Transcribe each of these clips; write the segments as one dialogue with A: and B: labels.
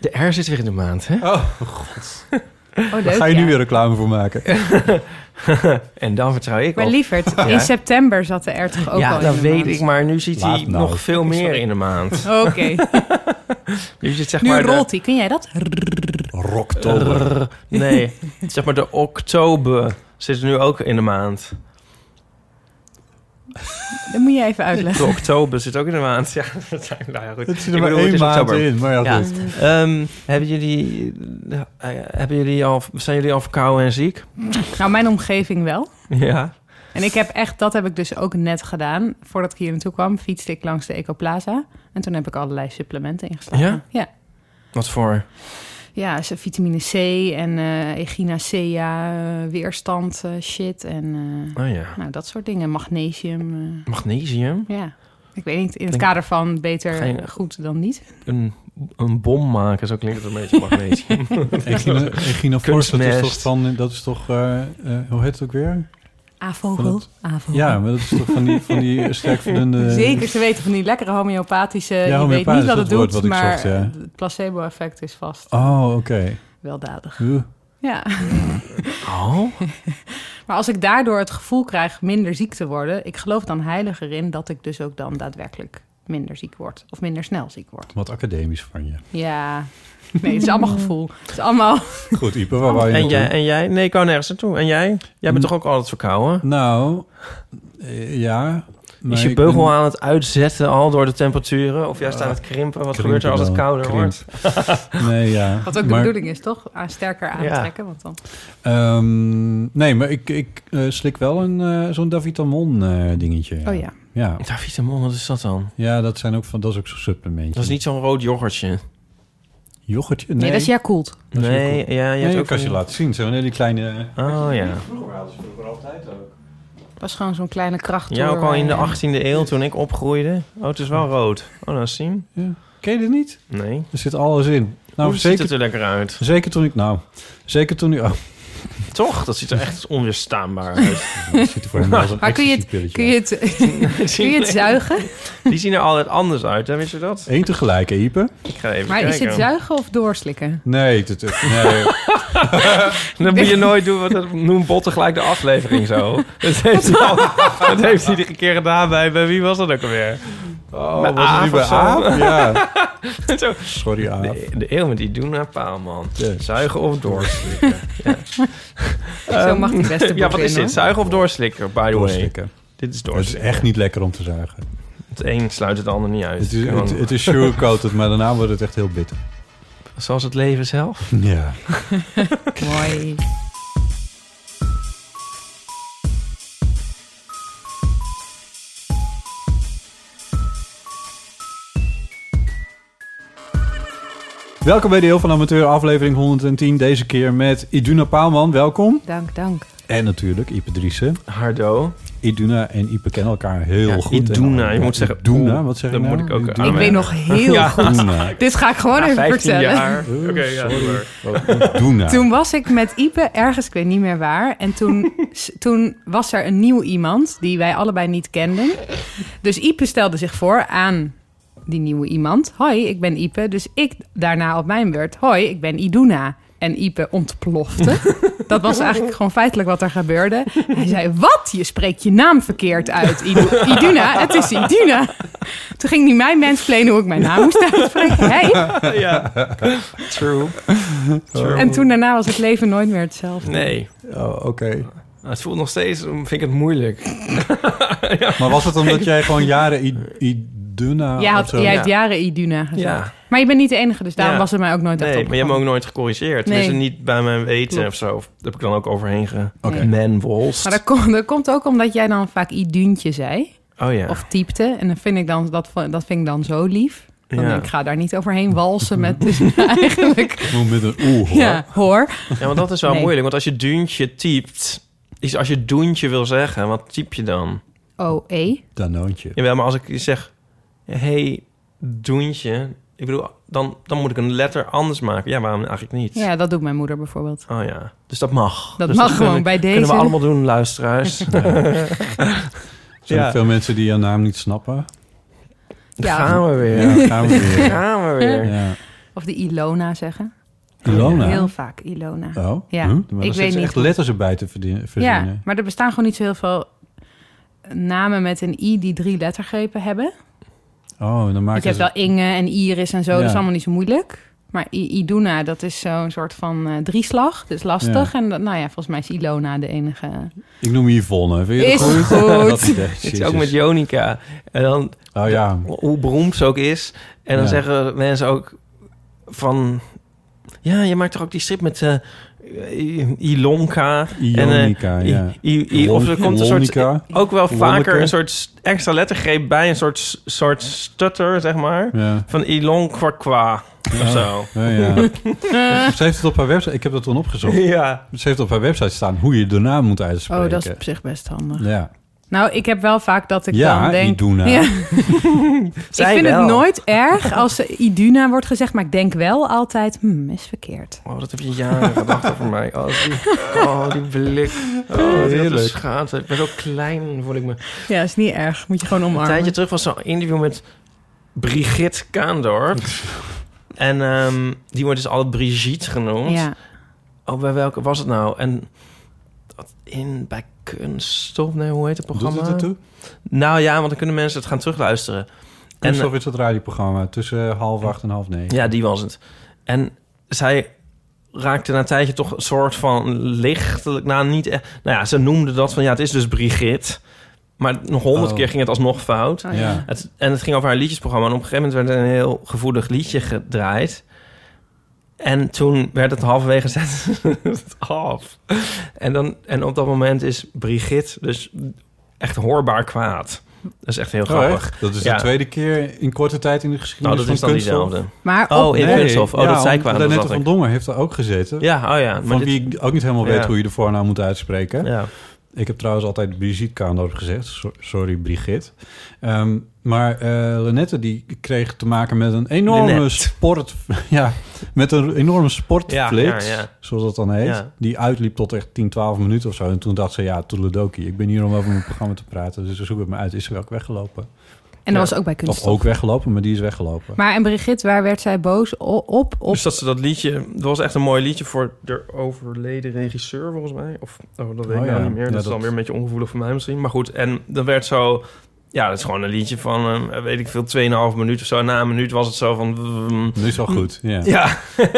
A: De R zit weer in de maand, hè?
B: Oh,
C: Oh,
B: daar ga je nu weer reclame voor maken.
A: en dan vertrouw ik
C: Maar
A: op.
C: lieverd, in september zat de er toch ook al
A: ja,
C: in
A: dat
C: de
A: weet
C: maand?
A: ik, maar nu zit
B: Laat
A: hij
B: nou.
A: nog veel meer in de maand.
C: Oké,
A: Dus het is zeg
C: nu
A: maar de-
C: rolt hij. Kun jij dat?
B: Rocktober.
A: Rrr, nee, het is zeg maar de oktober zit nu ook in de maand.
C: Dat moet je even
A: De
C: uitleggen.
A: oktober zit ook in de maand. Ja, dat zijn, nou ja, goed.
B: Het zit
A: Ik
B: er maar
A: bedoel, het
B: één
A: is
B: maand
A: oktober.
B: in, maar ja,
A: Ja.
B: goed.
A: Ehm, hebben jullie, eh, hebben jullie al, zijn jullie al verkouden en ziek?
C: Nou, mijn omgeving wel.
A: Ja.
C: En ik heb echt, dat heb ik dus ook net gedaan. Voordat ik hier naartoe kwam, fietste ik langs de Ecoplaza. En toen heb ik allerlei supplementen ingeslagen.
A: Ja?
C: Ja.
A: Wat voor?
C: Ja, ze vitamine C en eh echinacea, eh, weerstand eh, shit en eh,
A: Oh ja.
C: nou, dat soort dingen. Magnesium, eh,
A: Magnesium.
C: ja. Ik weet niet, in het
A: Denk-
C: kader van beter
A: Ga je-
C: goed dan niet.
A: Een, een bom maken, zo klinkt het een beetje magnesium.
B: Echino- Echinophorus, dat is
A: Kunstmest.
B: toch van, dat is toch, eh, eh, hoe heet het ook weer? Van
C: Avogel.
B: het- Ja, maar dat is toch van die, van die eh, sterk verdunde...
C: Zeker, ze weten van die lekkere homeopathische... je weet
B: homeopathisch,
C: niet wat
B: dat
C: het
B: woord
C: doet,
B: wat ik
C: maar
B: zocht, ja.
C: het placebo-effect is vast
B: Oh, oké.
C: weldadig.
B: Huh.
C: Ja,
A: Oh?
C: maar als ik daardoor het gevoel krijg minder ziek te worden... ik geloof dan heilig erin dat ik dus ook dan daadwerkelijk minder ziek word. Of minder snel ziek word.
B: Wat academisch van je.
C: Ja, nee, het is allemaal gevoel. Het is allemaal...
B: Goed, Ipe, waar wou je
A: En jij,
B: naartoe?
A: en jij? Nee, ik kan nergens naartoe. En jij? Jij bent toch ook altijd verkouden?
B: Nou, eh, ja. maar
A: Is je
B: ik ben-
A: beugel aan het uitzetten al door de temperaturen? Of juist aan het krimpen? Wat gebeurt er als het
B: wel,
A: kouder
B: krimp.
A: wordt?
B: Nee, ja.
C: Wat ook de
B: Maar-
C: bedoeling is, toch? Aan sterker aantrekken, want dan...
B: Ehm, nee, maar ik, ik eh, slik wel een eh, zo'n Davitamon eh, dingetje. ja.
C: Oh ja.
B: ja.
A: Davitamon, wat is dat dan?
B: Ja, dat zijn ook van, dat is ook zo'n supplementje.
A: Dat is niet zo'n rood yoghurtje.
B: yoghurtje.
C: Nee,
B: Nee,
C: dat is jij koelt.
B: Dat is heel
A: Nee, ja, je hebt
B: nee,
A: ook
B: ook als je
A: een-
B: laat zien. Zo'n hele kleine.
A: Oh ja.
B: Vroeger hadden ze vroeger altijd ook.
C: Dat was gewoon zo'n kleine kracht.
A: Ja, ook al in de
C: 18.
A: 18e eeuw toen ik opgroeide. Oh, het is wel rood. Oh, nou zien.
B: Ja. Ken je dit niet?
A: Nee.
B: Er zit alles in. Nou,
A: Hoe ziet
B: zeker,
A: het er lekker uit?
B: zeker toen ik. Nou, zeker toen ik. Oh,
A: Toch? Dat ziet er echt onweerstaanbaar uit.
B: dat ziet er voor hem wel als een
C: Maar kun je het,
B: ecstasy-pilletje
C: kun je het, kun je het zuigen?
A: Die zien er altijd anders uit, hè? weet je dat?
B: uit. Eén tegelijk, hè, Ipe?
A: Ik ga even
C: Maar is
A: kijken.
C: het zuigen of doorslikken?
B: Nee, dat, dat- nee.
A: Dat moet je nooit doen, want dat noemt Botte gelijk de aflevering zo. Dat heeft hij, al, dat heeft hij iedere keer gedaan bij, bij wie was dat ook alweer?
B: Oh,
A: Met
B: was het
A: aap
B: niet bij
A: of zo?
B: aap? Ja.
A: Zo.
B: Sorry, aap.
A: De, de eeuw met die doen naar paalman.
B: Ja.
A: Zuigen of doorslikken?
C: Zo mag die beste boek
A: Ehm, Ja, wat is
C: in,
A: dit?
C: hoor.
A: Zuigen of doorslikken, by the way?
B: Doorslikken.
A: Dit is
B: Het is
A: doorslikken.
B: echt niet lekker om te zuigen.
A: Het een sluit het ander niet uit.
B: Het is,
A: Gewoon
B: het, het is sugarcoated, maar daarna wordt het echt heel bitter.
A: Zoals het leven zelf.
B: Ja.
C: Mooi.
B: Welkom bij de Heel van Amateur, aflevering 110. Deze keer met Iduna Paalman, welkom.
C: Dank, dank.
B: En natuurlijk Ipe Driessen.
A: Hardo.
B: Iduna en Ipe kennen elkaar heel
A: Ja,
B: goed. En
A: Iduna,
B: allemaal-
A: je moet zeggen,
B: Iduna,
A: oeh,
B: wat zeg
A: dat
B: ik nou?
A: moet ik ook
B: Iduna.
A: aan
C: Ik weet nog heel
A: Ja.
C: goed.
B: Iduna.
C: Dit ga ik gewoon even vertellen.
A: jaar. Oké,
B: Oeh,
A: ja.
B: sorry.
A: doe maar.
B: Oh, Iduna.
C: Toen was ik met Ipe ergens, ik weet niet meer waar. En toen, s- toen was er een nieuw iemand die wij allebei niet kenden. Dus Ipe stelde zich voor aan die nieuwe iemand. Hoi, ik ben Ipe. Dus ik daarna op mijn beurt. Hoi, ik ben Iduna. En Ipe ontplofte. Dat was eigenlijk gewoon feitelijk wat er gebeurde. Hij zei, wat? Je spreekt je naam verkeerd uit, Idu- Iduna. Het is Iduna. Toen ging hij mij mensplenen hoe ik mijn naam moest uitspreken. Hey.
A: Ja. True. True.
C: En toen daarna was het leven nooit meer hetzelfde.
A: Nee.
B: Oh, oké.
A: Nou, Het voelt nog steeds, vind ik het moeilijk.
B: Maar was het omdat jij gewoon jaren i- Iduna
C: Jij, had,
B: of Oh, zo?
C: jij
A: ja.
C: hebt jaren Iduna gezegd.
A: Ja.
C: Maar je bent niet de enige, dus daarom
A: Ja.
C: was het mij ook nooit echt
A: Nee, maar jij hebt me ook nooit
C: Nee.
A: gecorrigeerd. Tenminste, niet bij mijn weten
C: Klopt.
A: of zo. Dat heb ik dan ook overheen ge...
C: Oké.
A: Man wolst.
C: Maar dat, kom- dat komt ook omdat jij dan vaak Iduntje zei.
A: Oh ja.
C: Of typte. En dan vind ik dan, dat, vo- dat vind ik dan zo lief. Dan
A: Ja.
C: denk ik, ik ga daar niet overheen walsen met dus eigenlijk.
B: Hoe met een oeh, hoor.
C: Ja, hoor.
A: ja, want dat is wel
C: Nee.
A: moeilijk. Want als je duntje typt... Is als je doentje wil zeggen, wat typ je dan?
C: OE.
B: Danoontje.
A: Jawel, maar als ik zeg... hey, doentje... Ik bedoel, dan, dan moet ik een letter anders maken. Ja, waarom eigenlijk niet?
C: Ja, dat doet mijn moeder bijvoorbeeld.
A: Oh ja, dus dat mag.
C: Dat
A: Dus
C: mag gewoon
A: kunnen-
C: bij
A: Kunnen
C: deze.
A: we allemaal doen, luisteraars.
B: Er zijn
A: Ja.
B: veel mensen die jouw naam niet snappen.
A: Daar
C: Ja.
A: Gaan we weer.
B: Ja, gaan we weer.
A: Gaan we weer.
B: Ja.
C: Of de Ilona zeggen.
B: Ilona.
C: Heel vaak Ilona.
B: Oh,
C: Ja,
B: huh?
C: ik
B: Maar daar
C: weet
B: zitten ze
C: niet
B: echt
C: hoe-
B: letters erbij te verdien- verzinnen.
C: Ja, maar er bestaan gewoon niet zo heel veel namen met een i die drie lettergrepen
B: Ah,
C: hebben.
B: Oh, dan
C: Want
B: maak
C: je
B: je...
C: hebt wel Inge en Iris en zo, dat
B: Ja.
C: is allemaal niet zo moeilijk. Maar I- Iduna, dat is zo'n soort van eh, drieslag, dus lastig. En dat- nou ja, volgens mij is Ilona de enige.
B: Ik noem je Yvonne. Vind je dat
C: Is
B: goed?
C: goed.
B: Dat idee.
A: Het is
B: Jezus.
A: ook met Jonica. En dan,
B: Oh ja.
A: hoe beroemd ze ook is. En dan
B: Ja.
A: zeggen mensen ook van... Ja, je maakt toch ook die strip met eh, I- Ilonka.
B: Ionica,
A: en, eh,
B: ja.
A: I- I- I- of er
B: Lon-
A: komt een soort...
B: Lonica.
A: Ook wel vaker
B: Lonneke.
A: een soort s- extra lettergreep bij. Een soort, soort stutter, zeg maar.
B: Ja.
A: Van Ilon Kwakwa. Of zo.
B: Ja, ja. Ze heeft het op haar website... Ik heb dat toen opgezocht.
A: Ja.
B: Ze heeft op haar website staan hoe je de naam moet uitspreken.
C: Oh, dat is op zich best handig.
B: Ja,
C: Nou, ik heb wel vaak dat ik
B: Ja,
C: dan denk...
B: Iduna.
C: ik
A: Zij
C: vind
A: wel.
C: het nooit erg als eh, Iduna wordt gezegd, maar ik denk wel altijd, hmm, is verkeerd.
A: Oh, dat heb je jaren gedacht over mij. Oh, die, oh, die blik. Oh,
B: Heerlijk.
A: Heerlijk. schaamte. Ik ben zo klein, voel ik me.
C: Ja, is niet erg, moet je gewoon
A: Een
C: omarmen.
A: tijdje terug was zo'n interview met Brigitte Kaandorp. en ehm, die wordt dus altijd Brigitte genoemd.
C: Ja,
A: Oh, bij welke was het nou? En dat in bij kunststof, nee, hoe heet het
B: doet
A: programma?
B: het ertoe?
A: Nou ja, want dan kunnen mensen het gaan terugluisteren.
B: Kunststof is dat radioprogramma tussen eh, half acht en half negen.
A: eh, Ja, die was het. En zij raakte na een tijdje toch een soort van lichtelijk... Nou, niet echt, nou ja, ze noemde dat van... Ja, het is dus Brigitte. Maar nog honderd
B: Oh.
A: keer ging het alsnog fout.
C: Oh,
B: Ja.
A: Het, en het ging over haar liedjesprogramma. En op een gegeven moment werd er een heel gevoelig liedje gedraaid. En toen werd het halverwege gezet het af. En, dan, en op dat moment is Brigitte dus echt hoorbaar kwaad. Dat is echt heel
B: Oh,
A: grappig.
B: echt? Dat is
A: Ja.
B: de tweede keer in korte tijd in de geschiedenis
A: nou, dat is
B: van
A: dan
B: kunststof.
A: diezelfde.
C: Maar
A: Oh,
C: op-
A: in kunststof. Oh, dat zij kwamen.
B: Danette van Dongen heeft er ook gezeten.
A: Ja, oh ja.
B: van
A: dit-
B: wie ik ook niet helemaal weet
A: Ja.
B: hoe je de voornaam moet uitspreken.
A: ja.
B: Ik heb trouwens altijd Brigitte Kaandorp gezegd. So- Sorry, Brigitte. Ehm, maar eh Lenette die kreeg te maken met een enorme
A: Lynette.
B: sport... Ja, met een enorme sportflits,
A: Ja, ja, ja.
B: zoals dat dan heet.
A: Ja.
B: Die uitliep tot echt 10, 12 minuten of zo. En toen dacht ze, ja, toedeledokie. Ik ben hier om over mijn programma te praten. Dus ze zoek het me uit. Is ze wel ook weggelopen?
C: en dat was ook bij
B: Of
C: kunststof.
B: ook weggelopen, maar die is weggelopen.
C: Maar en Brigitte, waar werd zij boos o- op? op?
A: Dus dat ze dat liedje... Dat was echt een mooi liedje voor de overleden regisseur, volgens mij. Of oh, dat weet
B: Oh
A: ik nou
B: ja.
A: niet meer.
B: Ja,
A: dat, is
B: dat-
A: dan weer een beetje ongevoelig voor mij misschien. Maar goed, en dan werd zo... Ja, dat is gewoon een liedje van, eh, weet ik veel, 2,5 minuut of zo. Na een minuut was het zo van... mm,
B: Nu is wel goed, ja.
A: ja,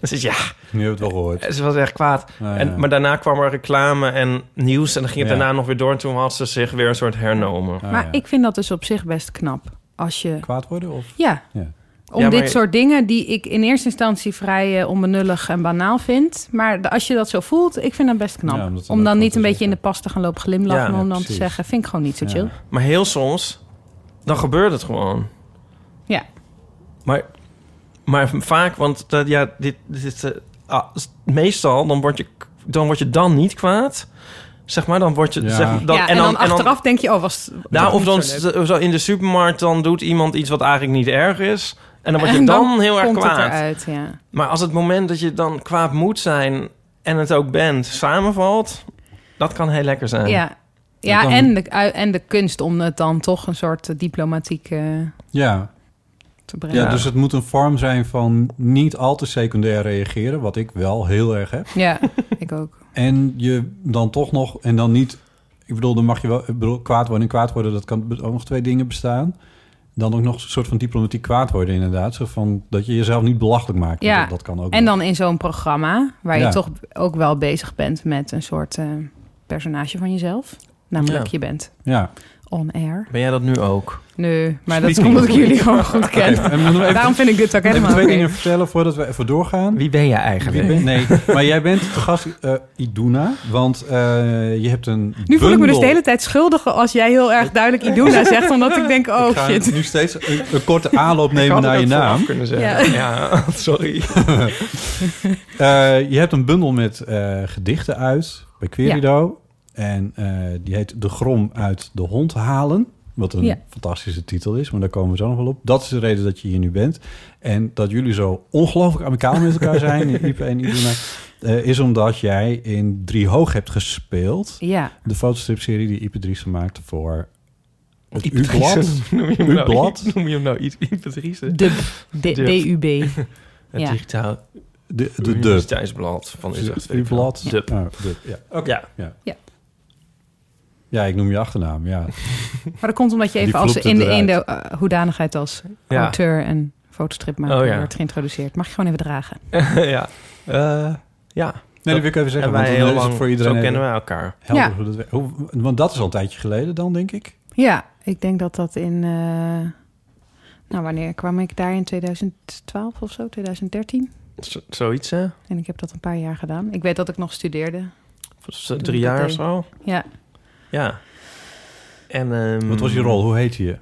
A: dus ja,
B: Nu hebben we het wel gehoord.
A: ze was echt kwaad.
C: Eh,
B: Nou ja.
A: En, maar daarna kwam er reclame en nieuws en dan ging het
B: Ja.
A: daarna nog weer door. En toen had ze zich weer een soort hernomen.
B: Nou
C: maar
B: ja.
C: ik vind dat dus op zich best knap. Als je...
B: Kwaad worden? Of?
C: Ja.
B: Ja.
C: Om
A: Ja, maar-
C: dit soort dingen die ik in eerste instantie vrij eh, onbenullig en banaal vind. Maar de- als je dat zo voelt, ik vind dat best knap.
B: Ja, om dat dan
C: om dan
B: ook
C: niet
B: te
C: een beetje in de
B: zeggen.
C: pas te gaan lopen glimlachen.
A: Ja,
C: maar om
B: ja,
C: dan te
B: precies.
C: zeggen, vind ik gewoon niet zo
B: Ja.
C: chill.
A: Maar heel soms, dan gebeurt het gewoon.
C: Ja.
A: Maar, maar vaak, want dat, ja, dit, dit, is, eh, ah, s- meestal dan word, je, k- dan word je dan niet kwaad. Zeg maar, dan word je...
B: Ja.
A: Zeg, dan,
C: Ja, en, dan, achteraf denk je, oh, was het
A: nou, of dan
C: niet zo leuk.
A: zo in de supermarkt, dan doet iemand iets wat eigenlijk niet erg is. En dan word je
C: En
A: dan, heel erg
C: komt het
A: kwaad.
C: eruit, ja.
A: Maar als het moment dat je dan kwaad moet zijn en het ook bent, samenvalt... Dat kan heel lekker zijn.
C: Ja, ja
B: dan-
C: en, de, en de kunst om het dan toch een soort eh, diplomatiek... eh,
B: Ja.
C: te brengen.
B: Ja, dus het moet een vorm zijn van niet al te secundair reageren, wat ik wel heel erg heb.
C: Ja, ik ook.
B: En je dan toch nog, en dan niet, ik bedoel, dan mag je wel, ik bedoel, kwaad worden en kwaad worden, dat kan ook nog twee dingen bestaan. Dan ook nog een soort van diplomatiek kwaad worden, inderdaad. Zo van dat je jezelf niet belachelijk maakt.
C: Ja,
B: Dat, dat kan ook.
C: En dan in zo'n programma waar je
B: Ja.
C: toch ook wel bezig bent met een soort eh, personage van jezelf. Namelijk,
A: Ja.
C: je bent
B: Ja.
C: on air.
A: Ben jij dat nu ook?
C: Nee, maar dat is
A: Speaking
C: omdat ik
A: of
C: jullie
A: which.
C: gewoon goed ken.
B: Oké, en we moeten even-
C: Daarom vind ik dit ook
B: Even
C: helemaal
B: twee
C: oké.
B: dingen vertellen voordat we even doorgaan.
A: Wie ben jij eigenlijk?
B: Wie ben- nee, maar jij bent de gast eh, Iduna, want eh, je hebt een
C: Nu voel ik me dus de
B: bundel.
C: hele tijd schuldig als jij heel erg duidelijk Iduna zegt. Omdat ik denk,
B: Ik
C: oh
B: ga
C: shit.
B: nu steeds een, een korte aanloop
A: Ik
B: nemen
A: had
B: naar
A: het
B: je
A: ook vooraf
B: naam.
A: kunnen zeggen. Ja, sorry.
B: Eh, je hebt een bundel met eh, gedichten uit bij Querido. En eh, die heet De Grom uit de Hond halen. Wat een
C: Ja.
B: fantastische titel is, maar daar komen we zo nog wel op. Dat is de reden dat je hier nu bent. En dat jullie zo ongelooflijk amicaal met elkaar zijn, Ipe en Iduna... eh, is omdat jij in Drie Hoog hebt gespeeld.
C: Ja,
B: De fotostripserie die Ipe Dries gemaakt voor het
A: Iep
B: U-blad.
A: Driessen. Noem je hem nou
B: U-blad?
A: Iep- Noem je hem nou iets Ipatrice?
C: dub. D-
A: Dub.
C: DUB.
A: Het
C: Ja.
A: digitaal
B: De, de, de,
A: universiteitsblad van Utrecht.
B: U-blad.
A: Dub.
B: Ah, de- ja.
A: Ja.
B: ja, ik noem je achternaam, ja.
C: Maar dat komt omdat je
B: Die
C: even als
B: vloept
C: in de,
B: het
C: in de eh, hoedanigheid als
A: Ja.
C: auteur en fotostripmaker
A: Oh ja.
C: wordt geïntroduceerd. Mag je gewoon even dragen.
A: ja. Eh, ja.
B: Nee, dat wil ik even zeggen,
A: En
B: want
A: wij
B: dan
A: heel
B: is het
A: lang,
B: voor iedereen
A: zo
B: even-
A: kennen wij elkaar.
B: Helder
C: Ja.
B: hoe dat werkt. Hoe- want dat is al een tijdje geleden dan, denk ik.
C: Ja, ik denk dat dat in... eh, nou, wanneer kwam ik daar? In 2012 of zo? 2013?
A: Z- zoiets, hè?
C: En ik heb dat een paar jaar gedaan. Ik weet dat ik nog studeerde.
A: Z- Drie jaar of zo.
C: Ja.
A: Ja. En, ehm,
B: Wat was je rol? Hoe heette je?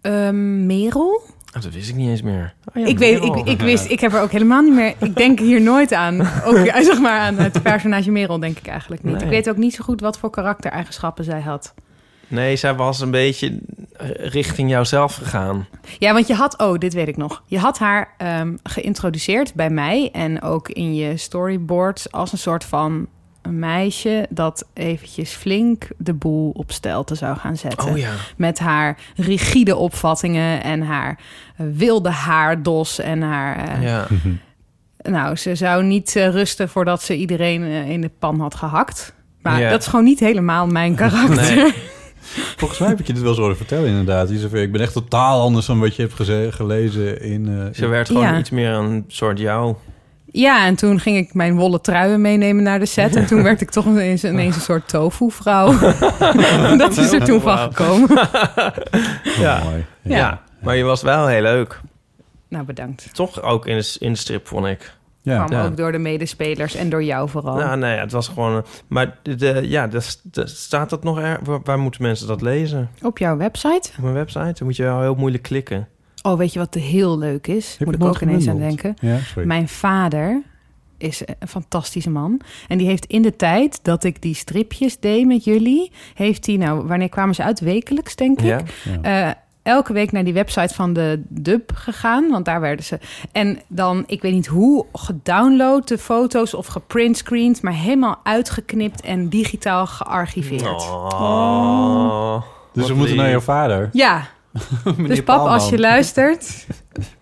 C: Ehm, Merel?
A: Oh, dat wist ik niet eens meer. Oh, ja,
C: ik weet,
A: Merel.
C: ik, ik wist, ik heb er ook helemaal niet meer... Ik denk hier nooit aan. Ook eh, zeg maar aan het personage Merel denk ik eigenlijk niet.
A: Nee.
C: Ik weet ook niet zo goed wat voor karaktereigenschappen zij had.
A: Nee, zij was een beetje eh, richting jouzelf gegaan.
C: Ja, want je had, oh, dit weet ik nog. Je had haar ehm, geïntroduceerd bij mij en ook in je storyboard als een soort van een meisje dat eventjes flink de boel op stelte zou gaan zetten.
A: Oh ja.
C: Met haar rigide opvattingen en haar eh, wilde haardos en haar. eh,
A: Ja.
C: Nou, ze zou niet eh, rusten voordat ze iedereen eh, in de pan had gehakt. Maar
A: Ja.
C: dat is gewoon niet helemaal mijn karakter.
A: Nee.
B: Volgens mij heb ik je dit wel eens horen vertellen, inderdaad. Iets van, ik ben echt totaal anders dan wat je hebt geze- gelezen in... eh,
A: Ze werd gewoon
C: Ja.
A: iets meer een soort jou.
C: Ja, en toen ging ik mijn wollen truien meenemen naar de set. En toen werd ik toch ineens, ineens een soort tofu-vrouw. dat is er toen van
A: Wauw.
C: gekomen.
B: oh,
A: ja.
B: mooi.
A: Ja. Maar je was wel heel leuk.
C: Nou, bedankt.
A: Toch ook in de, in de strip, vond ik.
B: Ja.
C: Kwam
A: ja.
C: ook door de medespelers en door jou vooral.
A: Nou, nee, het was gewoon... eh, Maar de, de- ja, de, de- staat dat nog er? Waar, waar moeten mensen dat lezen?
C: Op jouw website.
A: Op mijn website? Dan moet je wel heel moeilijk klikken.
C: Oh, weet je wat heel leuk is? Moet ik ook ineens aan denken.
B: Ja, sorry.
C: Mijn vader is een fantastische man. En die heeft in de tijd dat ik die stripjes deed met jullie... heeft hij, nou, wanneer kwamen ze uit? Wekelijks, denk ik.
A: Ja?
C: eh, elke week naar die website van de dub gegaan, want daar werden ze. En dan, ik weet niet hoe, gedownload de foto's of geprintscreend, maar helemaal uitgeknipt en digitaal gearchiveerd.
A: Oh.
B: Dus
A: Wat
B: we moeten
A: lief.
B: naar jouw vader.
C: Ja,
B: Meneer
C: dus pap, als
B: Paalman.
C: je luistert,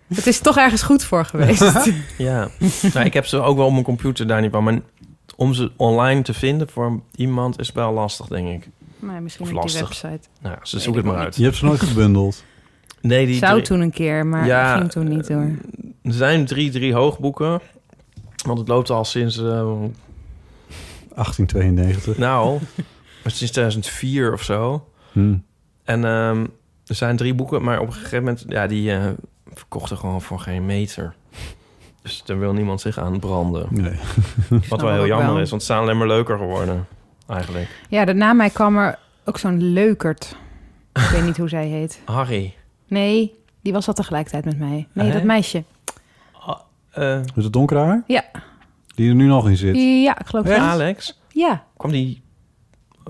C: het is toch ergens goed voor geweest.
A: Ja, nou, ik heb ze ook wel op mijn computer daar niet van. Maar om ze online te vinden voor iemand is wel lastig, denk ik.
C: maar misschien
A: Of
C: op die
A: lastig.
C: website.
A: Nou, ja, ze
C: Weet
A: zoeken
C: ik
A: het maar
C: ook
A: uit.
B: Je hebt ze nooit gebundeld.
A: Nee, die
C: Zou
A: drie-
C: toen een keer, maar
A: Ja, eh,
C: ging toen niet door.
A: er zijn drie, drie hoogboeken. Want het loopt al sinds, eh,
B: 1892.
A: nou, sinds 2004 of zo.
B: Hm.
A: En ehm, er zijn drie boeken, maar op een gegeven moment, ja, die eh, verkochten gewoon voor geen meter. Dus daar wil niemand zich aan branden. Wat
B: Nee.
C: snap
A: wel
C: het
A: heel
C: Nou, ook
A: jammer
C: wel.
A: is, want ze zijn alleen maar leuker geworden, eigenlijk.
C: Ja, daarna mij kwam er ook zo'n leukert. Ik weet niet hoe zij heet.
A: Harry.
C: Nee, die was al tegelijkertijd met mij. Nee,
A: Ah, Hè?
C: dat meisje.
A: eh,
B: Is het donkere haar?
C: Ja.
B: Die er nu nog in zit.
C: Ja, ik geloof het wel.
A: Alex.
C: Ja.
A: Kwam die,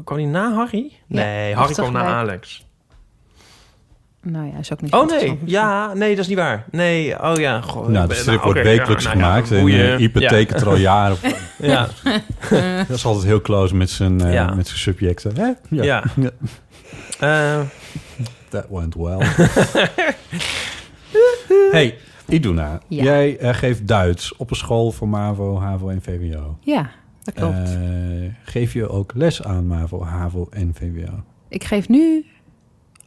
A: kwam die na Harry?
C: Ja,
A: Nee,
C: of
A: Harry kwam
C: tegelijk.
A: na Alex.
C: Nou ja, is ook niet zo
A: Oh nee,
C: interessant.
A: ja, nee, dat is niet waar. Nee, oh ja. Goh,
B: Nou, de
A: ben-
B: strip
A: nou,
B: wordt
A: oké,
B: wekelijks
A: ja, nou ja,
B: gemaakt. en
A: boeien.
B: eh, Ipe
A: Ja,
B: tekent er al jaren. op.
A: Ja,
B: Dat is altijd heel close met zijn, eh,
A: Ja.
B: met zijn subjecten. Hè?
A: ja. Eh,
B: That went well. hey, Iduna,
C: Ja.
B: jij eh, geeft Duits op een school voor MAVO, HAVO en VWO.
C: Ja, dat klopt.
B: Eh, geef je ook les aan MAVO, HAVO en VWO?
C: Ik geef nu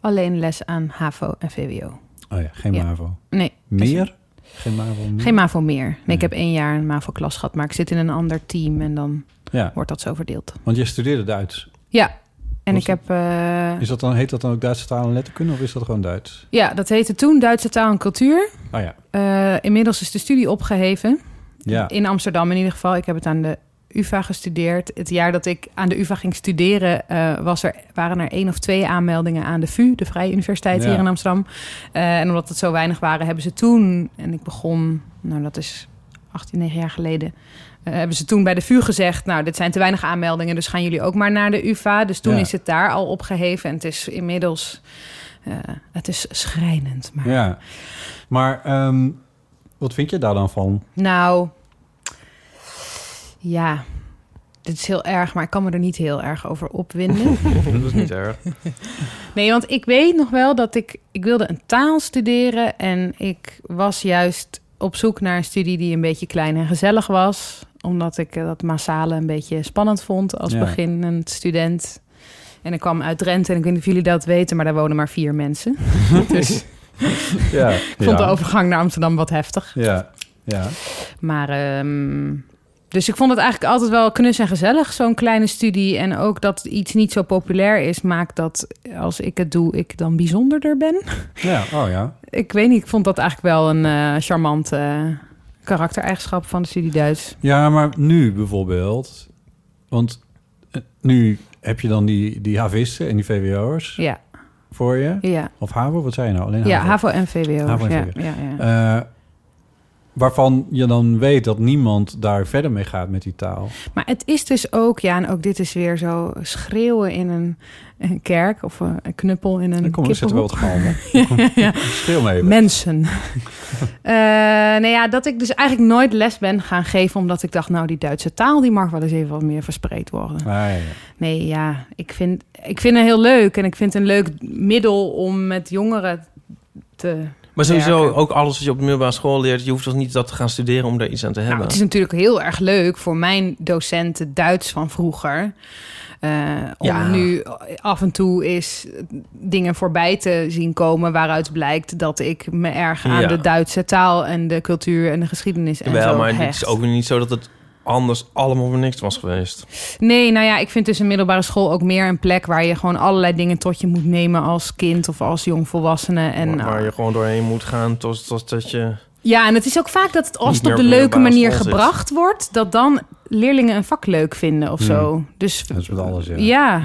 C: alleen les aan HAVO en VWO.
B: Oh ja, geen
C: Ja.
B: MAVO.
C: Nee.
B: Meer? Geen MAVO
A: Hm.
B: meer?
C: Geen MAVO meer. Nee, ik heb één jaar een MAVO-klas gehad, maar ik zit in een ander team en dan
B: Ja.
C: wordt dat zo verdeeld.
B: Want jij studeerde Duits.
C: Ja, en
B: Was
C: ik heb... eh,
B: Is dat dan, heet dat dan ook Duitse taal en letterkunde of is dat gewoon Duits?
C: Ja, dat heette toen Duitse taal en cultuur.
B: Oh ja.
C: Eh, inmiddels is de studie opgeheven.
B: Ja.
C: In Amsterdam in ieder geval. Ik heb het aan de UvA gestudeerd. Het jaar dat ik aan de UvA ging studeren... eh, was er, waren er één of twee aanmeldingen aan de VU... de Vrije Universiteit
D: Ja.
C: hier in Amsterdam. Eh, en omdat het zo weinig waren, hebben ze toen... en ik begon, nou dat is 18, 9 jaar geleden... eh, hebben ze toen bij de VU gezegd... nou, dit zijn te weinig aanmeldingen... dus gaan jullie ook maar naar de UvA. Dus toen
B: Ja.
C: is het daar al opgeheven. En het is inmiddels... eh, het is schrijnend, maar...
B: Ja. Maar ehm, wat vind je daar dan van?
C: Nou, ja, dit is heel erg, maar ik kan me er niet heel erg over opwinden.
A: Dat is niet erg.
C: nee, want ik weet nog wel dat ik, ik wilde een taal studeren en ik was juist op zoek naar een studie die een beetje klein en gezellig was, omdat ik eh, dat massale een beetje spannend vond als
D: Ja.
C: beginnend student. En ik kwam uit Drenthe en ik weet niet of jullie dat weten, maar daar wonen maar vier mensen. dus
B: Ja.
C: ik vond de overgang naar Amsterdam wat heftig.
B: Ja. Ja.
C: Maar ehm, dus ik vond het eigenlijk altijd wel knus en gezellig, zo'n kleine studie. En ook dat iets niet zo populair is, maakt dat als ik het doe, ik dan bijzonderder ben.
B: Ja. Oh ja.
C: Ik weet niet, ik vond dat eigenlijk wel een eh charmante eh, karaktereigenschap van de studie Duits.
B: Ja, maar nu bijvoorbeeld. Want eh, nu heb je dan die, die havisten en die VWO'ers
C: Ja,
B: voor je.
C: ja.
B: Of HAVO, wat zei je nou? Alleen
C: Ja, HAVO en VWO.
B: HAVO en
C: Ja,
B: VWO.
C: ja,
B: Eh, waarvan je dan weet dat niemand daar verder mee gaat met die taal.
C: Maar het is dus ook, ja, en ook dit is weer zo schreeuwen in een, een kerk of eh, een knuppel in een
B: Dan komen we zetten wel wat
C: kippenhoek.
B: galmen.
C: ja, ja.
B: Schreeuw me even.
C: Mensen. Eh nou ja, dat ik dus eigenlijk nooit les ben gaan geven... omdat ik dacht, nou, die Duitse taal... die mag wel eens even wat meer verspreid worden.
B: Ah, ja.
C: Nee, ja, ik vind, ik vind het heel leuk. En ik vind het een leuk middel om met jongeren te...
A: Maar sowieso
C: werken.
A: ook alles wat je op de middelbare school leert... je hoeft toch niet dat te gaan studeren om daar iets aan te hebben?
C: Nou, het is natuurlijk heel erg leuk voor mijn docenten Duits van vroeger... eh, om
A: Ja.
C: nu af en toe eens dingen voorbij te zien komen... waaruit blijkt dat ik me erg aan
A: Ja.
C: de Duitse taal... en de cultuur en de geschiedenis en
A: Wel,
C: zo
A: maar het
C: hecht.
A: is ook weer niet zo dat het anders allemaal voor niks was geweest.
C: Nee, nou ja, ik vind dus een middelbare school ook meer een plek waar je gewoon allerlei dingen tot je moet nemen als kind of als jongvolwassene. En, nou. eh,
A: waar, waar je gewoon doorheen moet gaan tot, tot dat je...
C: Ja, en het is ook vaak dat het als
A: Niet
C: het op de
A: meer op een
C: leuke
A: middelbare
C: manier
A: school zit.
C: gebracht wordt, dat dan leerlingen een vak leuk vinden of zo.
B: Hmm.
C: Dus
B: Dat is met alles, ja.
C: ja.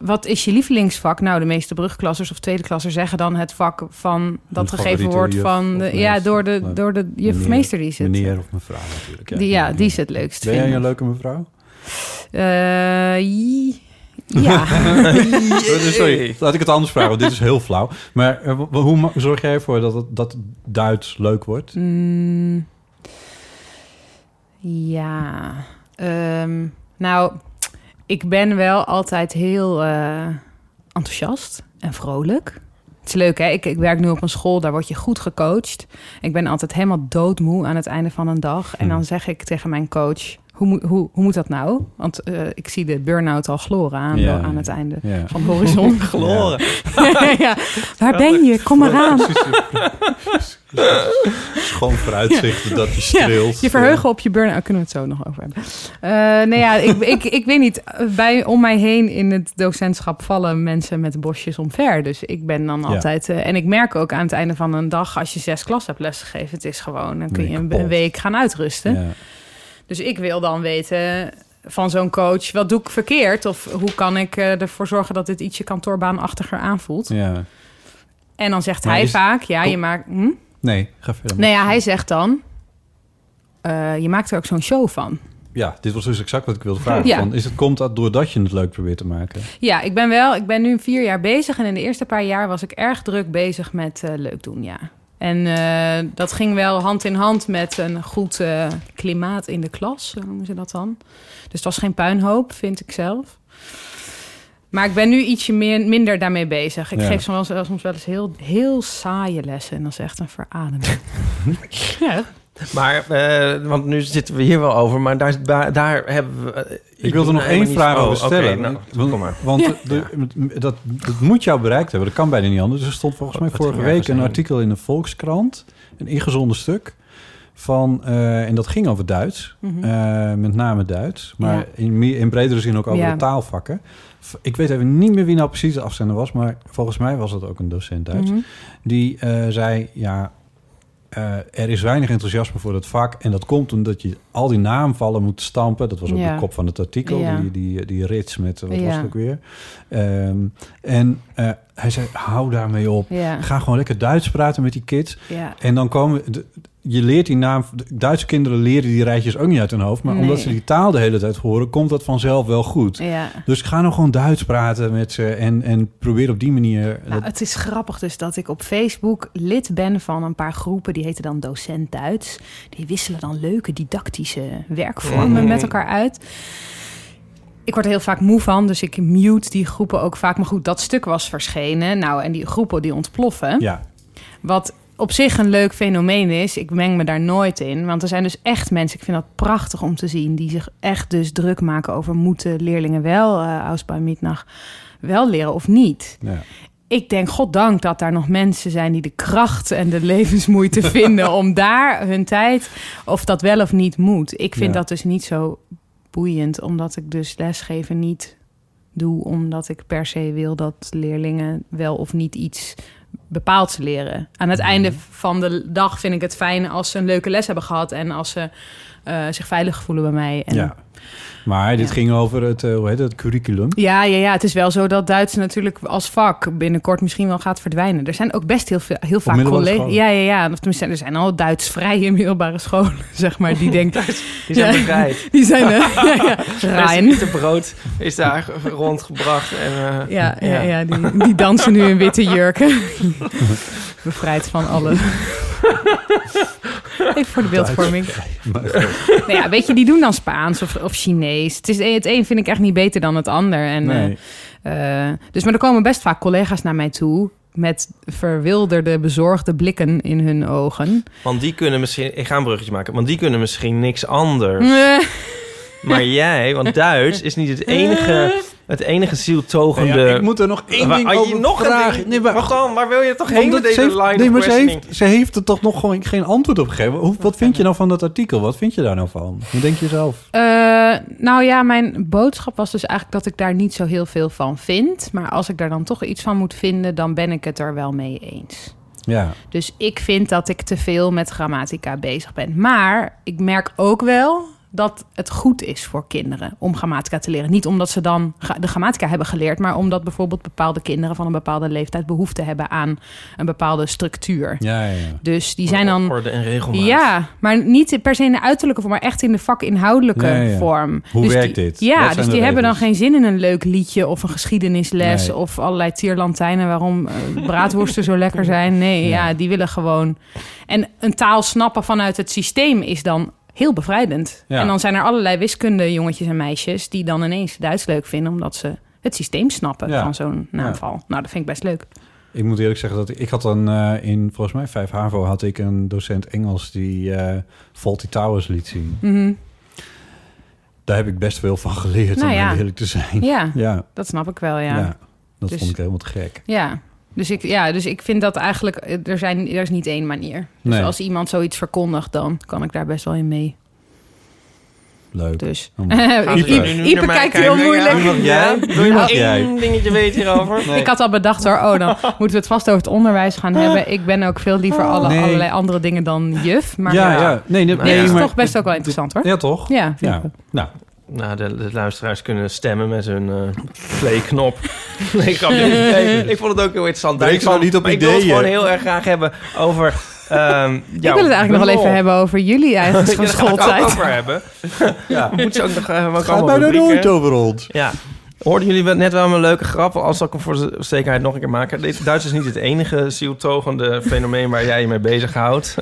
C: Wat is je lievelingsvak? Nou, de meeste brugklassers of tweedeklassers zeggen dan het vak van dat gegeven
B: favoriete
C: wordt
B: juf
C: van
B: of
C: de, ja,
B: meester.
C: door de, door de juf of
B: Meneer-
C: meester die zit.
B: Meneer of mevrouw natuurlijk.
C: Die- ja, die is het leukst
B: Ben jij
C: vinden.
B: een leuke mevrouw?
C: Eh, i- ja.
B: Sorry, laat ik het anders vragen, want dit is heel flauw. Maar eh, w- hoe ma- zorg jij ervoor dat, het, dat het Duits leuk wordt?
C: Mm, ja. Ehm, nou, ik ben wel altijd heel eh, enthousiast en vrolijk. Het is leuk, hè? Ik, ik werk nu op een school, daar word je goed gecoacht. Ik ben altijd helemaal doodmoe aan het einde van een dag.
D: Hmm.
C: En dan zeg ik tegen mijn coach, hoe, moet- hoe, hoe moet dat nou? Want eh, ik zie de burn-out al gloren aan,
D: Ja,
C: aan het einde
D: ja.
C: van de horizon.
D: Gloren.
C: ja. Waar ben je? Kom maar aan.
B: Schoon vooruitzichten dat je
C: Ja,
B: streelt.
C: je verheugen op je burn-out, kunnen we het zo nog over hebben. Eh nee, ja, ik, ik, ik weet niet. Bij, om mij heen in het docentschap vallen mensen met bosjes omver. Dus ik ben dan
D: Ja.
C: altijd... eh, en ik merk ook aan het einde van een dag... als je zes klas hebt lesgegeven, het is gewoon... dan kun
D: Ben
C: je
D: je
C: een,
D: kapot.
C: een week gaan uitrusten.
D: Ja.
C: Dus ik wil dan weten van zo'n coach... wat doe ik verkeerd? Of hoe kan ik eh, ervoor zorgen dat dit ietsje kantoorbaanachtiger aanvoelt?
B: Ja.
C: En dan zegt
B: Maar
C: hij
B: is-
C: vaak... ja,
B: Kom-
C: je maakt... Hm?
B: Nee, ga verder.
C: Nou ja, hij zegt dan... eh, je maakt er ook zo'n show van.
B: Ja, dit was dus exact wat ik wilde vragen.
C: Ja.
B: Van, is het, komt dat doordat je het leuk probeert te maken?
C: Ja, ik ben wel. Ik ben nu vier jaar bezig. En in de eerste paar jaar was ik erg druk bezig met eh, leuk doen, ja. En eh, dat ging wel hand in hand met een goed eh, klimaat in de klas, zo noemen ze dat dan. Dus het was geen puinhoop, vind ik zelf. Maar ik ben nu ietsje meer, minder daarmee bezig. Ik
B: Ja.
C: geef soms, wel- soms wel eens heel, heel saaie lessen. En dat is echt een verademing. ja.
A: Maar, eh, want nu zitten we hier wel over, maar daar, daar, daar hebben we... eh,
B: Ik wilde nog
A: helemaal
B: één
A: niet-
B: vraag
A: Oh,
B: over
A: oké,
B: stellen.
A: nou,
B: want
A: kom maar.
B: want de- de- dat, dat moet jou bereikt hebben. Dat kan bijna niet anders. Er stond volgens mij
A: Wat
B: vorige
A: ging er
B: week een
A: zijn?
B: artikel in de Volkskrant. Een ingezonden stuk. Van, eh, en dat ging over Duits.
C: Mhm.
B: Eh, met name Duits. Maar
C: Ja.
B: in, meer- in bredere zin ook over
C: Ja.
B: de taalvakken. V- Ik weet even niet meer wie nou precies de afzender was. Maar volgens mij was dat ook een docent Duits.
C: Mhm.
B: Die eh, zei, ja, eh, er is weinig enthousiasme voor dat vak. En dat komt omdat je al die naamvallen moet stampen. Dat was ook
C: Ja.
B: de kop van het artikel,
C: Ja.
B: die, die, die rits met, eh, wat was
C: Ja.
B: het ook weer? Ehm, en eh, hij zei, hou daarmee op.
C: Ja.
B: Ga gewoon lekker Duits praten met die kids.
C: Ja.
B: En dan komen... we- de- je leert die naam... de Duitse kinderen leren die rijtjes ook niet uit hun hoofd. Maar
C: Nee.
B: omdat ze die taal de hele tijd horen... komt dat vanzelf wel goed.
C: Ja.
B: Dus ga nou gewoon Duits praten met ze. En, en probeer op die manier...
C: Nou, het is grappig dus dat ik op Facebook lid ben van een paar groepen. Die heten dan Docent Duits. Die wisselen dan leuke didactische werkvormen
D: Mhm.
C: met elkaar uit. Ik word er heel vaak moe van, dus ik mute die groepen ook vaak. Maar goed, dat stuk was verschenen. Nou, en die groepen die ontploffen.
B: Ja.
C: Wat op zich een leuk fenomeen is. Ik meng me daar nooit in. Want er zijn dus echt mensen, ik vind dat prachtig om te zien... die zich echt dus druk maken over... moeten leerlingen wel, eh Ausbouw Middag, wel leren of niet?
B: Ja.
C: Ik denk, goddank dat daar nog mensen zijn die de kracht en de levensmoeite vinden om daar hun tijd, of dat wel of niet moet. Ik vind
D: Ja.
C: dat dus niet zo boeiend, omdat ik dus lesgeven niet doe, omdat ik per se wil dat leerlingen wel of niet iets bepaalds leren. Aan het einde van de dag vind ik het fijn als ze een leuke les hebben gehad en als ze eh, zich veilig voelen bij mij. En
B: Ja. Maar dit ging over het, eh, hoe heet het, curriculum.
C: ja, ja, ja, het is wel zo dat Duits natuurlijk als vak binnenkort misschien wel gaat verdwijnen. Er zijn ook best heel, veel, heel vaak
B: middelbare
C: collega's.
B: scholen?
C: Ja, ja, ja. Of tenminste, er zijn al Duits-vrije middelbare scholen, zeg maar, die denken.
A: Die zijn
C: Ja,
A: bevrijd.
C: Die zijn, eh, ja, ja. Rein.
A: Het brood is daar rondgebracht. En, eh,
C: Ja, ja, ja die, die dansen nu in witte jurken. Bevrijd van alle. Even voor de beeldvorming. Nou ja, weet je, die doen dan Spaans of, of Chinees. Het, is, het een vind ik echt niet beter dan het ander. En,
D: Nee.
C: eh, eh, dus, maar er komen best vaak collega's naar mij toe... met verwilderde, bezorgde blikken in hun ogen.
A: Want die kunnen misschien... Ik ga een bruggetje maken. Want die kunnen misschien niks anders.
C: Eh,
A: Maar jij, want Duits is niet het enige... Het enige zieltogende...
B: Nou ja, ik moet er nog één
A: Waar-
B: ding
A: ah, je-
B: over
A: nog een
B: vragen.
A: ding?
B: Nee, maar-
A: Wacht dan, maar wil je toch
B: Omdat
A: heen met
B: ze
A: deze
B: heeft-
A: line
B: nee,
A: of
B: maar ze
A: questioning?
B: heeft, ze heeft er toch nog gewoon geen antwoord op gegeven. Hoe, wat vind je nou van dat artikel? Wat vind je daar nou van? Hoe denk je zelf?
C: Eh, nou ja, mijn boodschap was dus eigenlijk dat ik daar niet zo heel veel van vind. Maar als ik daar dan toch iets van moet vinden, dan ben ik het er wel mee eens.
B: Ja.
C: Dus ik vind dat ik te veel met grammatica bezig ben. Maar ik merk ook wel dat het goed is voor kinderen om grammatica te leren. Niet omdat ze dan gra- de grammatica hebben geleerd, maar omdat bijvoorbeeld bepaalde kinderen van een bepaalde leeftijd behoefte hebben aan een bepaalde structuur.
B: Ja, ja, ja.
C: Dus die zijn dan.
A: Orde en regelmaat.
C: Ja, maar niet per se in de uiterlijke vorm, maar echt in de vakinhoudelijke
A: Ja, ja.
C: vorm.
A: Hoe
C: dus
A: werkt
C: die-
A: dit? Wat
C: Ja,
A: zijn
C: dus die
A: de
C: hebben dan geen zin in een leuk liedje of een geschiedenisles
D: Nee.
C: of allerlei tierlantijnen waarom eh, braadworsten zo lekker zijn. Nee, ja. die willen gewoon. En een taal snappen vanuit het systeem is dan heel bevrijdend.
D: Ja.
C: En dan zijn er allerlei wiskunde jongetjes en meisjes die dan ineens Duits leuk vinden omdat ze het systeem snappen
B: Ja.
C: van zo'n
B: Ja.
C: naamval. Nou, dat vind ik best leuk.
B: Ik moet eerlijk zeggen dat ik, ik had dan eh, in, volgens mij, 5 HAVO had ik een docent Engels die eh Faulty Towers liet zien.
C: Mhm.
B: Daar heb ik best veel van geleerd,
C: Nou
B: om
C: ja.
B: heel eerlijk te zijn.
C: Ja,
B: ja.
C: dat snap ik wel, ja.
B: Ja, dat
C: Dus-
B: vond ik helemaal te gek.
C: Ja. Dus ik, ja, dus ik vind dat eigenlijk, eh, er, zijn, er is niet één manier. Dus
B: Nee.
C: als iemand zoiets verkondigt, dan kan ik daar best wel in mee.
B: Leuk.
C: Dus.
A: Gaan ze
C: Iep-
A: nu
C: Iep-
A: naar mij
C: kijkt heel
A: kijken?
C: moeilijk.
A: Doe wat jij? Doe je
C: Nou,
A: nog één dingetje weet hierover?
C: Ik had al bedacht hoor, oh dan moeten we het vast over het onderwijs gaan hebben. Ik ben ook veel liever alle,
B: Oh. Nee.
C: allerlei andere dingen dan juf. Maar
B: Ja, ja. Nee, nee,
C: dit is
A: maar-
C: toch best ook wel interessant hoor.
B: Ja, toch?
C: Ja, vind ik
B: ja.
C: wel.
B: Nou,
A: Nou, de, de luisteraars kunnen stemmen met hun eh play-knop. nee, grapje. Nee, ik vond het ook heel interessant.
B: Breek ze nou niet op
A: Maar Ik wil
B: ideeën.
A: het gewoon heel erg graag hebben over... ehm
C: Ik wil het eigenlijk nog wel even hebben over jullie eigenlijk van
A: Daar gaan we het ook
C: schooltijd.
A: over hebben.
B: Ja.
A: Moet ze ook nog hebben.
B: het gaat bijna nooit over ons.
A: Ja. Hoorden jullie wel- net wel een leuke grap? Als zal ik hem voor de zekerheid nog een keer maken. Dit- Duits is niet het enige zieltogende fenomeen waar jij je mee bezighoudt.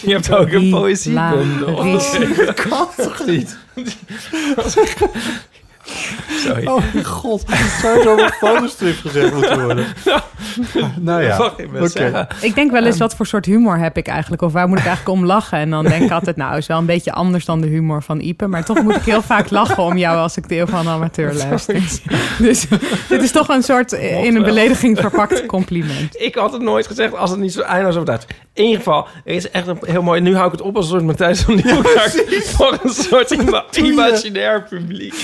A: je hebt ook een poëziebundel.
D: Hilarisch.
A: Dat kan toch niet? Sorry.
B: Oh mijn god, het zou zo op een fotostrip gezet moeten worden. nou ja,
A: Dat mag ik best
B: oké.
A: zeggen.
C: Ik denk wel eens, wat voor soort humor heb ik eigenlijk? Of waar moet ik eigenlijk om lachen? En dan denk ik altijd, nou, is wel een beetje anders dan de humor van Ipe. Maar toch moet ik heel vaak lachen om jou als ik de eeuw van de amateur luister. Dus dit is toch een soort eh, in een belediging verpakt compliment.
A: Ik had het nooit gezegd als het niet zo eindeloos overtuigd. In ieder geval, er is echt een heel mooi... Nu hou ik het op als een soort Matthijs van Nieuwkerk... voor een soort ima- imaginair publiek.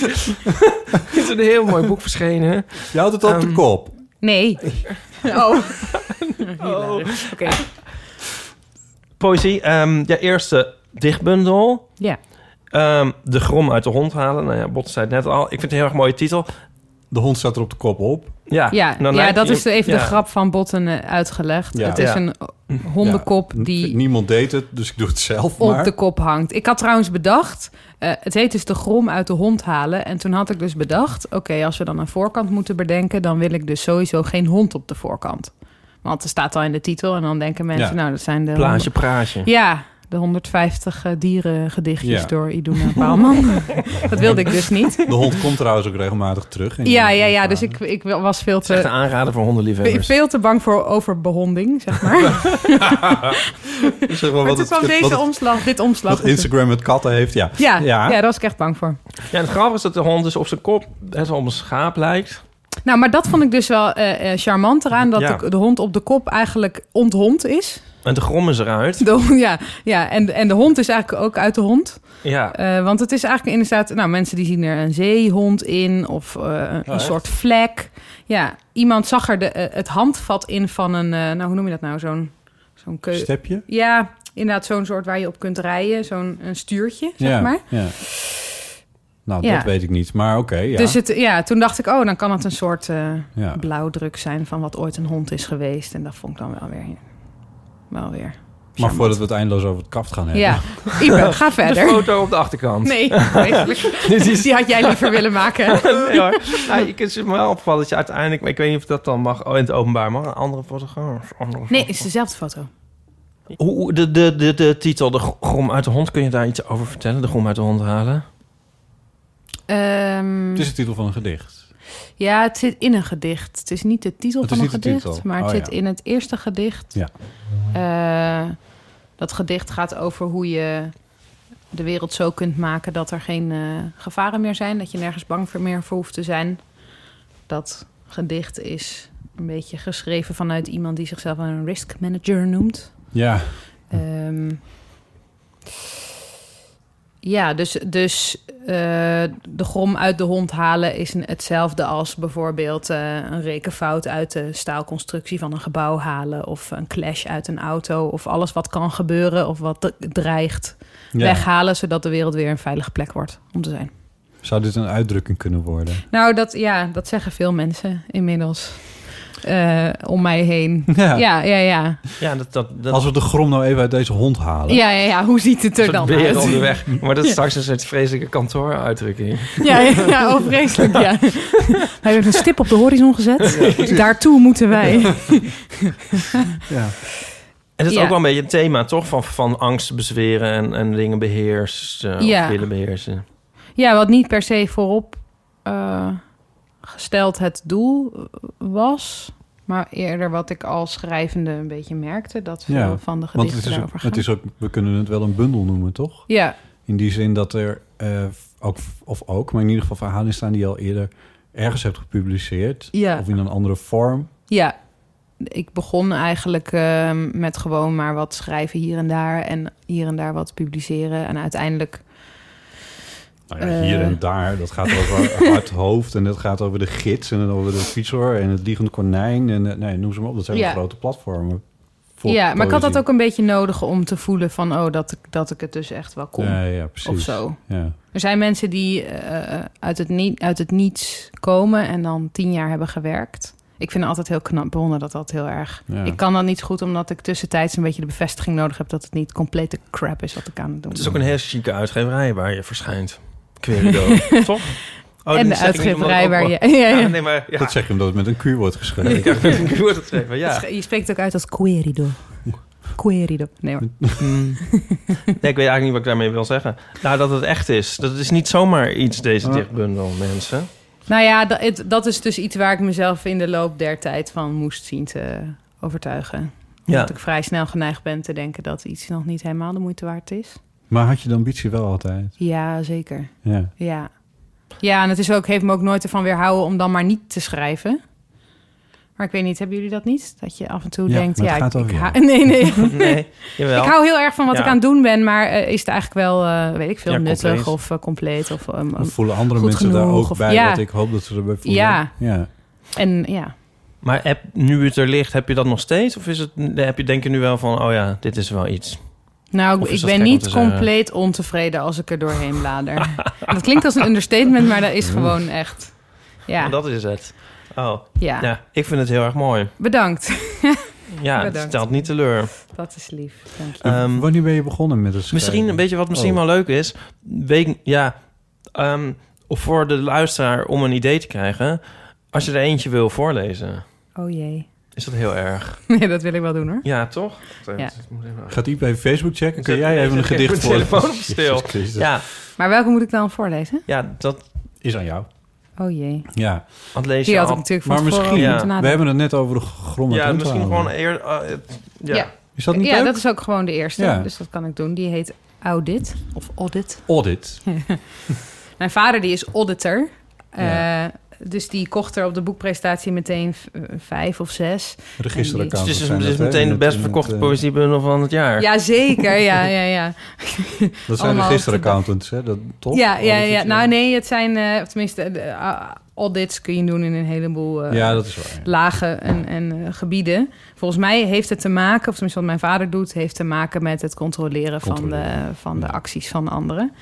A: er is een heel mooi boek verschenen.
B: Je houdt het op de
A: Ehm,
B: kop.
C: Nee. Oh. Oké.
A: Poëzie. ehm ja, eerste dichtbundel.
C: Ja.
A: Ehm, de grom uit de hond halen. Nou ja, Bot zei het net al. Ik vind het een heel erg mooie titel.
B: De hond staat er op de kop op.
A: Ja,
C: Ja,
A: dan
C: ja
A: Ah, nou, lijkt
C: dat
A: je-
C: is even de
A: ja.
C: grap van Botten eh, uitgelegd.
B: Ja.
C: Het is
A: Ja.
C: een hondenkop die
B: Niemand deed het, dus ik doe het zelf
C: op
B: maar.
C: de kop hangt. Ik had trouwens bedacht, eh, het heet dus de grom uit de hond halen. En toen had ik dus bedacht, oké, als we dan een voorkant moeten bedenken... dan wil ik dus sowieso geen hond op de voorkant. Want er staat al in de titel en dan denken mensen,
B: Ja.
C: nou, dat zijn de...
A: Plaatje, praatje.
C: Ja, de 150 eh, dierengedichtjes
B: Ja.
C: door Iduna Baalman. dat wilde ik dus niet.
B: De hond komt trouwens ook regelmatig terug. in-
C: Ja, ja, ja, dus ik, ik was veel
A: Het is echt een
C: te...
A: aanrader voor hondenliefhebbers.
C: Veel te bang voor overbehonding, zeg maar. Maar
B: Zeg maar,
C: toen kwam
B: wat
C: deze
B: het-
C: omslag, dit omslag.
B: wat Instagram met katten heeft, ja.
C: Ja,
B: Ja.
C: ja. daar was ik echt bang voor.
A: Ja, en het grappige is dat de hond dus op zijn kop best wel op een schaap lijkt.
C: Nou, maar dat vond ik dus wel eh, eh, charmant eraan... dat
A: Ja.
C: de, de hond op de kop eigenlijk onthond is.
A: En de grom is eruit.
C: De, hond- ja, ja en, en de hond is eigenlijk ook uit de hond.
A: Ja.
C: Eh, want het is eigenlijk inderdaad... Nou, mensen die zien er een zeehond in of eh, een
A: echt?
C: soort vlek. Ja, iemand zag er de, eh, het handvat in van een... eh, nou, hoe noem je dat nou? Zo'n zo'n keu-
B: Stepje?
C: Ja, inderdaad zo'n soort waar je op kunt rijden. Zo'n een stuurtje, zeg
B: ja,
C: maar.
B: ja. Nou,
C: Ja.
B: dat weet ik niet, maar oké, ja.
C: Dus het, ja, toen dacht ik, oh, dan kan het een soort eh,
B: Ja.
C: blauwdruk zijn van wat ooit een hond is geweest. En dat vond ik dan wel weer. Wel weer.
B: maar voordat we het eindeloos over het kaft gaan hebben.
C: Ja, Ipe, ga
A: De
C: verder.
A: foto op de achterkant.
C: Nee, vreselijk.
A: Dit is
C: die had jij liever willen maken.
A: Nee hoor. Nou, je kunt je me wel opvallen dat je uiteindelijk... maar Ik weet niet of dat dan mag oh, in het openbaar. Mag een andere fotograaf? Andere
C: Nee, het is dezelfde foto.
A: foto- Hoe, hoe- de, de, de, de titel, De Grom uit de Hond. Kun je daar iets over vertellen? De Grom uit de Hond halen?
C: Ehm,
B: Het is de titel van een gedicht.
C: ja, het zit in een gedicht. Het is niet de titel
B: Het
C: van
B: is
C: een
B: niet de
C: gedicht,
B: titel.
C: maar het
B: Oh,
C: zit
B: ja.
C: in het eerste gedicht.
B: Ja.
C: Eh, dat gedicht gaat over hoe je de wereld zo kunt maken dat er geen eh, gevaren meer zijn, dat je nergens bang voor meer voor hoeft te zijn. Dat gedicht is een beetje geschreven vanuit iemand die zichzelf een risk manager noemt.
B: Ja,
C: Ehm, ja, dus, dus eh, de grom uit de hond halen is een- hetzelfde als bijvoorbeeld eh, een rekenfout uit de staalconstructie van een gebouw halen. Of een clash uit een auto. Of alles wat kan gebeuren of wat d- dreigt
B: ja.
C: weghalen. Zodat de wereld weer een veilige plek wordt om te zijn.
B: Zou dit een uitdrukking kunnen worden?
C: Nou, dat, ja, dat zeggen veel mensen inmiddels eh, om mij heen.
B: Ja.
C: Ja, ja, ja.
A: Ja, dat... dat, dat
B: Als we de grom nou even uit deze hond halen.
C: Ja, ja, ja. Hoe ziet het er
A: soort
C: dan
A: beren
C: uit?
A: onderweg. Maar dat is straks een soort vreselijke kantooruitdrukking.
C: Ja, ja, ja oh, vreselijk, ja. Hij heeft een stip op de horizon gezet. Daartoe moeten wij.
B: Ja.
A: En dat is
C: Ja.
A: ook wel een beetje een thema, toch? Van, van angst bezweren en, en dingen beheersen. eh, of
C: Ja.
A: willen beheersen.
C: Ja, wat niet per se voorop eh, gesteld het doel eh, was... maar eerder wat ik als schrijvende een beetje merkte... dat veel
B: Ja,
C: van de
B: Want
C: gedichten
B: het is, ook,
C: daarover gaan.
B: het is ook, we kunnen het wel een bundel noemen, toch?
C: Ja,
B: In die zin dat er eh, ook, of ook, maar in ieder geval verhalen staan die je al eerder ergens hebt gepubliceerd.
C: Ja.
B: Of in een andere vorm.
C: ja. Ik begon eigenlijk eh, met gewoon maar wat schrijven hier en daar... en hier en daar wat publiceren. En uiteindelijk
B: Nou ja, hier
C: Eh.
B: en daar. Dat gaat over hard hoofd en dat gaat over de gids en over de fietser en het liegende konijn. En eh, nee, noem ze maar op. Dat zijn wel
C: Ja.
B: grote platformen. voor
C: ja, maar ik had dat
B: poëzie.
C: ook een beetje nodig om te voelen van... oh, dat ik, dat ik het dus echt wel kon.
B: Ja, ja, precies.
C: of zo.
B: Ja.
C: Er zijn mensen die eh, uit, het niet, uit het niets komen en dan tien jaar hebben gewerkt. Ik vind het altijd heel knap, bewonder dat dat heel erg.
B: Ja.
C: Ik kan dat niet zo goed, omdat ik tussentijds een beetje de bevestiging nodig heb... dat het niet complete crap is wat ik aan het doen
A: Het
C: ben.
A: is ook een heel chique uitgeverij waar je verschijnt. Querido, toch? Oh,
C: en
A: dat
C: de
A: zeg ik niet omdat
C: uitgeverij
A: ik
C: waar
A: ook-
C: je... Ja, ja.
A: Ja, nee, maar... Ja.
B: Dat zeg je omdat het met een Q wordt geschreven.
A: Ik heb het woord geschreven, ja.
C: Je spreekt ook uit als querido. Querido. Nee hoor. Mm.
A: Nee, ik weet eigenlijk niet wat ik daarmee wil zeggen. Nou, dat het echt is. Dat is niet zomaar iets, deze
C: Oh.
A: dichtbundel, mensen.
C: Nou ja, dat, het- dat is dus iets waar ik mezelf in de loop der tijd van moest zien te overtuigen.
A: Ja.
C: Dat ik vrij snel geneigd ben te denken dat iets nog niet helemaal de moeite waard is.
B: Maar had je de ambitie wel altijd?
C: Ja, zeker.
B: Ja.
C: Ja. Ja, en het is ook, heeft me ook nooit ervan weerhouden om dan maar niet te schrijven. Maar ik weet niet, hebben jullie dat niet? Dat je af en toe
A: Ja,
C: denkt,
A: maar het
C: ja,
A: gaat
C: ik,
A: over
C: ik
A: jou.
C: hou- nee, nee.
A: Nee, jawel.
C: Ik hou heel erg van wat
A: Ja.
C: ik aan het doen ben, maar eh, is het eigenlijk wel, eh, weet ik veel,
B: Ja,
C: nuttig
B: compleet.
C: of eh, compleet of um, um,
B: Dan voelen andere
C: goed
B: mensen daar
C: genoeg
B: ook
C: of-
B: bij
C: ja.
B: wat ik hoop dat ze erbij voelen?
C: Ja.
B: ja.
C: En ja,
A: Maar heb, nu het er ligt, heb je dat nog steeds? Of is het, heb je, denk je nu wel van, oh ja, dit is wel iets?
C: nou,
A: Of
C: ik- ik
A: is dat
C: ben
A: gek om
C: niet
A: te zeggen?
C: compleet ontevreden als ik er doorheen blader. dat klinkt als een understatement, maar dat is
A: Mm.
C: gewoon echt. Ja,
A: Maar Dat is het. Oh,
C: Ja.
A: ik vind het heel erg mooi.
C: bedankt.
A: Ja, het
C: Bedankt.
A: stelt niet teleur.
C: Dat is lief. Dank je.
A: Ehm,
B: Dus Wanneer ben je begonnen met het schrijven?
A: Misschien, weet je wat misschien
B: Oh.
A: wel leuk is? Week, ja, ehm, of voor de luisteraar om een idee te krijgen. Als je er eentje wil voorlezen,
C: Oh jee.
A: is dat heel erg.
C: Nee, dat wil ik wel doen hoor.
A: Ja, toch?
C: Ja.
B: Gaat Iep even Facebook checken? Kun
A: Zet-
B: jij even
A: zet
B: een gedicht
A: mijn
B: voor?
A: telefoon op stil.
B: Jezus Christus.
A: Ja,
C: Maar welke moet ik dan voorlezen?
A: ja, dat...
B: Is aan jou.
C: Oh jee.
B: Ja.
A: Want lees
C: Die
A: je
C: had
A: al-
C: ik natuurlijk van tevoren
B: Maar misschien,
C: over
A: Ja.
C: moeten
B: we
C: nadenken.
B: hebben het net over de grond.
A: Ja,
B: en
A: misschien
B: rondhalen.
A: gewoon eer... eh, het- ja.
C: Ja.
B: Is dat niet
C: ja,
B: leuk?
C: dat is ook gewoon de eerste.
B: Ja.
C: Dus dat kan ik doen. Die heet Audit of Audit.
B: Audit.
C: Mijn vader die is auditor. Eh,
B: Ja.
C: dus die kocht er op de boekpresentatie meteen v- eh, vijf of zes.
B: Registeraccounts
A: Dus het is,
B: zijn
A: het is
B: dat, hè?
A: meteen de
B: Met-
A: best
B: met,
A: verkochte
B: eh,
A: poëziebundel van het jaar.
C: Ja, zeker. Ja, ja, ja.
B: Dat zijn
C: Allemaal
B: registeraccounts, hè? Dat, toch?
C: Ja, ja,
B: Audit.
C: ja. Nou, nee, het zijn... eh, tenminste, de, eh, audits kun je doen in een heleboel... eh,
B: Ja, dat is waar.
C: lagen en, en eh, gebieden. Volgens mij heeft het te maken, of tenminste wat mijn vader doet, heeft te maken met het controleren, Van, de,
B: Controleren,
C: van de
B: ja.
C: acties van anderen.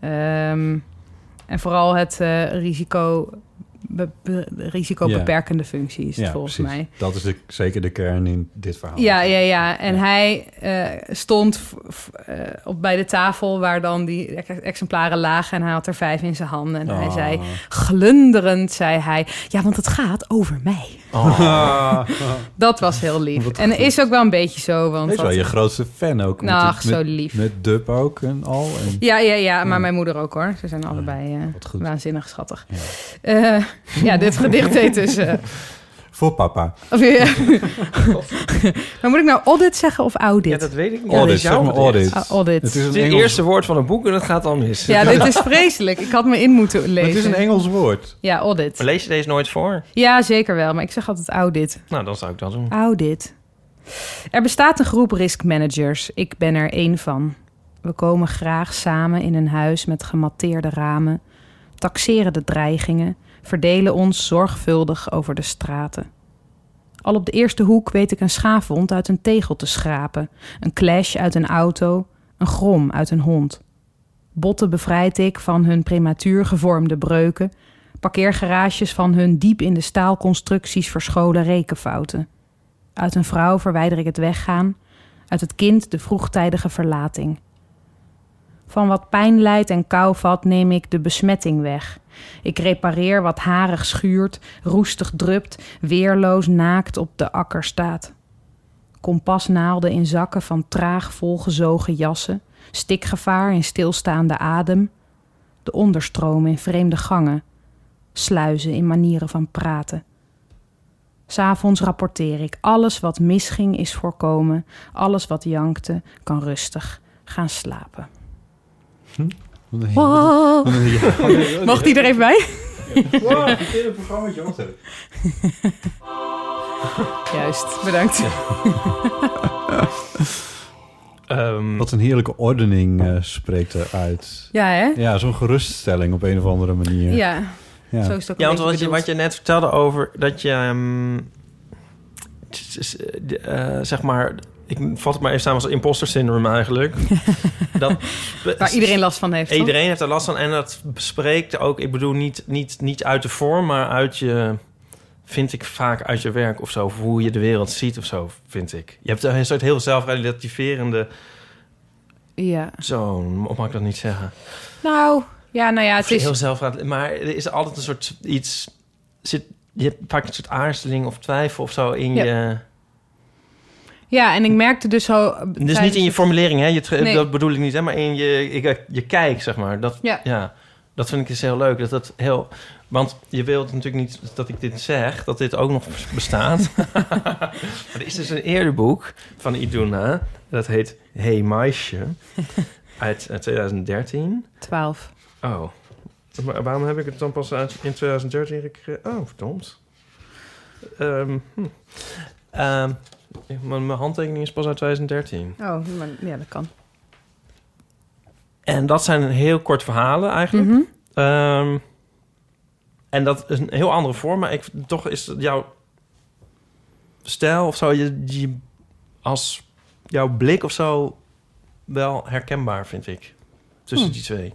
C: Ehm, en vooral het eh, risico, be- be- risicobeperkende functie is het volgens
B: precies. Oh,
C: mij.
B: Dat is de, zeker de kern in dit verhaal.
C: Ja, ja, ja. En hij eh, stond v- v- eh, op, bij de tafel waar dan die ex- exemplaren lagen. En hij had er vijf in zijn handen. En hij
B: Ah.
C: zei, glunderend zei hij... Ja, want het gaat over mij.
B: Ah,
C: Dat was heel lief. en is ook wel een beetje zo. Want
B: Hij is wel
C: wat-
B: je grootste fan ook. met
C: Nou,
B: die-
C: ach, zo
B: met-
C: lief.
B: Met dub ook en al. En,
C: ja, ja, ja, maar mijn moeder ook hoor. Ze zijn allebei eh,
B: wat goed.
C: waanzinnig schattig. Ja, ja dit gedicht heet dus... eh,
B: Voor papa.
C: of, je- maar moet ik nou audit zeggen of audit?
A: Ja, dat weet ik niet.
B: Audit,
A: Lees
B: zeg
A: jou
B: maar
A: het eerst.
B: audit.
C: Ah, audit.
B: Het is
A: Het
B: een
A: is het
B: Engels,
A: eerste woord van een boek en dat gaat dan mis.
C: Ja, dit is vreselijk. Ik had me in moeten
B: maar
C: lezen.
B: het is een e- Engels woord.
C: Ja, audit.
A: Maar Lees je deze nooit voor?
C: Ja, zeker wel. Maar ik zeg altijd audit.
A: Nou, dan zou ik dat doen.
C: Audit. Er bestaat een groep risk managers. Ik ben er één van. We komen graag samen in een huis met gematteerde ramen, taxeren de dreigingen, verdelen ons zorgvuldig over de straten. Al op de eerste hoek weet ik een schaafwond uit een tegel te schrapen, een clash uit een auto, een grom uit een hond. Botten bevrijd ik van hun prematuur gevormde breuken, parkeergarages van hun diep in de staalconstructies verscholen rekenfouten. Uit een vrouw verwijder ik het weggaan, uit het kind de vroegtijdige verlating. Van wat pijn lijdt en kou vat neem ik de besmetting weg. Ik repareer wat harig schuurt, roestig drupt, weerloos naakt op de akker staat. Kompasnaalden in zakken van traag volgezogen jassen, stikgevaar in stilstaande adem, de onderstroom in vreemde gangen, sluizen in manieren van praten. S'avonds rapporteer ik. Alles wat misging is voorkomen. Alles wat jankte kan rustig gaan slapen. Oh. Mag die er even bij?
B: Wow, ik heb een programma wat hebben.
C: Juist, bedankt.
A: Ehm,
B: Wat een heerlijke ordening eh, spreekt eruit.
C: Ja, hè?
B: Ja, zo'n geruststelling op een of andere manier.
C: Ja,
B: Ja.
C: zo is het ook
A: ja,
C: een
A: want wat
C: beetje
A: je, wat je net vertelde over dat je... ehm, t- t- t- eh, zeg maar... Ik vat het maar even samen als imposter syndrome eigenlijk. dat,
C: bedoeld. Waar iedereen last van heeft, toch?
A: Iedereen heeft er last van en dat bespreekt ook, ik bedoel, niet, niet, niet uit de vorm, maar uit je, vind ik vaak uit je werk of zo, of hoe je de wereld ziet of zo, vind ik. Je hebt een soort heel zelfrelativerende
C: Ja.
A: zo'n, of mag ik dat niet zeggen?
C: Nou, ja, nou ja,
A: Het
C: het is...
A: heel zelfrelatie, maar er is altijd een soort iets, zit, je hebt vaak een soort aarzeling of twijfel of zo in
C: Ja.
A: je.
C: Ja, en ik merkte dus zo...
A: Dus niet in je formulering, hè? Je tra-
C: Nee.
A: Dat bedoel ik niet, hè? Maar in je, ik- eh, je kijk, zeg maar. Dat,
C: Ja.
A: ja. Dat vind ik eens heel leuk. Dat dat heel... Want je wilt natuurlijk niet dat ik dit zeg, dat dit ook nog bestaat. maar er is dus een eerderboek van Iduna. Dat heet Hey Meisje. Uit eh, 2013.
C: 12.
A: Oh. Maar waarom heb ik het dan pas uit in 2013 gekregen? Oh, verdomd. Ehm, hm. Ehm, mijn, mijn handtekening is pas uit 2013.
C: Oh, maar, ja, dat kan.
A: En dat zijn heel kort verhalen eigenlijk.
C: Mhm.
A: Ehm, en dat is een heel andere vorm, maar ik, toch is het jouw stijl of zo, je, je, als jouw blik of zo, wel herkenbaar, vind ik. Tussen
C: Hm.
A: die twee.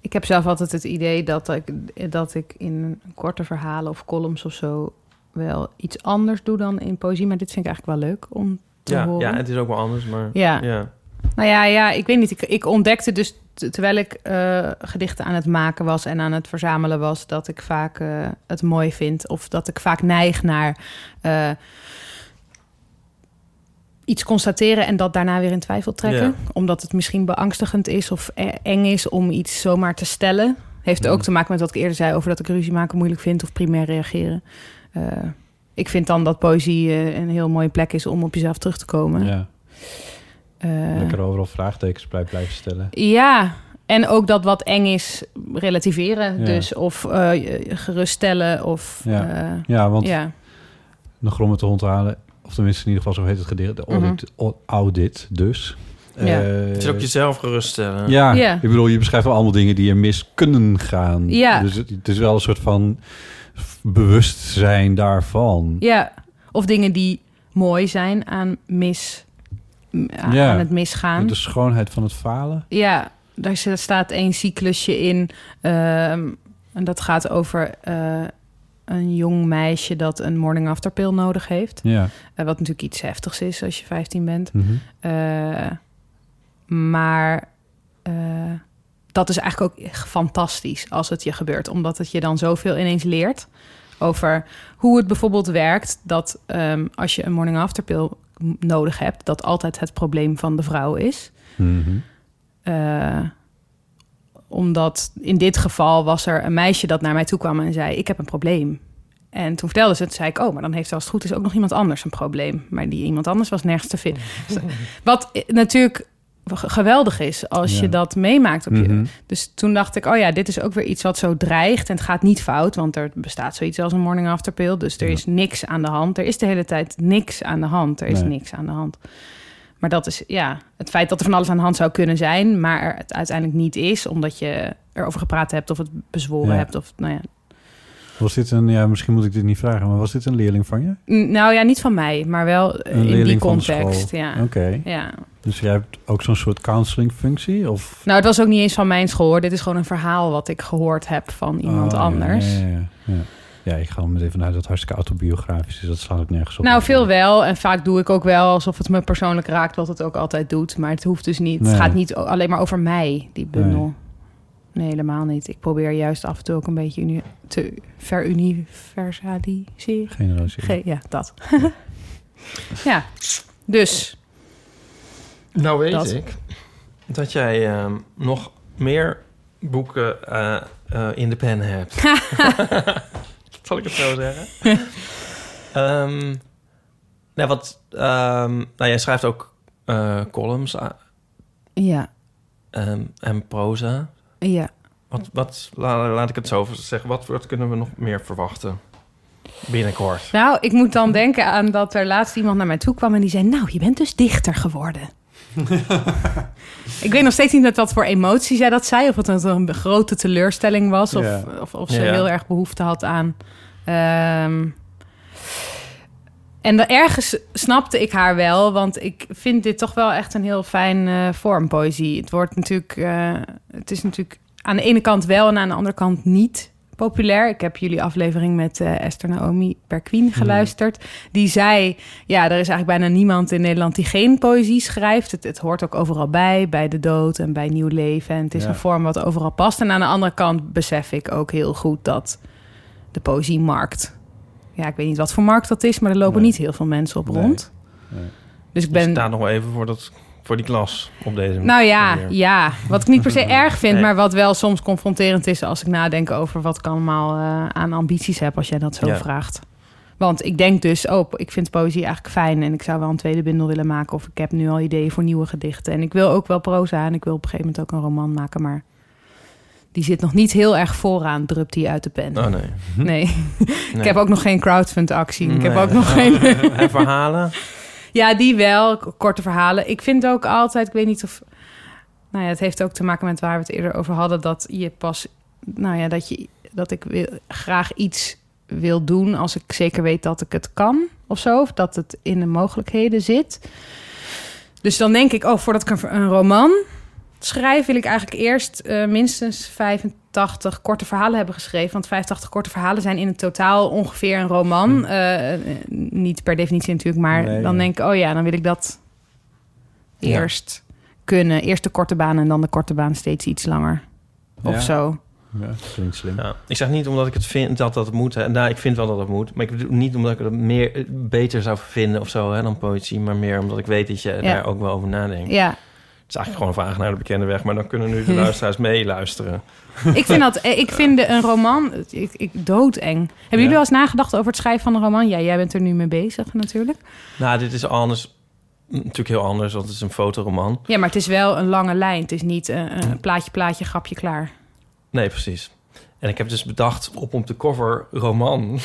C: Ik heb zelf altijd het idee dat ik, dat ik in korte verhalen of columns of zo wel iets anders doe dan in poëzie. Maar dit vind ik eigenlijk wel leuk om te
A: Ja,
C: horen.
A: ja, het is ook wel anders, maar
C: Ja.
A: ja.
C: Nou ja, ja, ik weet niet. Ik, ik ontdekte dus t- terwijl ik eh, gedichten aan het maken was en aan het verzamelen was, dat ik vaak eh, het mooi vind. Of dat ik vaak neig naar eh, iets constateren en dat daarna weer in twijfel trekken.
D: Ja.
C: Omdat het misschien beangstigend is of e- eng is om iets zomaar te stellen. Heeft
B: Mhm.
C: ook te maken met wat ik eerder zei over dat ik ruzie maken moeilijk vind of primair reageren. Eh, ik vind dan dat poëzie eh, een heel mooie plek is om op jezelf terug te komen.
B: Ja.
C: Eh,
B: Lekker overal vraagtekens bij blijven stellen.
C: ja, en ook dat wat eng is, relativeren.
B: Ja.
C: Dus of eh, geruststellen of...
B: Ja.
C: eh,
B: Ja, want-
C: Ja,
B: De gromme te hond halen. Of tenminste in ieder geval zo heet het gedeelte. De audit, au- audit dus.
C: Mhm. Ja.
B: Eh,
A: Het is ook jezelf geruststellen.
B: Ja,
C: Ja.
B: ik bedoel, je beschrijft wel allemaal dingen die er mis kunnen gaan.
C: Ja.
B: Dus het, het is wel een soort van f- bewustzijn daarvan.
C: ja, of dingen die mooi zijn aan, mis, m- aan
B: Ja.
C: aan het misgaan.
B: De schoonheid van het falen.
C: Ja, daar zit- staat één cyclusje in. ehm, en dat gaat over eh, een jong meisje dat een morning after pill nodig heeft.
B: Ja.
C: Eh, wat natuurlijk iets heftigs is als je 15 bent.
B: Mhm.
C: Eh, maar eh, dat is eigenlijk ook echt fantastisch als het je gebeurt. Omdat het je dan zoveel ineens leert over hoe het bijvoorbeeld werkt... dat ehm, als je een morning after pill m- nodig hebt... dat altijd het probleem van de vrouw is. Eh, omdat in dit geval was er een meisje dat naar mij toe kwam en zei: Ik heb een probleem. En toen vertelde ze het, zei ik: Oh, maar dan heeft als het goed is ook nog iemand anders een probleem. Maar die iemand anders was nergens te vinden. Dus, Wat eh, natuurlijk ge- geweldig is als
D: Ja.
C: je dat meemaakt op je.
D: Mhm.
C: Dus toen dacht ik: Oh ja, dit is ook weer iets wat zo dreigt. En het gaat niet fout, want er bestaat zoiets als een morning after pill. Dus er is niks aan de hand. Er is de hele tijd niks aan de hand. Er is
D: Nee.
C: niks aan de hand. Maar dat is ja, het feit dat er van alles aan de hand zou kunnen zijn, maar er het uiteindelijk niet is, omdat je erover gepraat hebt of het bezworen
B: Ja.
C: hebt. Of, nou, ja.
B: Was dit een, ja, misschien moet ik dit niet vragen, maar was dit een leerling van je?
C: N- nou ja, niet van mij, maar wel eh,
B: Een
C: in
B: leerling
C: die
B: van de
C: context.
B: school.
C: Ja.
B: Oké.
C: Ja.
B: Dus jij hebt ook zo'n soort counselingfunctie? Of
C: Nou, het was ook niet eens van mijn school hoor. Dit is gewoon een verhaal wat ik gehoord heb van iemand
B: Oh, ja,
C: anders.
B: Ja, ja, ja. Ja, ik ga er meteen vanuit dat het hartstikke autobiografisch is. Dat slaat ook nergens op.
C: Nou, veel wel. En vaak doe ik ook wel alsof het me persoonlijk raakt, wat het ook altijd doet. Maar het hoeft dus niet.
B: Nee.
C: Het gaat niet o- alleen maar over mij, die bundel.
B: Nee.
C: Nee. helemaal niet. Ik probeer juist af en toe ook een beetje uni- te veruniversaliseren.
B: Generaliseren.
C: Ge- ja, dat. ja, dus.
A: Nou weet
C: Dat.
A: ik dat jij ehm, nog meer boeken eh, eh, in de pen hebt. Zal ik het zo zeggen? Ehm, nou, wat, ehm, nou, jij schrijft ook eh, columns a-
C: Ja,
A: ehm, en proza.
C: ja.
A: Wat, wat, la- laat ik het zo zeggen. Wat, wat kunnen we nog meer verwachten binnenkort?
C: Nou, ik moet dan denken aan dat er laatst iemand naar mij toe kwam en die zei: Nou, je bent dus dichter geworden. ik weet nog steeds niet met wat voor emotie zij dat zei. Of het een grote teleurstelling was. Of,
D: Ja.
C: of, of ze
D: Ja.
C: heel erg behoefte had aan. ehm, en da- ergens snapte ik haar wel, want ik vind dit toch wel echt een heel fijn eh vorm poëzie. Het wordt natuurlijk, eh, het is natuurlijk aan de ene kant wel en aan de andere kant niet populair. Ik heb jullie aflevering met eh, Esther Naomi Perquin geluisterd. Die zei, ja, er is eigenlijk bijna niemand in Nederland die geen poëzie schrijft. Het, het hoort ook overal bij, bij de dood en bij nieuw leven. En het is
D: Ja.
C: een vorm wat overal past. En aan de andere kant besef ik ook heel goed dat de poëziemarkt ja, ik weet niet wat voor markt dat is, maar er lopen niet heel veel mensen op rond. Dus ik ben...
A: staat nog wel even voor, dat, voor die klas op deze
C: Nou ja,
A: manier.
C: ja, wat ik niet per se erg vind,
A: Nee.
C: maar wat wel soms confronterend is als ik nadenk over wat ik allemaal eh, aan ambities heb als jij dat zo
A: Ja.
C: vraagt. Want ik denk dus, oh, ik vind poëzie eigenlijk fijn en ik zou wel een tweede bundel willen maken of ik heb nu al ideeën voor nieuwe gedichten. En ik wil ook wel proza en ik wil op een gegeven moment ook een roman maken, maar die zit nog niet heel erg vooraan, drupt die uit de pen.
A: Oh, nee.
C: Nee. ik
A: Nee.
C: heb ook nog geen crowdfund actie. Ik heb
A: Nee.
C: ook nog geen...
A: En verhalen?
C: Ja, die wel. K- Korte verhalen. Ik vind ook altijd, ik weet niet of. Nou ja, het heeft ook te maken met waar we het eerder over hadden. Dat je pas. Nou ja, dat, je, dat ik wil, graag iets wil doen als ik zeker weet dat ik het kan of zo. Of dat het in de mogelijkheden zit. Dus dan denk ik, oh, voordat ik een, een roman schrijf, wil ik eigenlijk eerst eh, minstens 85 korte verhalen hebben geschreven. Want 85 korte verhalen zijn in het totaal ongeveer een roman. Eh, eh, niet per definitie natuurlijk, maar
D: Hm. Nee,
C: dan
D: ja.
C: denk ik, oh ja, dan wil ik dat
D: Ja.
C: eerst kunnen. Eerst de korte baan en dan de korte baan steeds iets langer. Of
A: Ja.
C: zo.
B: Ja, dat klinkt slim.
A: Ja. Ik zeg niet omdat ik het vind dat dat moet. Hè. Nou, ik vind wel dat dat moet. Maar ik bedoel niet omdat ik het meer, eh, beter zou vinden of zo hè, dan poëzie. Maar meer omdat ik weet dat je daar ook wel over nadenkt.
C: Ja.
A: Het is eigenlijk gewoon een vraag naar de bekende weg. Maar dan kunnen nu de luisteraars meeluisteren.
C: Ik vind dat, eh, ik vind de- een roman, ik, ik doodeng. Hebben jullie wel eens nagedacht over het schrijven van een roman? Ja, jij bent er nu mee bezig natuurlijk.
A: Nou, dit is anders. Natuurlijk heel anders, want het is een fotoroman.
C: Ja, maar het is wel een lange lijn. Het is niet eh, eh, plaatje, plaatje, grapje, klaar.
A: Nee, precies. En ik heb dus bedacht op om de cover roman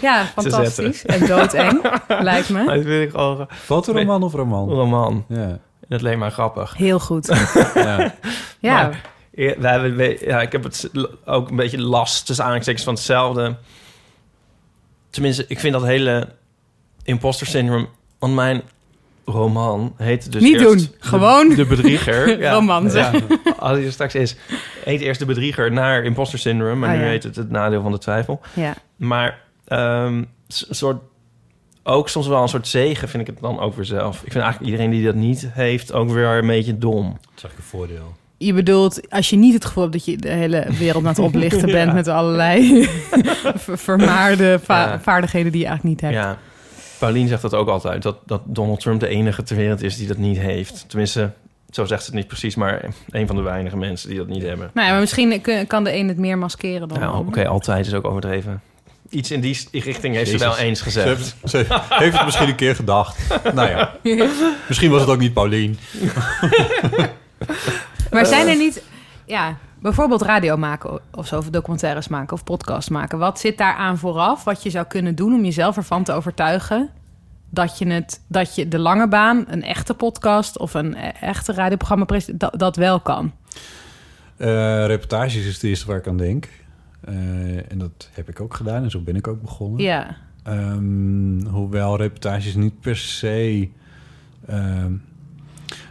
C: Ja,
A: te
C: fantastisch.
A: zetten.
C: En doodeng, lijkt me.
A: Maar dat vind ik al...
B: Fotoroman of roman?
A: Roman.
B: Ja.
A: Dat leek mij grappig.
C: Heel goed.
A: ja.
C: Ja.
A: Maar, eh, wij hebben- we- ja, ik heb het l- ook een beetje last tussen aanhalingstekens van hetzelfde. Tenminste, ik vind dat hele imposter syndrome... Want mijn roman heet dus
C: Niet
A: eerst
C: doen.
A: De-
C: Gewoon
A: De Bedrieger.
C: roman zeggen.
A: Als hij er straks is. Heet eerst De Bedrieger naar imposter syndrome. Maar
C: Ah,
A: nu
C: ja.
A: heet het Het Nadeel van de Twijfel.
C: Ja.
A: Maar ehm, s- soort, ook soms wel een soort zegen vind ik het dan ook weer zelf. Ik vind eigenlijk iedereen die dat niet heeft ook weer een beetje dom. Dat
B: is eigenlijk een voordeel.
C: Je bedoelt, als je niet het gevoel hebt dat je de hele wereld aan het oplichten bent
A: Ja.
C: met allerlei ver- vermaarde va-
A: Ja.
C: vaardigheden die je eigenlijk niet hebt.
A: Ja. Paulien zegt dat ook altijd, dat, dat Donald Trump de enige ter wereld is die dat niet heeft. Tenminste, zo zegt ze het niet precies, maar een van de weinige mensen die dat niet hebben.
C: Nou ja, Oh. maar misschien kun- kan de een het meer maskeren dan. de
A: Nou, Oké,
C: ander.
A: altijd is ook overdreven. Iets in die s- richting heeft ze wel
B: Jezus.
A: eens gezegd.
B: Ze heeft- ze heeft het misschien een keer gedacht. Nou ja. Misschien was het ook niet Paulien.
C: Maar zijn
A: Eh.
C: er niet, ja, bijvoorbeeld radio maken of zo, of documentaires maken of podcast maken. Wat zit daar aan vooraf? Wat je zou kunnen doen om jezelf ervan te overtuigen dat je, het, dat je de lange baan, een echte podcast of een e- echte radioprogramma, prese- dat, dat wel kan.
B: Eh, reportages is het eerste waar ik aan denk. Eh, en dat heb ik ook gedaan en zo ben ik ook begonnen.
C: Ja.
B: Ehm, hoewel reportages niet per se... ehm,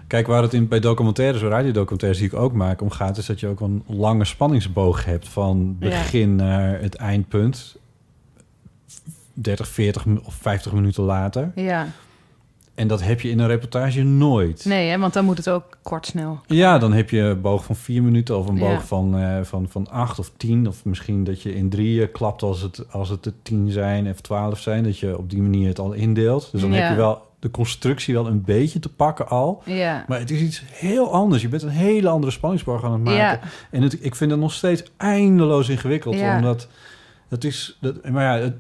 B: kijk, waar het in, bij documentaires, radiodocumentaires die ik ook maak, om gaat... is dat je ook een lange spanningsboog hebt van
E: Ja.
B: begin naar het eindpunt. 30, 40 mi- of 50 minuten later.
C: Ja.
B: En dat heb je in een reportage nooit.
C: Nee, hè, want dan moet het ook kort snel.
B: Ja, dan heb je een boog van vier minuten of een boog
C: Ja.
B: van, eh, van, van acht of tien. Of misschien dat je in drieën klapt als het, als het er tien zijn of twaalf zijn. Dat je op die manier het al indeelt. Dus dan
C: Ja.
B: heb je wel de constructie wel een beetje te pakken al.
C: Ja.
B: Maar het is iets heel anders. Je bent een hele andere spanningsboog aan het maken.
C: Ja.
B: En het, ik vind het nog steeds eindeloos ingewikkeld.
C: Ja.
B: Omdat dat is... Dat, maar ja, het-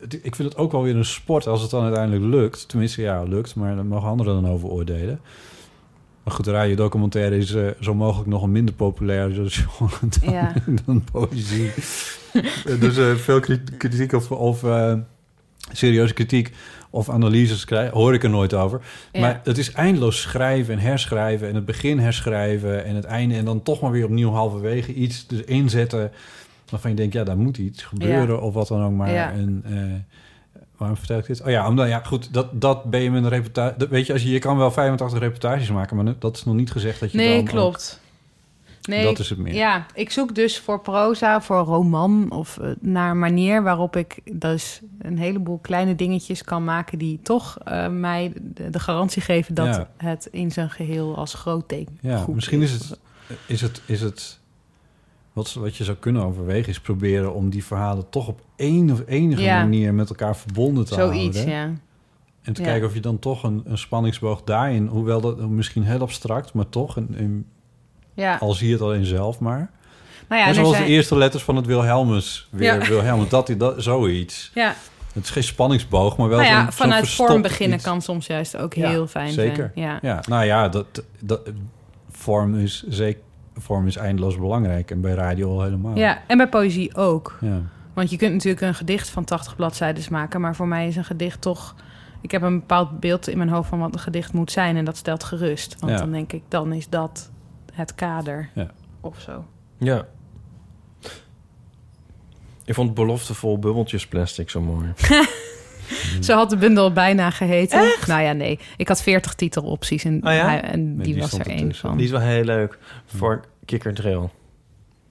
B: het- ik vind het ook wel weer een sport als het dan uiteindelijk lukt. Tenminste, ja, lukt. Maar daar mogen anderen dan over oordelen. Maar goed, radio documentaire is eh, zo mogelijk nog een minder populair genre dan,
C: Ja.
B: dan poëzie. Eh, dus eh, veel kri- kritiek of, of eh, serieuze kritiek of analyses krijg, hoor ik er nooit over.
C: Ja.
B: Maar het is eindeloos schrijven en herschrijven en het begin herschrijven en het einde en dan toch maar weer opnieuw halverwege iets dus inzetten waarvan je denkt, ja, daar moet iets gebeuren
C: Ja.
B: of wat dan ook maar.
C: Ja.
B: En, eh, waarom vertel ik dit? Oh ja, omdat, ja goed, dat, dat ben je met een reportage... dat- Weet je, als je, je kan wel 85 reportages maken, maar dat is nog niet gezegd dat je dan...
C: Nee,
B: ook-
C: klopt. Nee,
B: Dat is het meer.
C: Ja, ik zoek dus voor proza, voor roman of eh, naar een manier waarop ik dus een heleboel kleine dingetjes kan maken die toch eh, mij de, de garantie geven dat
B: Ja.
C: het in zijn geheel als groot ding.
B: Ja, misschien is het, is het, is het wat, wat je zou kunnen overwegen, is proberen om die verhalen toch op één of enige
C: Ja.
B: manier met elkaar verbonden te
C: Zoiets,
B: houden.
C: ja.
B: En te
C: Ja.
B: kijken of je dan toch een, een spanningsboog daarin... hoewel dat misschien heel abstract, maar toch... Een, een-
C: Ja.
B: al zie je het alleen zelf maar.
C: Nou ja,
B: en
C: er
B: zoals
C: zijn-
B: de eerste letters van het Wilhelmus. Weer
C: Ja.
B: Wilhelmus, dat, dat, zoiets.
C: Ja.
B: Het is geen spanningsboog, maar wel
C: nou ja,
B: zo'n- zo'n
C: vanuit
B: verstopt
C: vorm beginnen
B: iets.
C: kan soms juist ook heel fijn
B: Zeker.
C: zijn. Ja.
B: nou ja, dat, dat, vorm, is, zeker, vorm is eindeloos belangrijk. En bij radio al helemaal.
C: ja, en bij poëzie ook.
B: Ja.
C: Want je kunt natuurlijk een gedicht van 80 bladzijden maken, maar voor mij is een gedicht toch. Ik heb een bepaald beeld in mijn hoofd van wat een gedicht moet zijn en dat stelt gerust. Want
A: Ja.
C: dan denk ik, dan is dat het kader
B: Ja.
C: of zo.
A: Ja. Ik vond beloftevol bubbeltjesplastic zo mooi.
C: Zo had de bundel bijna geheten. Nou ja, nee. Ik had 40 titelopties en,
A: Oh ja?
C: hij- en die, was er één van.
A: Die is wel heel leuk voor Kikker Trail.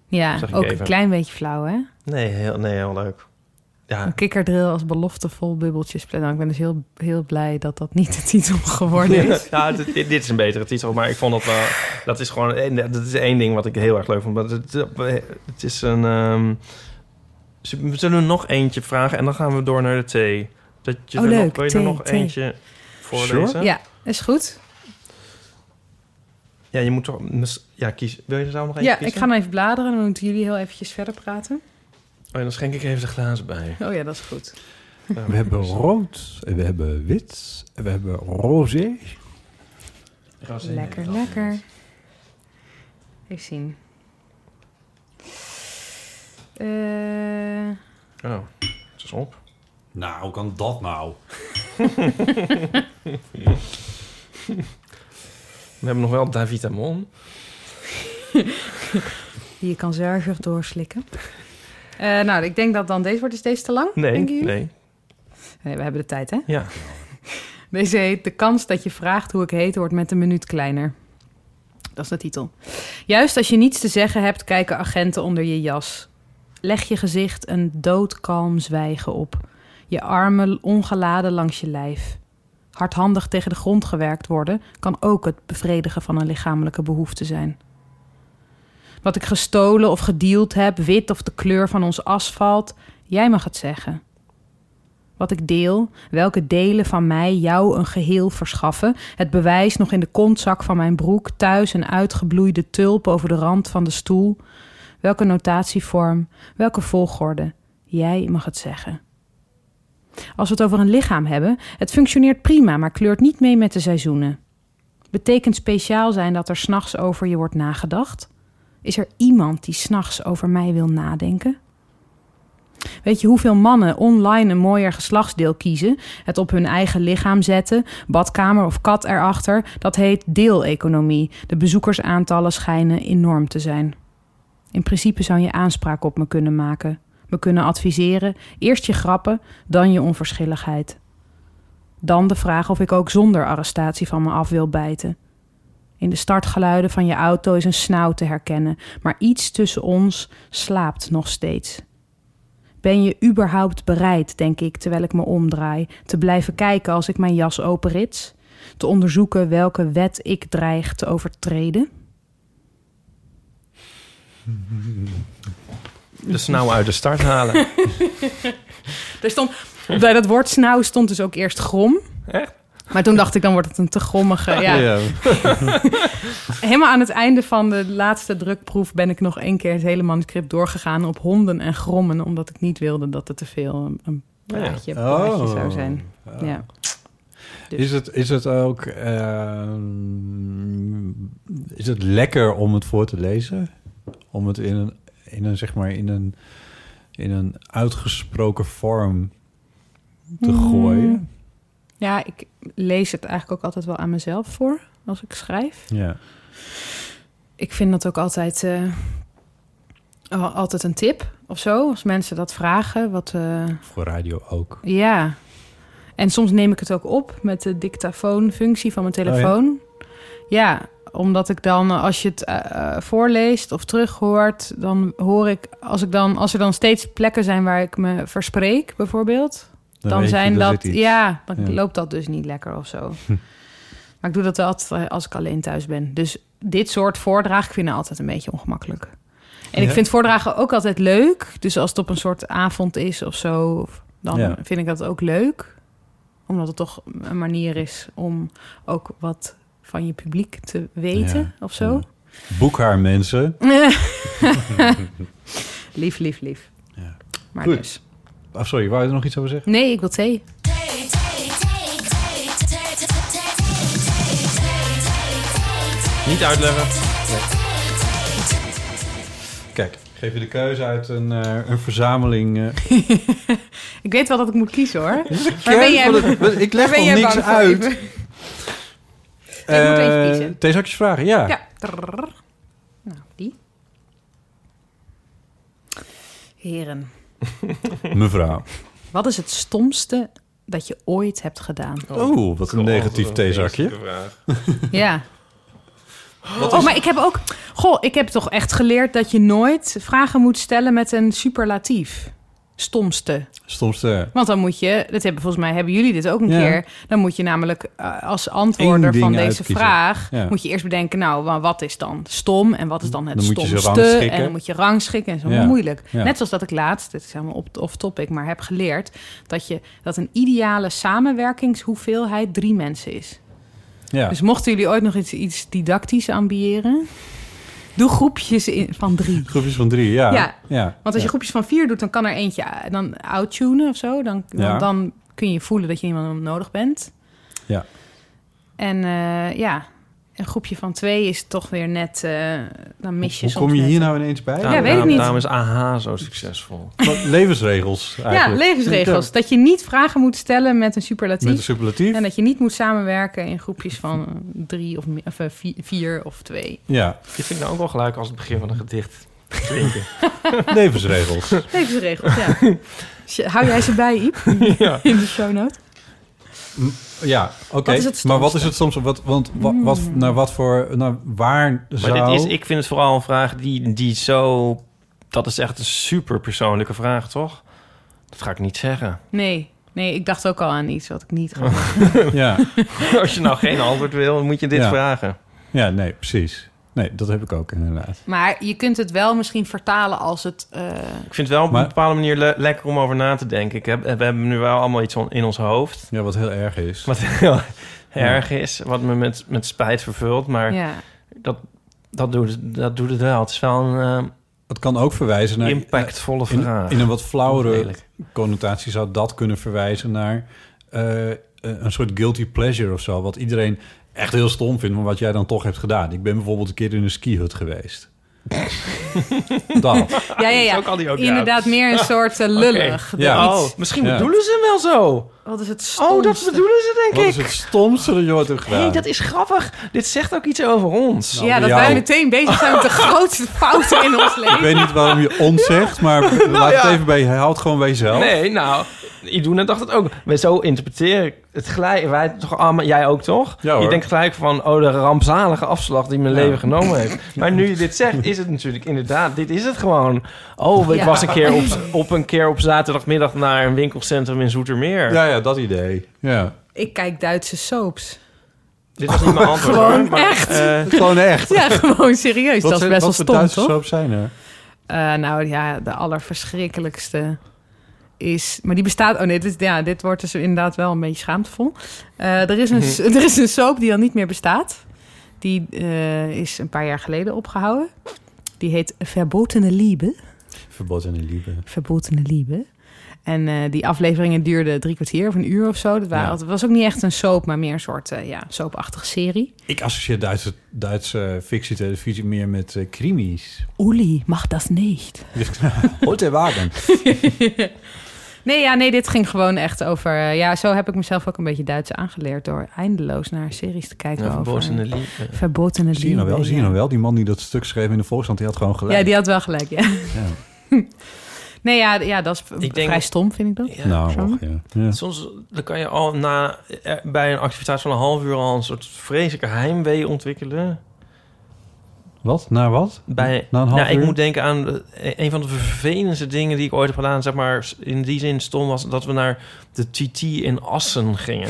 C: Ja,
A: Zag ik
C: ook een
A: even.
C: klein beetje flauw, hè?
A: Nee, heel, nee, heel leuk. Ja,
C: Een kikkerdrill als beloftevol bubbeltjes. Nou, ik ben dus heel, heel blij dat dat niet de titel geworden is.
A: Ja, dit, dit dit is een betere titel, maar ik vond dat wel... Dat is gewoon... eh, Dat is één ding wat ik heel erg leuk vond. Maar het, het is een... ehm, z- we zullen nog eentje vragen en dan gaan we door naar de thee. Dat je
C: Oh,
A: er
C: leuk.
A: Nog, wil je
C: Thee,
A: er nog
C: thee.
A: eentje voorlezen?
C: Ja, is goed.
A: Ja, je moet toch... mis- Ja, kies. Wil je er zo nog eentje
C: Ja, ik
A: kiezen?
C: ga nou even bladeren. Dan moeten jullie heel eventjes verder praten.
A: Oh, en dan schenk ik even de glazen bij.
C: Oh ja, dat is goed.
B: We hebben rood, en we hebben wit, en we hebben roze.
C: Lekker, lekker. Even zien. Eh,
A: Oh, het is op.
B: Nou, hoe kan dat nou?
A: We hebben nog wel Davitamon.
C: die je kan zuiver doorslikken. Eh, nou, ik denk dat dan deze wordt. Is deze te lang?
A: Nee,
C: denken jullie?
A: nee.
C: Nee, Eh, we hebben de tijd, hè?
A: Ja.
C: Deze heet De kans dat je vraagt hoe ik heet wordt met een minuut kleiner. Dat is de titel. Juist als je niets te zeggen hebt, kijken agenten onder je jas. Leg je gezicht een doodkalm zwijgen op. Je armen ongeladen langs je lijf. Hardhandig tegen de grond gewerkt worden kan ook het bevredigen van een lichamelijke behoefte zijn. Wat ik gestolen of gedeeld heb, wit of de kleur van ons asfalt, jij mag het zeggen wat ik deel, welke delen van mij jou een geheel verschaffen, het bewijs nog in de kontzak van mijn broek, thuis een uitgebloeide tulp over de rand van de stoel, welke notatievorm, welke volgorde, jij mag het zeggen. Als we het over een lichaam hebben, het functioneert prima, maar kleurt niet mee met de seizoenen. Betekent speciaal zijn dat er s'nachts over je wordt nagedacht? Is er iemand die s'nachts over mij wil nadenken? Weet je hoeveel mannen online een mooier geslachtsdeel kiezen, het op hun eigen lichaam zetten, badkamer of kat erachter? Dat heet deeleconomie. De bezoekersaantallen schijnen enorm te zijn. In principe zou je aanspraak op me kunnen maken, me kunnen adviseren, eerst je grappen, dan je onverschilligheid. Dan de vraag of ik ook zonder arrestatie van me af wil bijten. In de startgeluiden van je auto is een snauw te herkennen, maar iets tussen ons slaapt nog steeds. Ben je überhaupt bereid, denk ik, terwijl ik me omdraai, te blijven kijken als ik mijn jas openrits? Te onderzoeken welke wet ik dreig te overtreden?
A: De snauw Dus nou uit de start halen.
C: Er stond, bij dat woord snauw stond dus ook eerst grom.
A: Echt?
C: Maar toen dacht ik, dan wordt het een te grommige. Ja.
B: Ja.
C: Helemaal aan het einde van de laatste drukproef ben ik nog één keer het hele manuscript doorgegaan op honden en grommen. Omdat ik niet wilde dat het te veel een, een praatje,
B: Ja.
C: praatje
B: Oh.
C: zou zijn. Ja. dus-
B: Is, het, is het ook... eh, is het lekker om het voor te lezen? Om het in een, in een zeg maar, in een, in een uitgesproken vorm te gooien?
C: Mm. ja, ik lees het eigenlijk ook altijd wel aan mezelf voor als ik schrijf.
B: Ja.
C: ik vind dat ook altijd, eh, al- altijd een tip of zo. Als mensen dat vragen. Wat, eh,
B: Voor radio ook.
C: ja. En soms neem ik het ook op met de dictafoonfunctie van mijn
B: Oh ja.
C: telefoon. ja. omdat ik dan, eh, als je het eh, eh, voorleest of terughoort, dan hoor ik, als, ik dan, als er dan steeds plekken zijn waar ik me verspreek, bijvoorbeeld,
D: Dan
C: dan,
D: weet je,
C: zijn
D: er
C: dat,
D: zit iets.
C: ja, dan
D: Ja.
C: loopt dat dus niet lekker of zo. maar ik doe dat wel altijd eh, als ik alleen thuis ben. Dus dit soort voordragen ik vind ik altijd een beetje ongemakkelijk. En ik
D: Ja.
C: vind voordragen ook altijd leuk. Dus als het op een soort avond is of zo, of dan
D: Ja.
C: vind ik dat ook leuk. Omdat het toch een manier is om ook wat van je publiek te weten
B: Ja,
C: of zo.
B: Boek haar, mensen.
C: lief, lief, lief. Maar
B: Goed.
C: dus.
B: Oh, sorry, wou je er nog iets over zeggen?
C: Nee, ik wil thee.
A: Niet uitleggen.
B: Kijk, ik geef je de keuze uit een, eh, een verzameling. eh,
C: Ik weet wel dat ik moet kiezen hoor.
B: kern van het- ik leg
C: waar ben jij
B: nog niks
C: bang voor,
B: uit.
C: Ipe? moet eentje
B: eh,
C: kiezen.
B: theezakjes vragen, ja.
C: Ja. Trrr. Nou, die. Heren,
B: Mevrouw.
C: wat is het stomste dat je ooit hebt gedaan?
B: Oh, wat een negatief theezakje.
C: Ja. Oh, maar ik heb ook... Goh, ik heb toch echt geleerd dat je nooit vragen moet stellen met een superlatief. Stomste.
B: Stomste.
C: Want dan moet je, dat hebben volgens mij hebben jullie dit ook een
B: Ja.
C: keer. Dan moet je namelijk eh, als
B: Eén
C: antwoorder
B: ding
C: van deze
B: uitkiezen.
C: vraag
B: Ja.
C: moet je eerst bedenken, nou, wa- wat is dan stom en wat is dan het
B: Dan moet je ze
C: stomste?
B: rangschikken.
C: en dan moet je rangschikken en zo
B: Ja.
C: moeilijk.
B: Ja.
C: Net zoals dat ik laatst, dit is helemaal op off topic, maar heb geleerd dat je dat een ideale samenwerkingshoeveelheid drie mensen is.
B: Ja.
C: Dus mochten jullie ooit nog iets, iets didactisch ambiëren, doe groepjes in, van drie.
B: Groepjes van drie, ja.
C: Ja.
B: ja.
C: Want als je
B: Ja.
C: groepjes van vier doet, dan kan er eentje eh, dan outtunen of zo. Dan, dan,
B: Ja.
C: dan kun je voelen dat je iemand nodig bent.
B: Ja.
C: En eh, ja, een groepje van twee is toch weer net... eh, dan mis je
B: Hoe
C: soms
B: kom je
C: net-
B: hier nou ineens bij?
C: Ja, weet ik niet.
A: Daarom is AH zo succesvol.
B: Wat Levensregels eigenlijk.
C: Ja, levensregels. Dat je niet vragen moet stellen met een superlatief.
B: Met een superlatief.
C: En dat je niet moet samenwerken in groepjes van eh, drie of, me- of eh, vi- vier of twee.
B: Ja,
A: Dit vind ik nou ook wel gelijk als het begin van een gedicht klinken.
B: levensregels.
C: Levensregels, ja. Sj- Hou jij ze bij, Iep? In de show note?
B: Ja, oké.
C: Wat is het Hmm.
B: Maar wat is het soms? Wat, want wa- wat, naar wat voor, naar waar
A: Maar
B: zou...
A: dit is, ik vind het vooral een vraag die, die zo... Dat is echt een super persoonlijke vraag, toch? Dat ga ik niet zeggen.
C: Nee. Nee, ik dacht ook al aan iets wat ik niet ga
B: Ja,
A: Als je nou geen antwoord wil, dan moet je dit
B: Ja.
A: vragen.
B: ja, nee, precies. Nee, dat heb ik ook inderdaad.
C: Maar je kunt het wel misschien vertalen als het. eh,
A: Ik vind het wel op
B: Maar-
A: een bepaalde manier le- lekker om over na te denken. Ik heb, we hebben nu wel allemaal iets on- in ons hoofd.
B: Ja, wat heel erg is.
A: Wat heel erg is. Wat me met, met spijt vervult. Maar
C: ja.
A: dat, dat, doet, het- dat doet het wel. Het is wel een ehm,
B: Het kan ook verwijzen
A: eh,
B: naar...
A: impactvolle
B: in,
A: vraag.
B: in een wat flauwere
A: Lelijk.
B: connotatie zou dat kunnen verwijzen naar... eh, een soort guilty pleasure of zo. Wat iedereen echt heel stom vindt, maar wat jij dan toch hebt gedaan. Ik ben bijvoorbeeld een keer in een skihut geweest. dat.
C: ja, ja, ja.
A: Zo kan die Ah, ook, ja.
C: Inderdaad, meer een soort eh, lullig.
B: Ja.
C: Iets-
A: Oh, misschien
B: Ja.
A: bedoelen ze hem wel zo.
C: Wat is het
A: Oh, dat
C: stomste?
A: bedoelen ze denk
B: Wat
A: ik.
B: is het stomste dat je ooit hebt
A: Hé,
B: gedaan?
A: hey, dat is grappig. Dit zegt ook iets over ons.
C: ja, dat
B: jou.
C: wij meteen bezig zijn met de grootste fouten in ons leven.
B: Ik weet niet waarom je ons zegt, maar
A: Nou
B: laat het even bij je. Houd het gewoon bij jezelf.
A: Nee, nou, Iduna dacht het ook. Maar zo interpreteer ik het gelijk. Wij toch allemaal, jij ook toch?
B: Ja, hoor.
A: je denkt gelijk van, oh, de rampzalige afslag die mijn
B: Ja.
A: leven genomen heeft. Maar nu je dit zegt, is het natuurlijk inderdaad, dit is het gewoon. Oh, ik
C: Ja.
A: was een keer op, op een keer op zaterdagmiddag naar een winkelcentrum in Zoetermeer.
B: Ja, ja, dat idee. Ja.
C: Ik kijk Duitse soaps.
A: Dit was niet mijn antwoord. hoor,
C: Gewoon
A: maar,
C: echt?
A: eh,
B: Gewoon echt.
C: Ja, gewoon serieus. dat is best wel
B: wat voor
C: stom,
B: Duitse
C: toch?
B: soap zijn er?
C: Eh, nou ja, de allerverschrikkelijkste is... Maar die bestaat... Oh nee, dit, ja, dit wordt dus inderdaad wel een beetje schaamtevol. Eh, er, is een, er is een soap die al niet meer bestaat. Die eh, is een paar jaar geleden opgehouden. Die heet Verbotene Liebe.
B: Verboden in Liebe.
C: Verbotene Liebe. En eh, die afleveringen duurden drie kwartier of een uur of zo. Dat waren,
B: Ja.
C: altijd- was ook niet echt een soap, maar meer een soort eh, ja, soapachtige serie.
B: Ik associeer Duitse, Duitse fictietelevisie meer met eh, krimis.
C: Uli mag dat niet.
B: Holte wagen.
C: Nee, ja, nee, dit ging gewoon echt over... eh, ja, zo heb ik mezelf ook een beetje Duits aangeleerd... door eindeloos naar series te kijken
A: ja,
C: over...
A: verbozene liefde.
C: Verbotene
B: Zie je nou wel,
C: liefde,
B: zie je
C: ja.
B: nou wel. Die man die dat stuk schreef in de Volkskrant, die had gewoon gelijk.
C: Ja, die had wel gelijk, ja. Nee, ja, ja dat is v-
A: Ik denk-
C: vrij stom, vind ik dat.
A: Ja.
B: Nou,
C: Zo.
B: och, ja. Ja.
A: Soms dan kan je al na, eh, bij een activiteit van een half uur al een soort vreselijke heimwee ontwikkelen.
B: Wat? Naar wat?
A: Bij,
B: Na een half
A: nou, ik
B: uur?
A: moet denken aan eh, een van de vervelendste dingen die ik ooit heb gedaan. Zeg maar in die zin stom was dat we naar de TT in Assen gingen.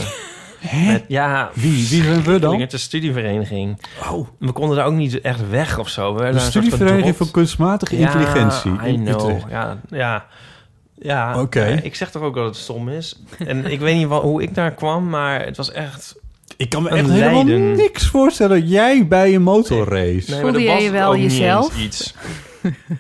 A: Met, ja,
B: Wie? Wie zijn we dan?
A: Het de studievereniging.
B: Oh,
A: We konden daar ook niet echt weg of zo. We werden
B: de
A: daar een soort
B: studievereniging
A: gedropt.
B: voor kunstmatige intelligentie
A: Ja, I
B: in
A: know.
B: Utrecht.
A: Ja, ja. Ja,
B: Oké.
A: eh, ik zeg toch ook dat het stom is. En ik weet niet wa- hoe ik daar kwam, maar het was echt.
B: Ik kan me echt helemaal niks voorstellen dat jij bij een motorrace.
A: maar
C: Voelde
A: er
C: jij
A: was
C: je wel
A: ook niet
C: jezelf?
A: eens Iets.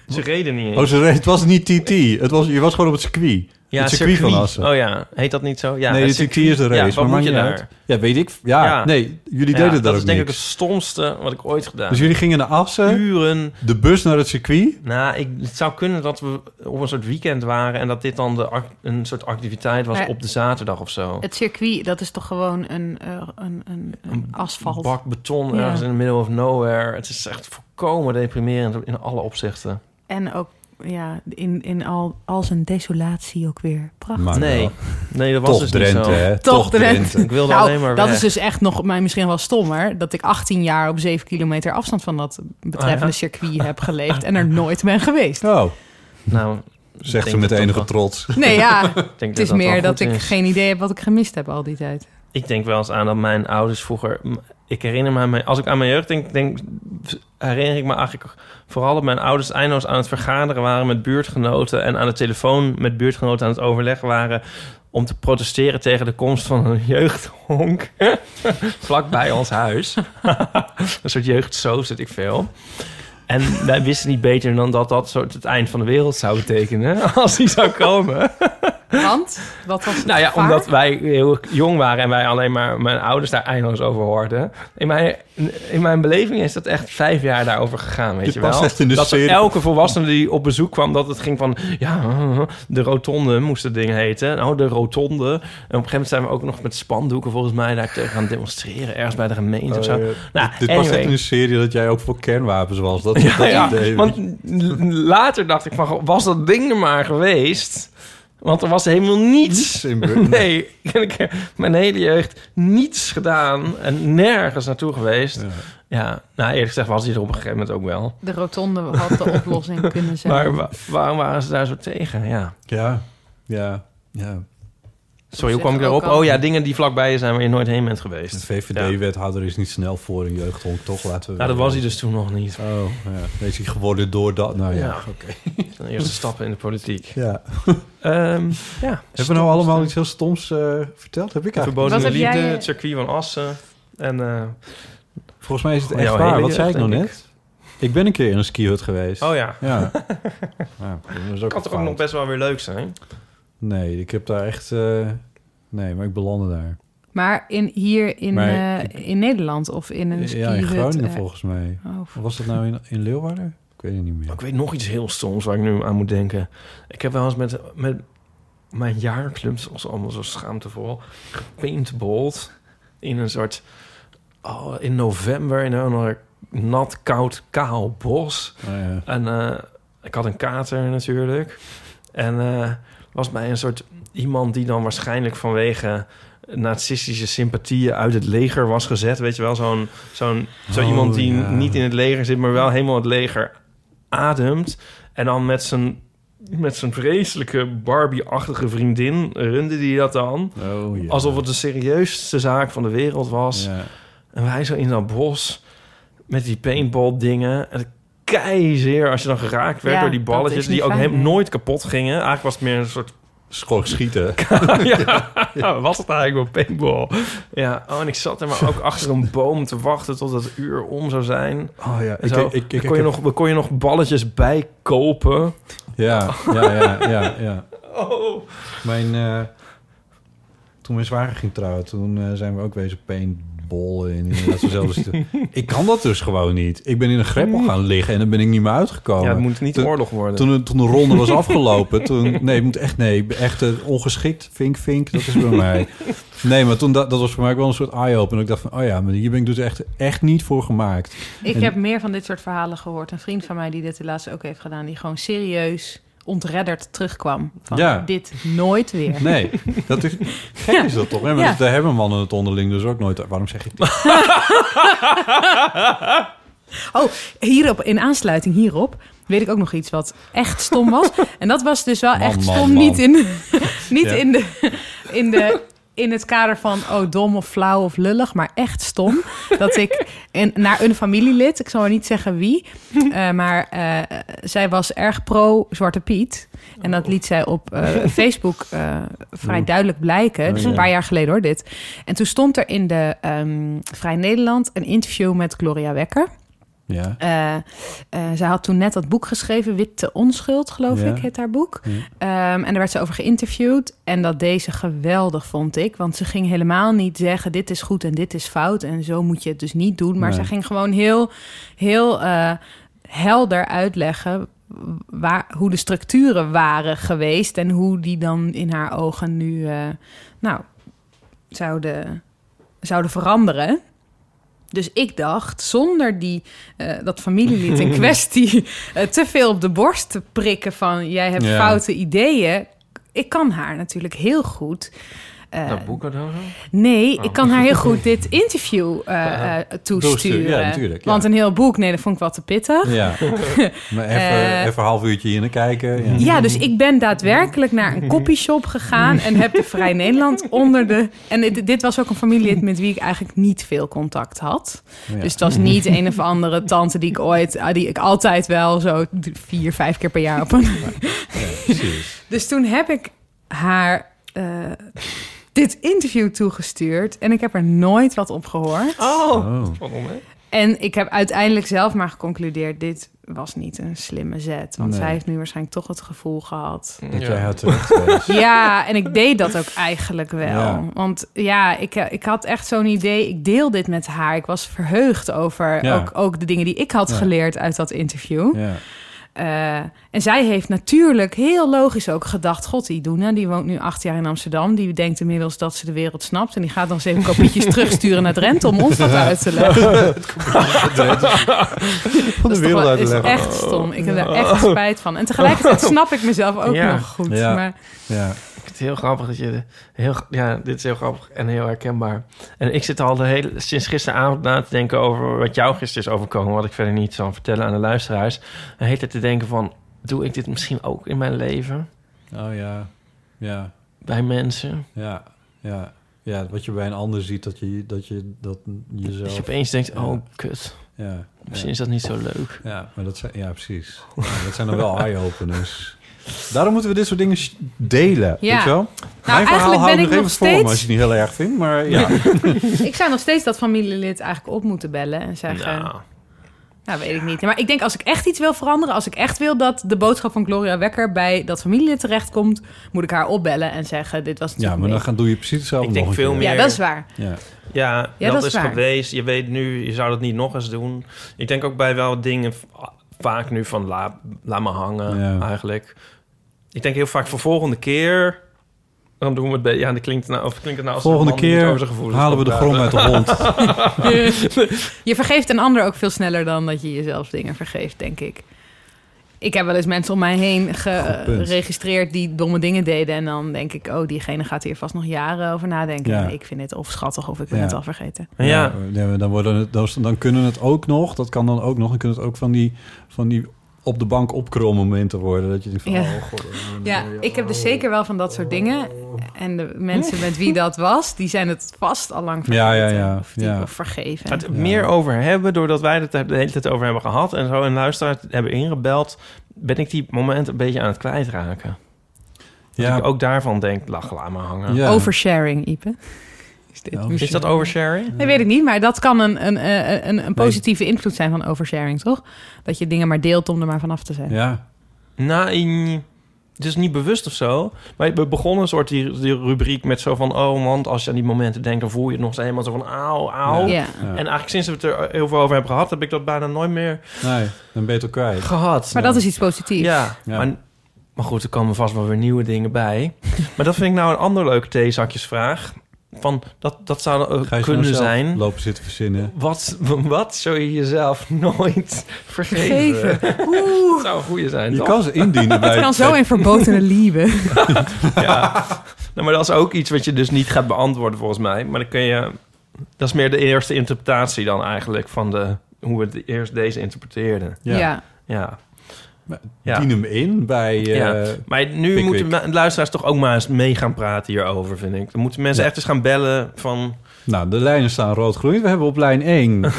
A: Ze reden niet eens.
B: Oh, ze reed- het was niet TT. Het was, je was gewoon op het circuit.
A: Ja,
B: het circuit, van Assen.
A: Oh ja, heet dat niet zo? Ja,
B: nee,
A: het
B: het circuit is de race.
A: Ja, wat
B: maar
A: moet je
B: maakt niet
A: daar?
B: uit. Ja, weet ik. Ja,
A: Ja.
B: nee, jullie
A: Ja,
B: deden daar
A: Dat is
B: ook
A: denk ik
B: niks.
A: het stomste wat ik ooit gedaan
B: Dus jullie gingen naar Assen,
A: Uren.
B: de bus naar het circuit.
A: Nou, ik, het zou kunnen dat we op een soort weekend waren... en dat dit dan de ac- een soort activiteit was
C: Maar-
A: op de zaterdag of zo.
C: Het circuit, dat is toch gewoon een, eh, een, een, een asfalt.
A: Bak beton
C: Ja.
A: ergens in the middle of nowhere. Het is echt volkomen deprimerend in alle opzichten.
C: En ook ja, in, in al, al zijn desolatie ook weer. Prachtig.
B: Maar
A: nee,
B: wel.
A: nee, dat was
B: Toch
A: dus
B: Drenthe,
A: niet zo.
B: hè?
C: Toch Drenthe.
A: Ik wilde
C: nou,
A: alleen maar
C: dat
A: weg.
C: is dus echt nog maar misschien wel stommer. Dat ik 18 jaar op 7 kilometer afstand van dat betreffende
A: Ah, ja.
C: circuit heb geleefd en er nooit ben geweest.
B: Oh,
A: Nou,
B: zegt
A: Ik
B: ze
A: denk
B: met
A: dat
B: enige
A: dat-
B: trots.
C: Nee, ja.
A: ik denk
C: Het is
A: dat wel
C: meer
A: goed
C: dat ik
A: is.
C: geen idee heb wat ik gemist heb al die tijd.
A: Ik denk wel eens aan dat mijn ouders vroeger... m- Ik herinner me, aan mijn- als ik aan mijn jeugd denk, denk, herinner ik me eigenlijk vooral dat mijn ouders eindeloos aan het vergaderen waren met buurtgenoten en aan de telefoon met buurtgenoten aan het overleg waren om te protesteren tegen de komst van een jeugdhonk vlakbij ons huis. een soort jeugdsoos, weet ik veel. En wij wisten niet beter dan dat dat soort het eind van de wereld zou betekenen als die zou komen.
C: Want? Wat was het
A: Nou ja,
C: gevaar?
A: omdat wij heel jong waren en wij alleen maar mijn ouders daar eindeloos over hoorden. In mijn, in mijn beleving is dat echt vijf jaar daarover gegaan, weet
B: Je
A: je,
B: past
A: wel.
B: echt in de
A: dat
B: serie.
A: elke volwassene die op bezoek kwam, dat het ging van... Ja, de rotonde moest het ding heten. Nou, de rotonde. En op een gegeven moment zijn we ook nog met spandoeken volgens mij daar tegen gaan demonstreren. Ergens bij de gemeente of zo.
B: Eh,
A: Nou,
B: dit was
A: anyway.
B: echt een serie dat jij ook voor kernwapens was. Dat, dat
A: Ja,
B: idee.
A: want l- later dacht ik van, goh, was dat ding er maar geweest? Want er was helemaal niets.
B: In Brugge.
A: Nee, en ik heb mijn hele jeugd niets gedaan en nergens naartoe geweest. Ja, nou eerlijk gezegd was hij er op een gegeven moment ook wel.
C: De rotonde had de oplossing kunnen zijn.
A: Maar wa- waarom waren ze daar zo tegen? Ja.
B: Ja, ja, ja.
A: Sorry, hoe
C: Zeg
A: kwam ik
C: ook
A: daarop?
C: al.
A: Oh ja, dingen die vlakbij je zijn waar je nooit heen bent
B: De
A: geweest. Ja.
B: VVD-wethouder is niet snel voor een jeugdhonk, toch? Laten we
A: Nou, dat was hij dus toen nog niet.
B: Oh, ja. Is hij geworden door dat? Nou ja.
A: Ja, oké. De Eerste stappen in de politiek.
B: ja.
A: Ehm, ja.
B: Hebben we nou allemaal iets heel stoms eh, verteld? Heb ik
A: De
B: eigenlijk
A: verbodene
C: Wat heb
A: liefde,
C: jij- eh,
A: het circuit van Assen. En eh,
B: Volgens mij is het
A: Oh,
B: echt
A: jouw
B: waar.
A: hele
B: Wat zei ik
A: jeugd,
B: nou
A: denk
B: net? Ik ben een keer in een skihut geweest.
A: oh ja,
B: Ja. ja dat was ook
A: kan toch ook
B: fout.
A: nog best wel weer leuk zijn.
B: Nee, ik heb daar echt... eh, Nee, maar ik belandde daar.
C: Maar in, hier in,
B: Maar
C: eh, in Nederland of in een
B: Ja, in
C: skihut,
B: Groningen
C: eh,
B: volgens mij.
C: oh, f-
B: Of was dat nou in, in Leeuwarden? Ik weet het niet meer.
A: Ik weet nog iets heel stoms waar ik nu aan moet denken. Ik heb wel eens met, met mijn jaarclubs, dat was allemaal zo schaamtevol, gepaintballed in een soort... Oh, in november in een nat, koud, kaal bos.
B: Oh, ja.
A: En eh, ik had een kater natuurlijk. En eh, was bij een soort iemand die dan waarschijnlijk vanwege nazistische sympathieën uit het leger was gezet. Weet je wel, zo'n zo'n zo
B: Oh,
A: iemand die
B: ja.
A: niet in het leger zit, maar wel helemaal het leger ademt. En dan met zijn, met zijn vreselijke Barbie-achtige vriendin runde die dat dan.
B: Oh, ja.
A: Alsof het de serieusste zaak van de wereld was.
B: Ja.
A: En wij zo in dat bos met die paintball dingen. En het keizeer als je dan geraakt werd
C: Ja,
A: door die
C: dat
A: balletjes...
C: is niet
A: die ook
C: fijn,
A: hem
C: hè?
A: nooit kapot gingen. Eigenlijk was het meer een soort...
B: Schoon schieten.
A: ja, was het eigenlijk wel paintball? Ja, oh, en ik zat er maar ook achter een boom te wachten... tot het uur om zou zijn.
B: Oh ja,
A: En zo,
B: ik,
A: kon, je
B: heb-
A: nog, we kon je nog balletjes bij
B: Oh,
A: kopen.
B: Ja, ja, ja, ja, ja.
A: Oh.
B: Mijn, eh, toen mijn zwager ging trouwen, toen eh, zijn we ook wezen paintballen in inderdaad zo'nzelfde situatie. Ik kan dat dus gewoon niet. Ik ben in een greppel gaan liggen en dan ben ik niet meer uitgekomen.
A: Ja, het moet niet
B: Toen-
A: oorlog worden.
B: Toen, toen de ronde was afgelopen, toen... Nee, ik moet echt... Nee, ik ben echt eh, ongeschikt. Vink, vink, dat is bij mij. Nee, maar toen, dat, dat was voor mij ook wel een soort eye-opener. Ik dacht van, oh ja, maar hier ben ik dus echt, echt niet voor gemaakt.
C: Ik
B: En-
C: heb meer van dit soort verhalen gehoord. Een vriend van mij die dit de laatste ook heeft gedaan... die gewoon serieus ontredderd terugkwam. Van
B: Ja.
C: dit nooit weer.
B: Nee, dat is... Gek is dat toch? Hè? Maar
C: Ja.
B: dat, daar hebben mannen het onderling dus ook nooit... Waarom zeg ik dit?
C: Oh, hierop, in aansluiting hierop... weet ik ook nog iets wat echt stom was. en dat was dus wel
B: Man,
C: echt
B: man,
C: stom
B: man.
C: niet in... niet
B: Ja.
C: in de... in de in het kader van oh dom of flauw of lullig, maar echt stom, dat ik in, naar een familielid, ik zal maar niet zeggen wie, eh, maar eh, zij was erg pro Zwarte Piet. En dat liet zij op eh, Facebook eh, vrij
D: Oeh.
C: duidelijk blijken. Dus
D: Oh,
C: een
D: ja.
C: paar jaar geleden hoor dit. En toen stond er in de ehm, Vrij Nederland een interview met Gloria Wekker.
B: Ja.
C: Eh, eh, zij had toen net dat boek geschreven, Witte Onschuld, geloof
B: Ja.
C: ik, heet haar boek.
B: Ja.
C: Ehm, en daar werd ze over geïnterviewd. En dat deze geweldig vond ik. Want ze ging helemaal niet zeggen: dit is goed en dit is fout. En zo moet je het dus niet doen. Maar
D: Nee.
C: ze ging gewoon heel, heel eh, helder uitleggen. Waar, hoe de structuren waren geweest en hoe die dan in haar ogen nu eh, nou, zouden, zouden veranderen. Dus ik dacht, zonder die, eh, dat familielid in kwestie eh, te veel op de borst te prikken van jij hebt
A: Ja.
C: foute ideeën. Ik kan haar natuurlijk heel goed. eh,
A: dat boeken dan?
C: nee,
A: Oh.
C: ik kan haar heel goed dit interview eh,
A: Ja.
C: eh, toesturen.
B: Ja, natuurlijk, ja.
C: Want een heel boek, nee, dat vond ik wel te pittig.
B: Ja. maar even,
C: Eh,
B: even een half uurtje hier naar kijken. Ja,
C: Ja, dus ik ben daadwerkelijk naar een copyshop gegaan en heb de Vrij Nederland onder de. En dit, dit was ook een familielid met wie ik eigenlijk niet veel contact had.
D: Oh ja.
C: Dus het was niet een of andere tante die ik ooit, ah, die ik altijd wel zo d- vier, vijf keer per jaar op een. Dus toen heb ik haar eh, dit interview toegestuurd en ik heb er nooit wat op gehoord.
A: Oh, Spannend, hè?
C: En ik heb uiteindelijk zelf maar geconcludeerd: dit was niet een slimme zet. Want
B: Nee.
C: zij heeft nu waarschijnlijk toch het gevoel gehad.
B: Dat jij haar terugwees.
C: Ja, en ik deed dat ook eigenlijk wel.
B: Ja.
C: Want ja, ik, eh, ik had echt zo'n idee. Ik deel dit met haar. Ik was verheugd over
D: Ja.
C: ook, ook de dingen die ik had
D: Ja.
C: geleerd uit dat interview.
B: Ja.
C: Eh, en zij heeft natuurlijk heel logisch ook gedacht... God, die Iduna, die woont nu acht jaar in Amsterdam. Die denkt inmiddels dat ze de wereld snapt. En die gaat dan zeven kopietjes terugsturen naar Drenthe... om ons dat uit te leggen.
B: Van de
C: Dat is toch
B: wereld
C: wel-
B: uit te
C: is
B: leggen. Oh.
C: echt stom. Ik heb daar echt spijt van. En tegelijkertijd snap ik mezelf ook
A: Ja.
C: nog goed.
A: Ja.
C: Maar
B: Ja.
A: Ik vind het heel grappig dat je... Heel, ja, dit is heel grappig en heel herkenbaar. En ik zit al de hele, sinds gisteravond na te denken over wat jou gisteren is overkomen... wat ik verder niet zal vertellen aan de luisteraars. En heet het te denken van, doe ik dit misschien ook in mijn leven?
B: Oh ja, ja.
A: Bij mensen?
B: Ja, ja. Ja, wat je bij een ander ziet, dat je dat, je, dat jezelf...
A: Dat je opeens denkt, oh, kut.
B: Ja.
A: Misschien
B: ja.
A: is dat niet zo leuk.
B: Ja, maar dat zijn, ja precies. Ja, dat zijn dan wel eye-openers. Daarom moeten we dit soort dingen sh- delen,
C: Ja.
B: weet je wel?
C: Nou, eigenlijk ben
B: hou
C: ik nog
B: even voor me,
C: steeds-
B: als je het niet heel erg vindt, maar ja.
C: ik zou nog steeds dat familielid eigenlijk op moeten bellen en zeggen. Nou. weet ik niet. Maar ik denk als ik echt iets wil veranderen, als ik echt wil dat de boodschap van Gloria Wekker bij dat familielid terechtkomt, moet ik haar opbellen en zeggen: Dit was
B: ja,
C: natuurlijk
B: maar dan
C: niks.
B: gaan, doe je precies hetzelfde
A: Ik denk
B: nog een
A: veel
B: keer.
A: meer-
C: Ja, dat is waar.
B: Ja.
A: Ja,
C: Ja,
A: dat,
C: dat is
A: is
C: waar.
A: geweest. Je weet nu, je zou dat niet nog eens doen. Ik denk ook bij wel dingen v- vaak nu van laat, laat me hangen eigenlijk. Ik denk heel vaak voor volgende keer... Dan doen we het bij... Ja, dat klinkt nou, of klinkt het nou als een
B: Volgende
A: man die
B: keer
A: over zijn gevoelens
B: halen we
A: kan
B: de
A: praten.
B: grom uit
C: je vergeeft een ander ook veel sneller dan dat je jezelf dingen vergeeft, denk ik. Ik heb wel eens mensen om mij heen
B: punt.
C: geregistreerd die domme dingen deden. En dan denk ik, oh, diegene gaat hier vast nog jaren over nadenken.
B: Ja.
C: Nee, ik vind dit of schattig of ik ben
B: Ja.
C: het al vergeten.
A: Ja.
B: Ja, maar dan, worden het, dan- dan kunnen het ook nog, dat kan dan ook nog, dan kunnen het ook van die, van die op de bank opkrol momenten worden. Dat je denkt van,
C: Ja.
B: oh god.
C: Ja, ik heb dus zeker wel van dat soort dingen. En de mensen met wie dat was, die zijn het vast al lang vergeten.
B: Ja, ja, ja.
C: Of die
B: ja.
C: of vergeven.
A: Het meer over hebben, doordat wij het er de hele tijd over hebben gehad... en zo een luisteraar hebben ingebeld... ben ik die momenten een beetje aan het kwijtraken. Dat
B: Ja.
A: ik ook daarvan denk, lach, laat me hangen.
C: Oversharing, Ipe. Is, dit
A: Is dat oversharing?
C: Nee, weet ik niet, maar dat kan een, een, eh, een, een positieve invloed zijn van oversharing, toch? Dat je dingen maar deelt om er maar vanaf te zijn.
B: Ja.
A: Nou, in- het is niet bewust of zo. Maar we begonnen een soort die, die rubriek met zo van... oh, want als je aan die momenten denkt... dan voel je het nog eens helemaal zo van auw, auw.
B: Ja. Ja.
A: En eigenlijk sinds we het er heel veel over hebben gehad... heb ik dat bijna nooit meer
B: Nee, dan ben je het ook kwijt.
A: gehad.
C: Maar dat is iets positiefs.
A: Ja, Maar, maar goed, er komen vast wel weer nieuwe dingen bij. maar dat vind ik nou een ander leuke theezakjesvraag. Van, dat, dat zou eh,
B: Ga je ze nou
A: kunnen
B: zelf
A: zijn...
B: Lopen zitten verzinnen.
A: Wat, wat zou je jezelf nooit vergeven?
C: Vergeven.
A: Dat zou een goede zijn,
B: Je
A: toch?
B: kan ze indienen bij-
C: Het kan zo in verbotene lieve.
A: ja. Nou, maar dat is ook iets wat je dus niet gaat beantwoorden volgens mij. Maar dan kun je... Dat is meer de eerste interpretatie dan eigenlijk van de, hoe we het eerst deze interpreteerden.
C: Ja. Ja.
A: ja. Ja.
B: Dien hem in bij... eh,
A: ja. Maar nu
B: Pickwick.
A: moeten ma- luisteraars toch ook maar eens mee gaan praten hierover, vind ik. Dan moeten mensen
B: Ja.
A: echt eens gaan bellen van...
B: Nou, de lijnen staan rood-groen. We hebben op lijn 1.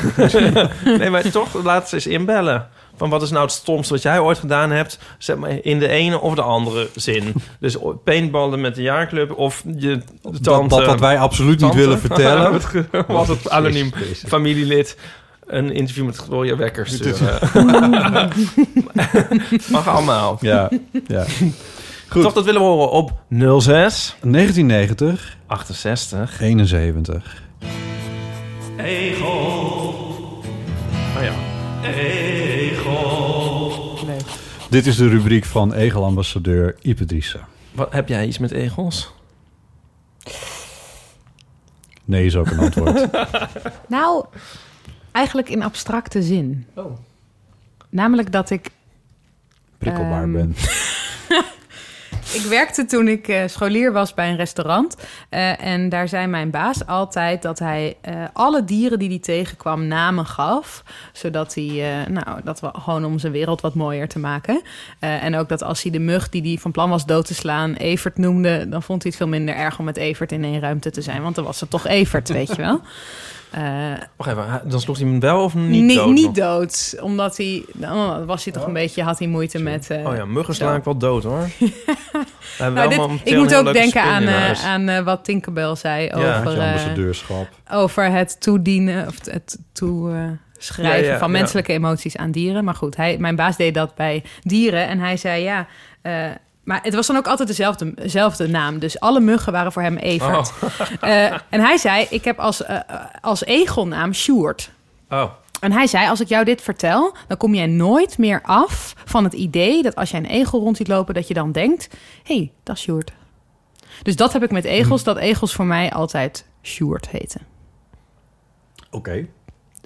A: nee, maar toch, laat ze eens inbellen. Van wat is nou het stomste wat jij ooit gedaan hebt? Zeg maar in de ene of de andere zin. Dus o- paintballen met de jaarclub of je tante...
B: dat wat wij absoluut niet
A: tante?
B: willen vertellen.
A: Wat ge- was het anoniem
B: Jezus.
A: familielid. Een interview met Gloria Wekkers.
B: Dit is-
A: eh. Mag allemaal.
B: Ja, ja. Goed.
A: Toch, dat willen we horen op 06...
B: 1990.
A: 68.
B: 71.
A: Egel. Oh ja. Egel.
B: Dit is de rubriek van Egel-ambassadeur Ipe Driessen.
A: Wat, heb jij iets met egels?
B: Nee is ook een antwoord.
C: Nou, eigenlijk in abstracte zin. Namelijk dat ik
B: Prikkelbaar
C: Ehm.
B: ben.
C: Ik werkte toen ik eh, scholier was bij een restaurant. Eh, en daar zei mijn baas altijd dat hij eh, alle dieren die hij tegenkwam namen gaf. Zodat hij, eh, nou, dat we gewoon om zijn wereld wat mooier te maken. Eh, en ook dat als hij de mug die hij van plan was dood te slaan, Evert noemde, dan vond hij het veel minder erg om met Evert in één ruimte te zijn. Want dan was het toch Evert, weet je wel. Eh,
A: Wacht even, hij- dan sloeg hij hem wel of niet
C: Nee,
A: dood? nog?
C: niet dood. Omdat hij, dan was hij toch een beetje, had hij moeite met. eh,
A: Oh ja, muggen slaan
C: zo.
A: ik wel dood hoor. We
C: Nou,
A: hebben wel
C: dit-
A: momenteel
C: ik moet
A: een heel
C: ook
A: leuke
C: denken
A: spin
C: aan,
A: in
C: eh,
A: huis.
C: aan eh, wat Tinkerbell zei
B: Met
C: over,
B: je
C: eh,
B: ambassadeurschap.
C: over het toedienen of het toeschrijven schrijven
B: Ja, ja,
C: van
B: ja.
C: menselijke emoties aan dieren. Maar goed, hij, mijn baas deed dat bij dieren en hij zei ja. eh, maar het was dan ook altijd dezelfde, dezelfde naam. Dus alle muggen waren voor hem Evert. Eh, en hij zei, ik heb als, eh, als egelnaam Sjoerd.
A: Oh.
C: En hij zei, als ik jou dit vertel, dan kom jij nooit meer af van het idee dat als jij een egel rond ziet lopen, dat je dan denkt, hé, hey, dat is Sjoerd. Dus dat heb ik met
A: Hm.
C: egels, dat egels voor mij altijd Sjoerd heten.
B: Oké.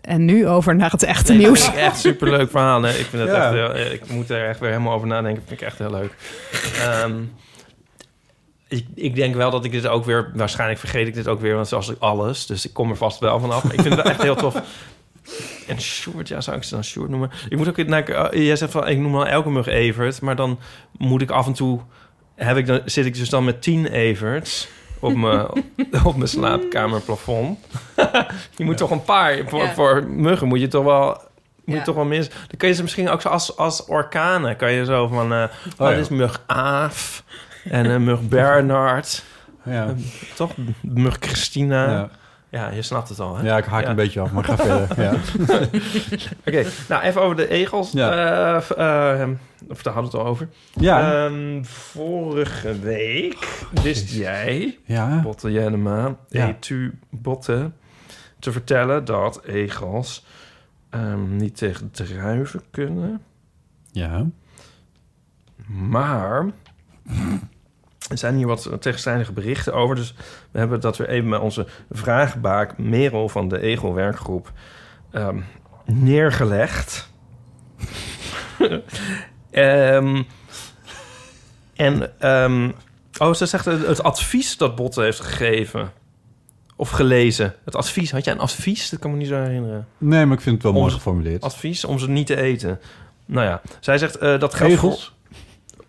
C: En nu over naar het echte
A: Nee,
C: nieuws.
A: Dat vind ik echt superleuk verhaal. Hè? Ik, vind het
C: Ja.
A: echt heel, eh, ik moet er echt weer helemaal over nadenken. Dat vind ik echt heel leuk. Ehm, ik, ik denk wel dat ik dit ook weer... Waarschijnlijk vergeet ik dit ook weer, want zoals ik alles. Dus ik kom er vast wel vanaf. Maar ik vind het wel echt heel tof. En Sjoerd, ja, zou ik ze dan Sjoerd noemen? Ik moet ook... naar jij zegt van, ik noem al elke mug Evert. Maar dan moet ik af en toe... Heb ik dan, zit ik dus dan met tien Everts op mijn, op mijn slaapkamerplafond. je moet toch een paar... Voor,
D: Ja.
A: voor muggen moet je toch wel... Moet je
D: Ja.
A: toch wel mis. Dan kun je ze misschien ook zo als, als orkanen. Kan je zo van. eh, oh,
B: ja.
A: dit is mug Aaf. En eh, mug Bernard.
B: Ja.
A: Eh, toch? Mug Christina.
B: Ja.
A: Ja. je snapt het al. Hè?
B: Ja, ik haak een beetje af, maar ga verder, ja.
A: Oké, nou even over de egels.
B: Ja.
A: Eh, v- eh, of daar hadden we het al over.
B: Ja.
A: Ehm, vorige week wist jij,
B: Ja.
A: Botte Jennema,
B: Ja.
A: Etu Botte, te vertellen dat egels ehm, niet tegen druiven kunnen.
B: Ja.
A: Maar er zijn hier wat tegenstrijdige berichten over. Dus we hebben dat weer even met onze vraagbaak Merel van de Egel werkgroep ehm, neergelegd. Ehm, en ehm, oh, ze zegt het het advies dat Botte heeft gegeven. Of gelezen. Het advies. Had jij een advies? Dat kan me niet zo herinneren.
B: Nee, maar ik vind het wel mooi
A: Onze-
B: geformuleerd.
A: Advies om ze niet te eten. Nou ja, zij zegt eh, dat geldt
B: Egels?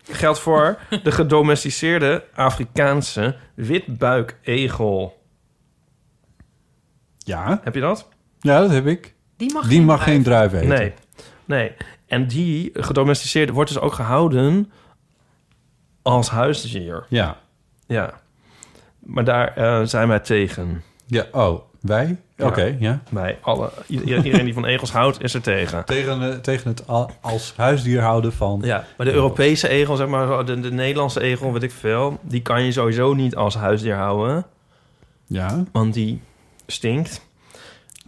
A: Voor, geldt voor de gedomesticeerde Afrikaanse witbuitegel.
B: Ja.
A: Heb je dat?
B: Ja, dat heb ik.
C: Die mag
B: Die
C: geen
B: mag geen druif eten.
A: Nee. nee. En die gedomesticeerde wordt dus ook gehouden als huisdier.
B: Ja.
A: Ja. Maar daar eh, zijn wij tegen.
B: Ja, oh, wij? Oké, ja.
A: Wij, alle, iedereen iedereen die van egels houdt, is er tegen.
B: Tegen, eh, tegen het al- als huisdier houden van...
A: Ja, maar de Europese egel, zeg maar, de, de Nederlandse egel, weet ik veel, die kan je sowieso niet als huisdier houden.
B: Ja.
A: Want die stinkt.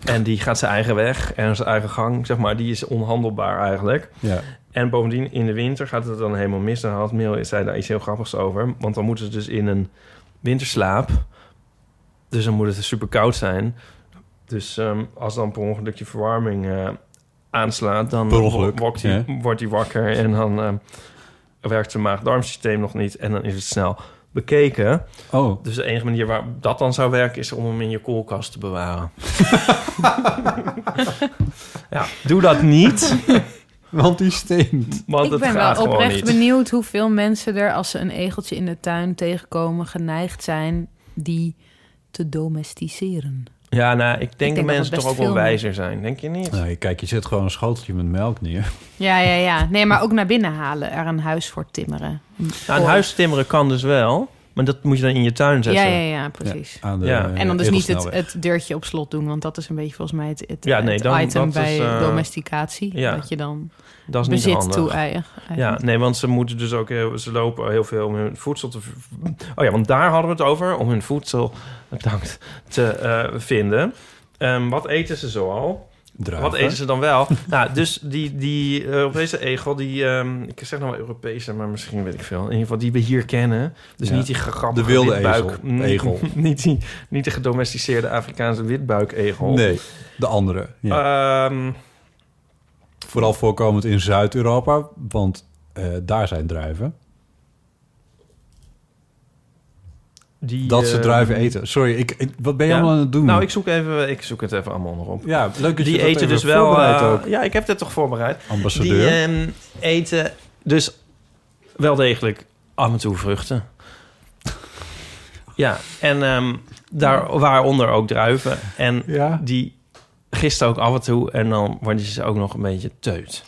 A: En die gaat zijn eigen weg en zijn eigen gang, zeg maar. Die is onhandelbaar eigenlijk.
B: Ja.
A: En bovendien, in de winter gaat het dan helemaal mis. Dan had Meel zei daar iets heel grappigs over. Want dan moeten ze dus in een winterslaap. Dus dan moet het super koud zijn. Dus ehm, als dan per ongeluk je verwarming eh, aanslaat... dan
B: Per ongeluk,
A: wo- wokt die-
B: ja.
A: wordt hij wakker en dan ehm, werkt zijn maag-darmsysteem nog niet. En dan is het snel bekeken.
B: Oh.
A: Dus de enige manier waar dat dan zou werken... is om hem in je koelkast te bewaren. ja, doe dat niet.
B: Want die stinkt.
A: Want
C: ik ben wel oprecht benieuwd hoeveel mensen er, als ze een egeltje in de tuin tegenkomen, geneigd zijn die te domesticeren.
A: Ja, nou, ik denk
C: denk
A: dat
C: dat
A: mensen
C: het
A: toch
C: best
A: ook wel
C: veel
A: wijzer zijn, denk je niet?
B: Nou, je- kijk, je zet gewoon een schoteltje met melk neer.
C: Ja, ja, ja. Nee, maar ook naar binnen halen, er een huis voor timmeren.
A: Nou, een huis timmeren kan dus wel, maar dat moet je dan in je tuin
C: Ja, ja,
A: zetten.
C: ja, precies.
B: Ja, aan de,
A: Ja.
B: eh,
C: En dan dus niet het,
B: edelsnelweg.
C: het deurtje op slot doen, want dat is een beetje volgens mij het, het,
A: Ja, nee,
C: het
A: dan-
C: item
A: dat
C: bij
A: is, eh,
C: domesticatie.
A: ja.
C: Dat je dan
A: Dat is niet
C: bezit
A: handig.
C: toe-eigen.
A: Ja, nee, want ze moeten dus ook heel, ze lopen heel veel om hun voedsel te. v- Oh ja, want daar hadden we het over om hun voedsel bedankt te eh, vinden. Ehm, wat eten ze zoal?
B: Druiven.
A: Wat eten ze dan wel? nou, dus die, die Europese egel, die ehm, ik zeg nou wel Europese, maar misschien weet ik veel. In ieder geval die we hier kennen. Dus
B: Ja.
A: niet die gegrabbelde
B: De wilde
A: witbuik,
B: ezel. Egel.
A: niet, die, niet de gedomesticeerde Afrikaanse
C: Oh.
A: witbuikegel.
B: Nee, de andere. Ja.
A: Ehm,
B: Vooral voorkomend in Zuid-Europa, want eh, daar zijn druiven.
A: die,
B: Dat ze
A: eh,
B: druiven eten. Sorry, ik, ik- wat ben je
A: Ja.
B: allemaal aan het doen?
A: Nou, ik zoek, even, ik zoek het even allemaal nog op.
B: Ja, leuk dat je
A: die
B: dat
A: eten
B: even
A: dus wel.
B: voorbereidt
A: eh,
B: ook.
A: Ja, ik heb dit toch voorbereid.
B: Ambassadeur.
A: Die ehm, eten dus wel degelijk af en toe vruchten. Ja, en ehm, daar waaronder ook druiven. En
B: Ja.
A: eh, die gisten ook af en toe. En dan worden ze ook nog een beetje teut.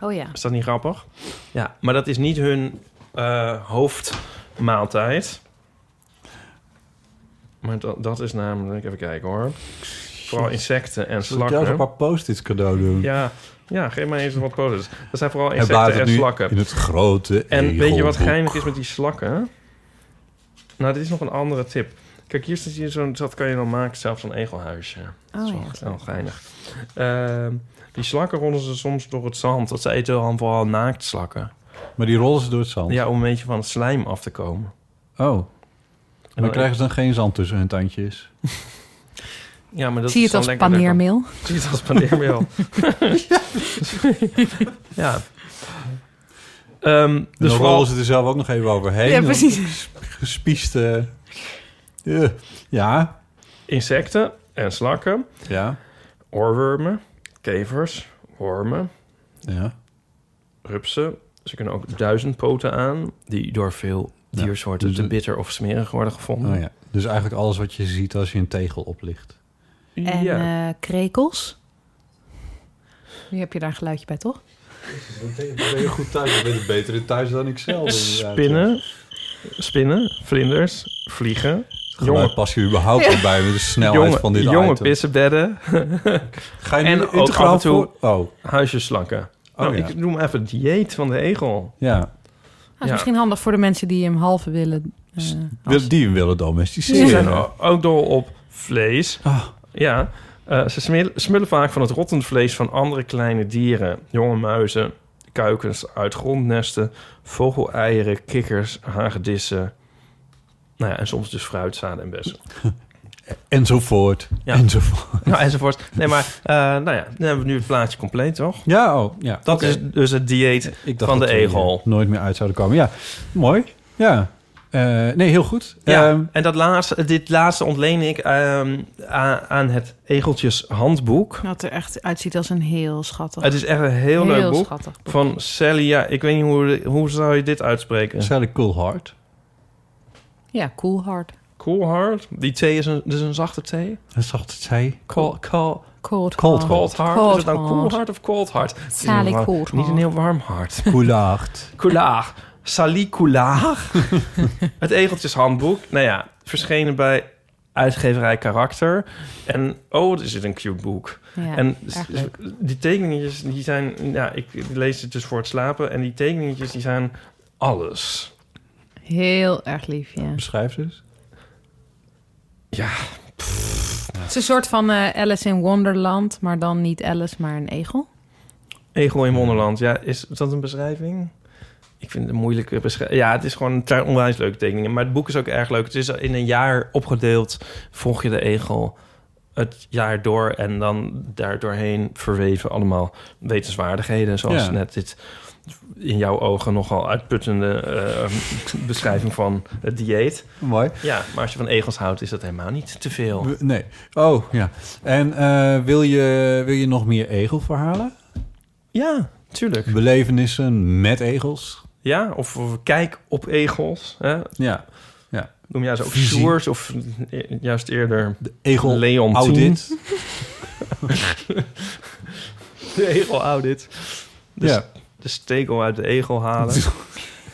C: Oh ja.
A: Is dat niet grappig? Ja, maar dat is niet hun eh, hoofdmaaltijd. Maar dat, dat is namelijk, even kijken hoor. Vooral insecten en
B: Zal ik jou eens een
A: slakken.
B: paar post-its cadeau doen?
A: Ja, ja, geef mij eens wat positiefs. Dat zijn vooral
B: Hij
A: insecten
B: blaadert
A: en
B: nu
A: slakken.
B: in het grote
A: En weet je wat
B: egelboek.
A: geinig is met die slakken? Nou, dit is nog een andere tip. Kijk, hier staat hier zo'n... Dat kan je dan maken, zelfs zo'n egelhuisje.
C: Oh
A: dat is wel echt wel geinig. Ehm, die slakken rollen ze soms door het zand. Dat ze eten dan vooral naaktslakken.
B: Maar die rollen ze door het zand.
A: Ja, om een beetje van het slijm af te komen.
B: Oh,
A: En
B: maar
A: dan-
B: krijgen ze dan geen zand tussen hun tandjes?
A: Ja, maar dat
C: Zie je
A: is
C: het als
A: dan lekkerder dan-
C: paneermeel?
A: Zie je het als paneermeel. ja. Ehm,
B: Dus
A: dus
B: dan
A: vooral...
B: rollen ze er zelf ook nog even overheen.
C: Ja,
B: Dan
C: precies.
B: Gespieste... Eh, Ja,
A: insecten en slakken,
B: ja,
A: oorwormen, kevers, wormen,
B: ja.
A: rupsen. Ze kunnen ook duizendpoten aan, die door veel
B: Ja,
A: diersoorten
B: dus
A: te
B: de-
A: bitter of smerig worden gevonden.
B: Oh, ja. Dus eigenlijk alles wat je ziet als je een tegel oplicht.
C: En
A: Ja.
C: eh, krekels. Nu heb je daar een geluidje bij, toch?
B: Dan ben je goed thuis. Dan ben je beter in thuis dan ik zelf.
A: Spinnen, spinnen, vlinders, vliegen,
B: Jongen,
A: jonge,
B: pas je überhaupt al bij met de snelheid van
A: jonge,
B: dit
A: jonge
B: item.
A: pissebedden,
B: Ga je nu
A: En ook
B: integraal
A: af en toe-
B: voor- Oh,
A: huisjeslakken. nou,
B: ja.
A: Ik noem even het dieet van de egel.
B: ja.
C: Dat Ah, is
A: Ja.
C: misschien handig voor de mensen die hem halve willen. eh,
B: Wil- Die willen
A: Ze zijn
B: domesticeren.
A: o- ook dol op vlees.
B: Ah.
A: Ja, eh, ze smil- smullen vaak van het rottend vlees van andere kleine dieren. Jonge muizen, kuikens uit grondnesten, vogeleieren, kikkers, hagedissen. Nou ja, en soms dus fruitzaden en bessen.
B: Enzovoort.
A: Ja.
B: Enzovoort.
A: nou, enzovoort. Nee, maar eh, nou ja, dan hebben we nu het plaatje compleet, toch?
B: Ja, oh, ja.
A: Dat
B: Oké.
A: is dus het dieet
B: Ik dacht
A: van de
B: dat we hier
A: egel.
B: Nooit meer uit zouden komen. Ja, mooi. Ja. Eh, nee, heel goed.
A: Ja,
B: Ehm,
A: en dat laatste, dit laatste ontleen ik ehm, aan, aan het Egeltjes handboek.
C: Dat er echt uitziet als een heel schattig.
A: Het is echt een heel, leuk boek.
C: schattig boek.
A: Van Celia, ik weet niet hoe, hoe zou je dit uitspreken?
B: Sally Coolheart.
C: Ja, cool hard.
A: Coolhard. Die thee is een, dus een zachte thee.
B: Dat is altijd zij.
A: Cold, cold,
C: Cold,
B: Cold
C: hard.
A: cold hard. is het nou
C: Cold
A: cool
C: hard.
A: hard of cold hard? Het is
C: Sally
A: een wa-
C: cold
A: Niet een
C: hard.
A: heel warm hart.
B: Coolheart.
A: Coulaag. Sally Coulaag. het Egeltjeshandboek. Nou ja, verschenen bij uitgeverij Karakter. En oh, er zit een cute boek.
C: Ja,
A: en
C: erg leuk.
A: die tekeningetjes, die zijn... Ja, ik lees het dus voor het slapen. En die tekeningetjes, die zijn alles.
C: Heel erg lief, ja.
B: Beschrijf ze dus. eens.
A: Ja,
C: Het is een soort van eh, Alice in Wonderland, maar dan niet Alice, maar een egel.
A: Egel in Wonderland. Ja, is dat een beschrijving? Ik vind het een moeilijke beschrijving. Ja, het is gewoon een ter- onwijs leuke tekeningen. Maar het boek is ook erg leuk. Het is in een jaar opgedeeld. Volg je de egel het jaar door en dan daardoorheen verweven allemaal wetenswaardigheden. Zoals
B: Ja.
A: net dit in jouw ogen nogal uitputtende eh, beschrijving van het dieet.
B: Mooi.
A: Ja, maar als je van egels houdt, is dat helemaal niet te veel.
B: We- Oh, Nee. Oh, ja. En eh, wil, je, wil je nog meer egelverhalen?
A: Ja, tuurlijk.
B: Belevenissen met egels.
A: Ja, of, of kijk op egels. Hè?
B: Ja. ja.
A: Noem jij ze ook
B: Visie.
A: soers of eh, juist eerder de
B: egel
A: Leon
B: audit.
A: de egel audit. De,
B: Ja.
A: de stekel uit de egel halen.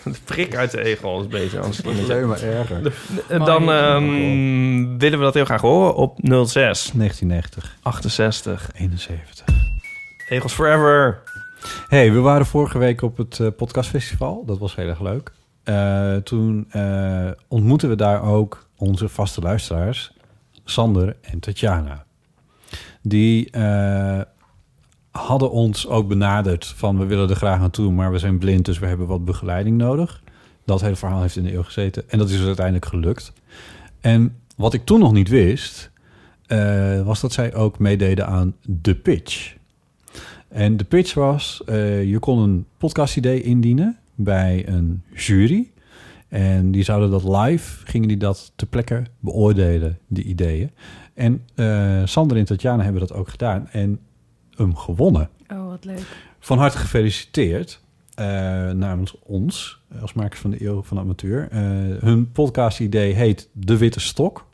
A: de prik uit de egel is beter. Anders
B: wordt alleen maar erger.
A: De- eh, dan ehm, willen we dat heel graag horen op 06.
B: 1990.
A: 68.
B: 71.
A: Egels Forever.
B: hey, we waren vorige week op het eh, podcastfestival. Dat was heel erg leuk. Eh, toen eh, ontmoetten we daar ook onze vaste luisteraars, Sander en Tatjana. Die eh, hadden ons ook benaderd van we willen er graag naartoe, maar we zijn blind, dus we hebben wat begeleiding nodig. Dat hele verhaal heeft in de eeuw gezeten en dat is dus uiteindelijk gelukt. En wat ik toen nog niet wist, eh, was dat zij ook meededen aan de pitch. En de pitch was, eh, je kon een podcastidee indienen bij een jury. En die zouden dat live, gingen die dat ter plekke beoordelen, die ideeën. En eh, Sander en Tatjana hebben dat ook gedaan en hem gewonnen.
C: Oh, wat leuk.
B: Van harte gefeliciteerd eh, namens ons, eh, als makers van de Eeuw van de Amateur. Eh, hun podcast-idee heet De Witte Stok.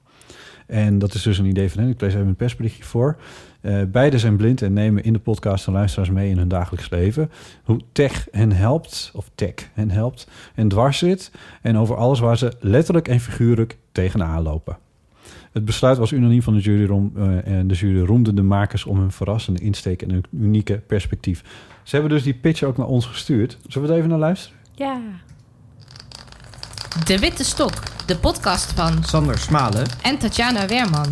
B: En dat is dus een idee van hen. Ik lees even een persberichtje voor. Eh beide zijn blind en nemen in de podcast de luisteraars mee in hun dagelijks leven. Hoe tech hen helpt, of tech hen helpt, en dwars zit. En over alles waar ze letterlijk en figuurlijk tegenaan lopen. Het besluit was unaniem van de jury. Rom, eh, en de jury roemde de makers om hun verrassende insteek en hun unieke perspectief. Ze hebben dus die pitch ook naar ons gestuurd. Zullen we er even naar luisteren?
D: Ja. De Witte Stok, de podcast van
E: Sander Smalen.
D: en Tatjana Werman.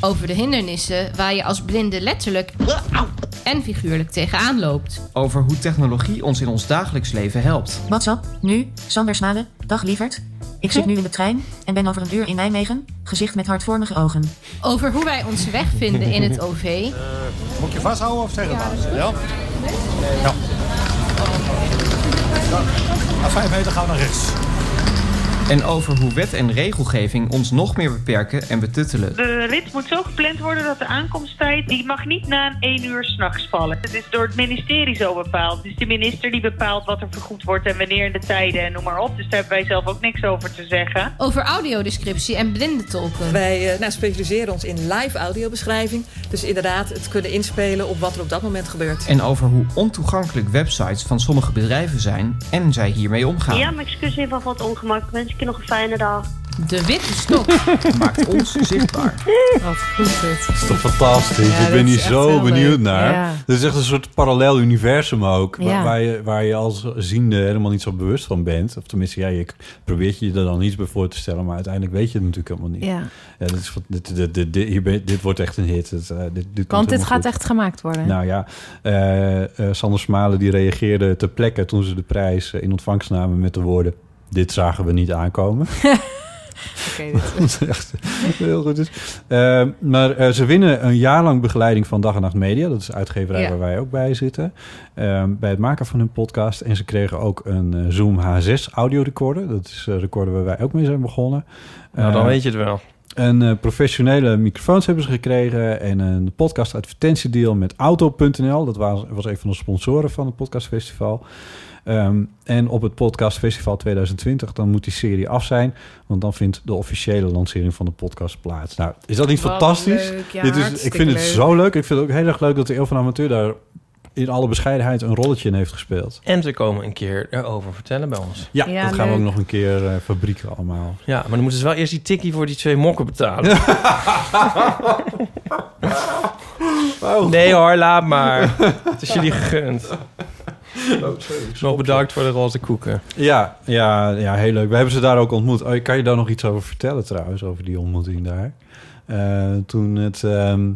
D: Over de hindernissen waar je als blinde letterlijk en figuurlijk tegenaan loopt.
E: Over hoe technologie ons in ons dagelijks leven helpt.
F: WhatsApp, nu, Sander Smalen, dag lieverd. Ik zit nu in de trein en ben over een uur in Nijmegen, gezicht met hartvormige ogen.
D: Over hoe wij onze weg vinden in het OV.
G: Moet je vasthouden of zeggen maar? Ja.
D: Ja.
G: Na Ah, vijf meter gaan we naar rechts.
E: En over hoe wet en regelgeving ons nog meer beperken en betuttelen.
H: De rit moet zo gepland worden dat de aankomsttijd... die mag niet na een 1 uur s'nachts vallen. Het is door het ministerie zo bepaald. Dus de minister die bepaalt wat er vergoed wordt en wanneer en de tijden en noem maar op. Dus daar hebben wij zelf ook niks over te zeggen.
D: Over audiodescriptie en blindentolken.
I: Wij eh, nou, specialiseren ons in live audiobeschrijving. Dus inderdaad, het kunnen inspelen op wat er op dat moment gebeurt.
E: En over hoe ontoegankelijk websites van sommige bedrijven zijn en zij hiermee omgaan.
J: Ja, maar excuus even voor het ongemak. Wens ik je nog een fijne dag.
D: De witte stok.
E: Maakt ons zichtbaar.
C: Wat goed dit.
B: Dat is toch fantastisch?
C: Ja,
B: ik
C: dat
B: ben
C: is
B: hier
C: echt
B: zo
C: heel
B: benieuwd
C: leuk.
B: naar.
C: Ja.
B: Dat is echt een soort parallel universum ook. waar-
C: Ja.
B: Waar, je, waar je als ziende helemaal niet zo bewust van bent. Of tenminste, ja, je probeert je er dan iets bij voor te stellen. Maar uiteindelijk weet je het natuurlijk helemaal niet.
C: Ja.
B: dit, is, wat- dit, dit, dit, dit, hier ben- dit wordt echt een hit. Het, eh, dit, dit komt
C: Want dit
B: helemaal
C: gaat
B: goed.
C: echt gemaakt worden.
B: Nou ja, eh, eh, Sander Smalen die reageerde ter plekke toen ze de prijs eh, in ontvangst namen met de woorden... Dit zagen we niet aankomen.
C: Oké,
B: Wat echt heel goed is. Eh, maar eh, ze winnen een jaar lang begeleiding van Dag en Nacht Media. Dat is de uitgeverij
C: Ja.
B: waar wij ook bij zitten. eh, bij het maken van hun podcast. En ze kregen ook een eh, Zoom H6 audiorecorder. Dat is een recorder waar wij ook mee zijn begonnen.
A: Nou, dan
B: Eh,
A: weet je het wel.
B: en eh, professionele microfoons hebben ze gekregen. En een podcast advertentiedeal met Auto.nl. Dat was, was een van de sponsoren van het podcastfestival. Ehm, en op het podcastfestival 2020, dan moet die serie af zijn. Want dan vindt de officiële lancering van de podcast plaats. Nou, is dat niet
C: Wat
B: fantastisch?
C: leuk, ja,
B: Dit is, ik
C: hartstikke
B: vind het
C: leuk.
B: zo leuk. Ik vind het ook heel erg leuk dat de Eeuw van Amateur daar in alle bescheidenheid een rolletje in heeft gespeeld.
A: En ze komen een keer erover vertellen bij ons.
B: Ja,
C: Ja,
B: dat gaan we ook
C: leuk.
B: nog een keer eh, fabrieken allemaal.
A: Ja, maar dan moeten ze wel eerst die tikkie voor die twee mokken betalen. Nee hoor, laat maar. Het is jullie gegund. Nog bedankt voor de roze koeken.
B: Ja, ja, ja, heel leuk. We hebben ze daar ook ontmoet. Oh, ik kan je daar nog iets over vertellen trouwens, over die ontmoeting daar? Eh, toen het... ehm,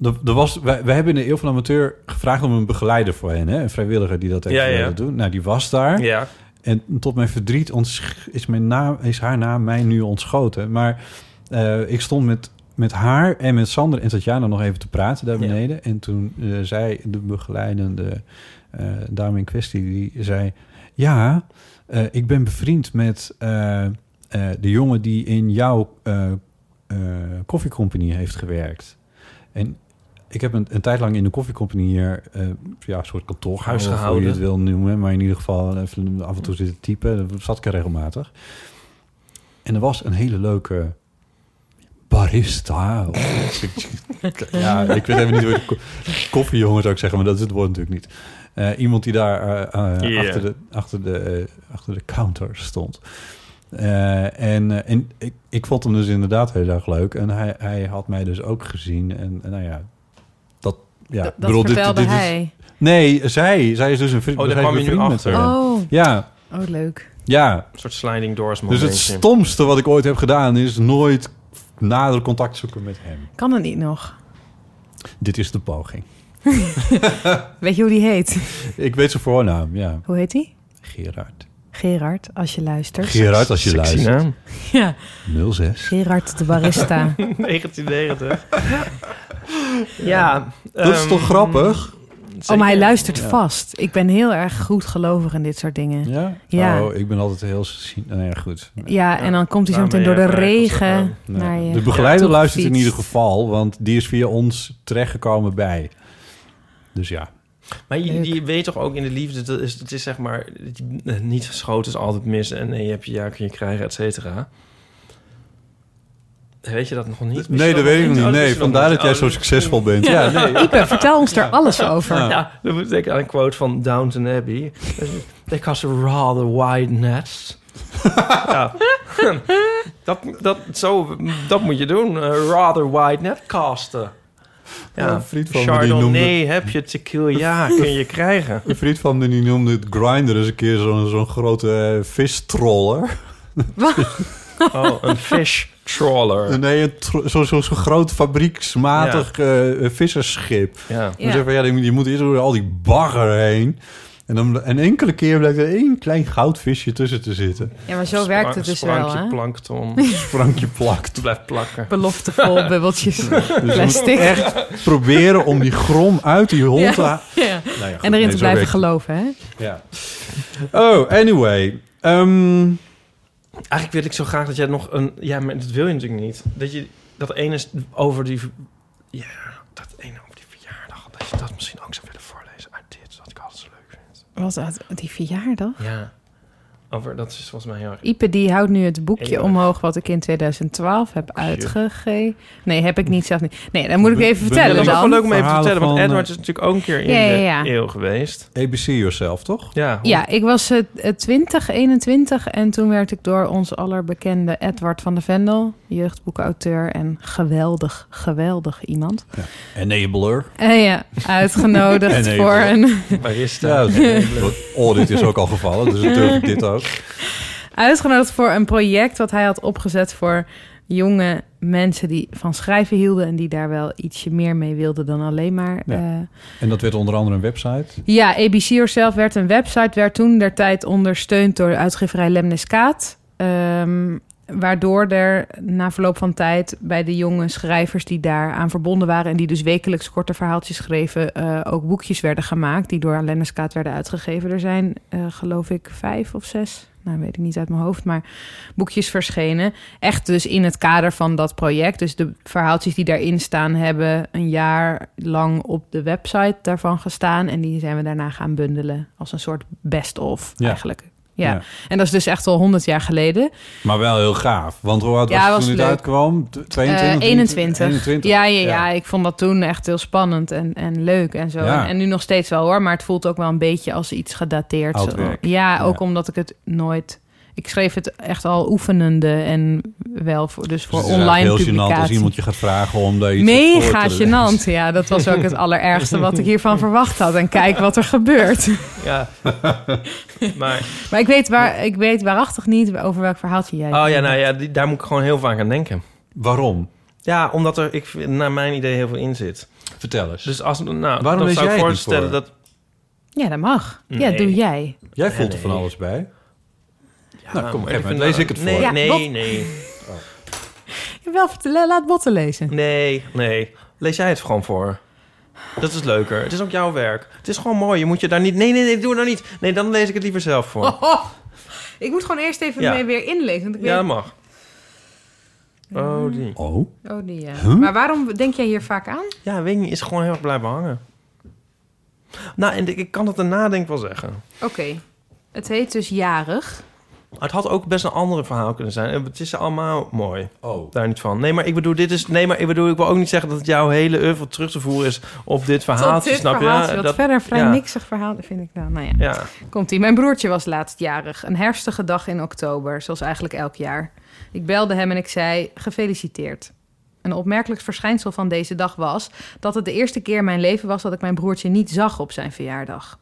B: er er was, wij, wij hebben in de Eeuw van de Amateur gevraagd om een begeleider voor hen. Hè? Een vrijwilliger die dat heeft
A: Ja, ja.
B: willen doen. Nou, die was daar.
A: Ja.
B: En tot mijn verdriet ontsch- is, mijn naam, is haar naam mij nu ontschoten. Maar eh, ik stond met, met haar en met Sander en Tatjana nog even te praten daar beneden. En toen eh, zei de begeleidende eh, dame in kwestie, die zei... Ja, eh, ik ben bevriend met eh, eh, de jongen die in jouw eh eh koffiecompagnie heeft gewerkt. En ik heb een, een tijd lang in de koffiecompagnie hier... eh, ja, een soort kantoorhuis
A: Huis
B: gehouden. Hoe je het wil
A: gehouden.
B: noemen. Maar in ieder geval eh, even af en toe zitten typen. Dat zat ik er regelmatig. En er was een hele leuke barista. ja, ik weet even niet hoe... de ko- Koffiejongen zou ik zeggen, maar dat is het woord natuurlijk niet. Eh, iemand die daar eh, eh,
A: Ja.
B: achter, de, achter, de, eh, achter de counter stond. Eh, en eh, en ik, ik vond hem dus inderdaad heel erg leuk. En hij, hij had mij dus ook gezien. En, en nou ja, dat... Ja, ik bedoel, dit-
C: vertelde
B: dit is-
C: hij.
B: Nee, zij. Zij is dus een vriend,
A: Oh, daar
B: zij is
A: kwam
B: een
A: je nu
B: vriend met
A: achter.
B: haar.
C: Oh.
B: Ja,
C: Oh, leuk.
B: ja.
A: Een soort sliding doors
B: Dus het
A: momentje.
B: stomste wat ik ooit heb gedaan is nooit nader contact zoeken met hem.
C: Kan dat niet nog?
B: Dit is de poging.
C: Weet je hoe die heet?
B: Ik weet zijn voornaam, ja.
C: Hoe heet die?
B: Gerard.
C: Gerard, als je luistert.
B: Gerard, als je
A: Sexy
B: luistert.
A: naam.
C: Ja,
B: 06.
C: Gerard de barista.
A: 1990. ja.
B: Dat is
A: ehm,
B: toch grappig?
C: Oh, maar hij luistert
B: Ja.
C: vast. Ik ben heel erg goed gelovig in dit soort dingen.
B: Ja?
C: Ja,
B: Oh, ik ben altijd heel... cyn- Nee, ja, goed.
C: ja en dan komt hij zo
B: Ja,
C: meteen door
B: daarmee
C: de
B: heb ik
C: regen
B: eigenlijk Nee.
C: naar je.
B: De begeleider
C: toe
B: luistert in
C: gefietst.
B: ieder geval, want die is via ons terechtgekomen bij. Dus ja.
A: Maar je, je weet toch ook in de liefde, dat is, het is zeg maar, eh, niet geschoten is altijd mis en nee, je hebt je ja kun je krijgen, et cetera. Weet je dat nog niet? Wist je
B: Nee, dat
A: nog
B: weet ik
A: niet?
B: niet.
A: Oh, dat
B: Nee,
A: wist je nog
B: vandaar
A: niet.
B: dat jij
A: Oh,
B: zo succesvol bent.
A: Ja.
B: Ja, nee.
C: Ipe, vertel ons daar alles over.
A: Ja, dan moet ik aan een quote van Downton Abbey. They cast a rather wide net. ja. dat, dat, zo, dat moet je doen. Een rather wide net casten.
B: Ja,
A: Ja,
B: een vriend van me die
A: Chardonnay
B: noemde-
A: heb je tequila, ja, kun je krijgen.
B: Een vriend van me die noemde het grinder eens een keer zo'n zo'n grote eh, vistroller.
A: Oh, een fish trawler.
B: Nee, een tro- zo'n zo, zo'n groot fabrieksmatig eh, vissersschip.
A: Ja.
B: Dan
A: Ja.
B: zeggen we, ja, die moet- je moet eerst door al die bagger heen. En dan een enkele keer blijkt er één klein goudvisje tussen te zitten.
C: Ja, maar zo werkt het dus wel,
A: Sprankje
C: hè?
A: plankton.
B: Sprankje plakt.
A: Blijft plakken.
C: Beloftevol bubbeltjes.
B: Dus je moet
C: Plastic.
B: echt proberen om die grom uit die hond te
C: Ja.
B: ha-
C: Ja.
B: Nou ja, goed,
C: en
B: nee,
C: erin
B: zo
C: te blijven
B: werkt het.
C: geloven, hè?
B: Ja. Oh, anyway. Ehm,
A: Eigenlijk wil ik zo graag dat jij nog een... Ja, maar dat wil je natuurlijk niet. Dat je dat ene is over die... Ja, dat ene over die verjaardag. Dat je dat misschien ook zou willen voorlezen uit dit. Dat ik altijd zo leuk vind.
C: Wat, die verjaardag?
A: Ja. Over, dat is volgens mij heel erg...
C: Ipe die houdt nu het boekje
A: Eeuwig.
C: omhoog wat ik in 2012 heb uitgegeven. Nee, heb ik niet zelf niet. Nee, dat moet ik even vertellen
A: Dat is ook
C: dan.
A: wel leuk om even te
B: Verhalen
A: vertellen. Want
B: van,
A: Edward
B: eh,
A: is natuurlijk ook een keer in
C: Ja, ja,
A: de
C: ja.
A: eeuw geweest.
B: ABC Yourself, toch?
A: Ja. hoe-
C: Ja, ik was eh, eh, 20, 21 en toen werd ik door ons allerbekende Edward van de Vendel, jeugdboekauteur en geweldig, geweldig iemand,
B: Enabler.
C: eh, ja, uitgenodigd
B: Enabler.
C: voor een,
A: Barista.
B: Ja, dat-
A: Enabler.
B: oh, dit is ook al gevallen, dus dat durf ik dit ook.
C: uitgenodigd voor een project wat hij had opgezet voor jonge mensen die van schrijven hielden en die daar wel ietsje meer mee wilden dan alleen maar
B: Ja.
C: eh,
B: En dat werd onder andere een website.
C: Ja, ABC Yourself werd een website, werd toen der tijd ondersteund door de uitgeverij Lemniskaat. Ehm, waardoor er na verloop van tijd bij de jonge schrijvers die daar aan verbonden waren... en die dus wekelijks korte verhaaltjes schreven, eh, ook boekjes werden gemaakt... die door Lemniskaat werden uitgegeven. Er zijn, eh, geloof ik, vijf of zes, nou weet ik niet uit mijn hoofd, maar boekjes verschenen. Echt dus in het kader van dat project. Dus de verhaaltjes die daarin staan hebben een jaar lang op de website daarvan gestaan. En die zijn we daarna gaan bundelen als een soort best-of
B: Ja.
C: eigenlijk. Ja.
B: Ja.
C: en dat is dus echt al 100 jaar geleden.
B: Maar wel heel gaaf. Want hoe oud
C: Ja,
B: was
C: was
B: het toen het
C: leuk.
B: uitkwam? T- 22?
C: Eh, 21.
B: 21.
C: Ja, ja, ja, ik vond dat toen echt heel spannend en, en leuk en zo.
B: Ja.
C: En, en nu nog steeds wel hoor, maar het voelt ook wel een beetje als iets gedateerd.
B: Oud
C: Zo-
B: werk.
C: Ja, ook omdat ik het nooit... Ik schreef het echt al oefenende en wel voor, dus voor
B: Dus het is
C: online
B: eigenlijk heel gênant als
C: publicatie.
B: iemand je gaat vragen om daar iets op voor
C: Mega
B: te leggen.
C: gênant. Ja, dat was ook het allerergste wat ik hiervan verwacht had. En kijk wat er gebeurt.
A: Ja. maar...
C: Maar ik weet, waar, ik weet waarachtig niet over welk verhaaltje jij...
A: Oh ja, nou ja, die- daar moet ik gewoon heel vaak aan denken.
B: Waarom?
A: Ja, omdat er ik, vind, naar mijn idee heel veel in zit.
B: Vertel eens.
A: Dus als, nou,
B: Waarom
A: dan
B: lees
A: zou ik
B: jij het niet
A: voorstellen
B: voor? Nou,
A: dat...
C: Ja, dat mag. Ja,
A: Nee.
C: doe jij.
B: Jij voelt
A: Nee.
B: er van alles bij. nou, kom op,
A: maar ik
B: even,
A: vind
B: lees
A: dat-
B: ik het voor.
A: Nee,
C: Ja,
A: nee,
C: wat-
A: nee.
C: Wel vertellen, laat botten lezen.
A: Nee, nee. Lees jij het gewoon voor. Dat is leuker. Het is ook jouw werk. Het is gewoon mooi. Je moet je daar niet... Nee, nee, nee, doe het nou niet. Nee, dan lees ik het liever zelf voor.
C: Oh, oh. Ik moet gewoon eerst even
A: Ja.
C: mee weer inlezen. Want ik
A: Ja, dat
C: weet...
A: mag. Oh, die.
B: Oh.
C: Oh, die ja.
A: Huh?
C: Maar waarom denk jij hier vaak aan?
A: Ja, weet ik niet. Is gewoon heel erg blijven hangen. Nou, en ik- ik kan dat de nadenk wel zeggen.
C: Oké. Het heet dus jarig.
A: Maar het had ook best een andere verhaal kunnen zijn. En Het is allemaal mooi.
B: Oh.
A: Daar niet van. Nee, maar ik bedoel, dit is. Nee, maar ik bedoel, ik wil ook niet zeggen dat het jouw hele oeuvre terug te voeren is op dit verhaal.
C: Tot dit
A: snap
C: verhaaltje,
A: je?
C: wat verder vrij
A: ja.
C: niksig verhaal vind ik nou. Nou ja.
A: Ja.
C: Komt ie. Mijn broertje was laatst jarig. Een herfstige dag in oktober, zoals eigenlijk elk jaar. Ik belde hem en ik zei: Gefeliciteerd. Een opmerkelijk verschijnsel van deze dag was dat het de eerste keer in mijn leven was dat ik mijn broertje niet zag op zijn verjaardag.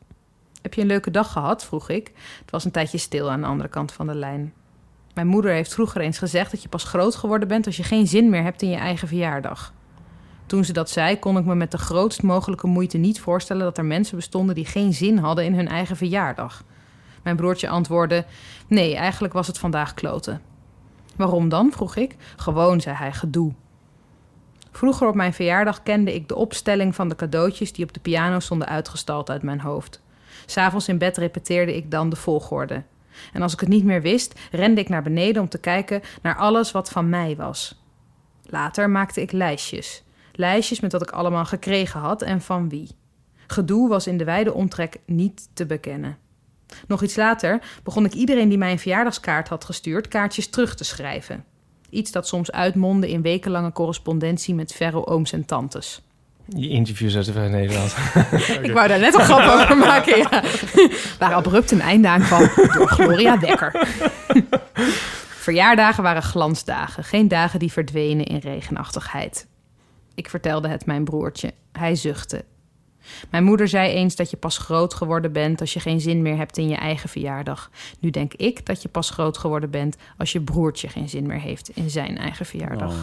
C: Heb je een leuke dag gehad? vroeg ik. Het was een tijdje stil aan de andere kant van de lijn. Mijn moeder heeft vroeger eens gezegd dat je pas groot geworden bent als je geen zin meer hebt in je eigen verjaardag. Toen ze dat zei, kon ik me met de grootst mogelijke moeite niet voorstellen dat er mensen bestonden die geen zin hadden in hun eigen verjaardag. Mijn broertje antwoordde: Nee, eigenlijk was het vandaag kloten. Waarom dan? vroeg ik. Gewoon, zei hij, gedoe. Vroeger op mijn verjaardag kende ik de opstelling van de cadeautjes die op de piano stonden uitgestald uit mijn hoofd. S'avonds in bed repeteerde ik dan de volgorde. En als ik het niet meer wist, rende ik naar beneden om te kijken naar alles wat van mij was. Later maakte ik lijstjes. Lijstjes met wat ik allemaal gekregen had en van wie. Gedoe was in de wijde omtrek niet te bekennen. Nog iets later begon ik iedereen die mij een verjaardagskaart had gestuurd kaartjes terug te schrijven. Iets dat soms uitmondde in wekenlange correspondentie met verre ooms en tantes.
A: Die interviews uit de Vrij Nederland.
C: Ik wou daar net een grap over maken, ja. Waar abrupt een einde aan kwam door Gloria Dekker. Verjaardagen waren glansdagen, geen dagen die verdwenen in regenachtigheid. Ik vertelde het mijn broertje. Hij zuchtte. Mijn moeder zei eens dat je pas groot geworden bent als je geen zin meer hebt in je eigen verjaardag. Nu denk ik dat je pas groot geworden bent als je broertje geen zin meer heeft in zijn eigen verjaardag.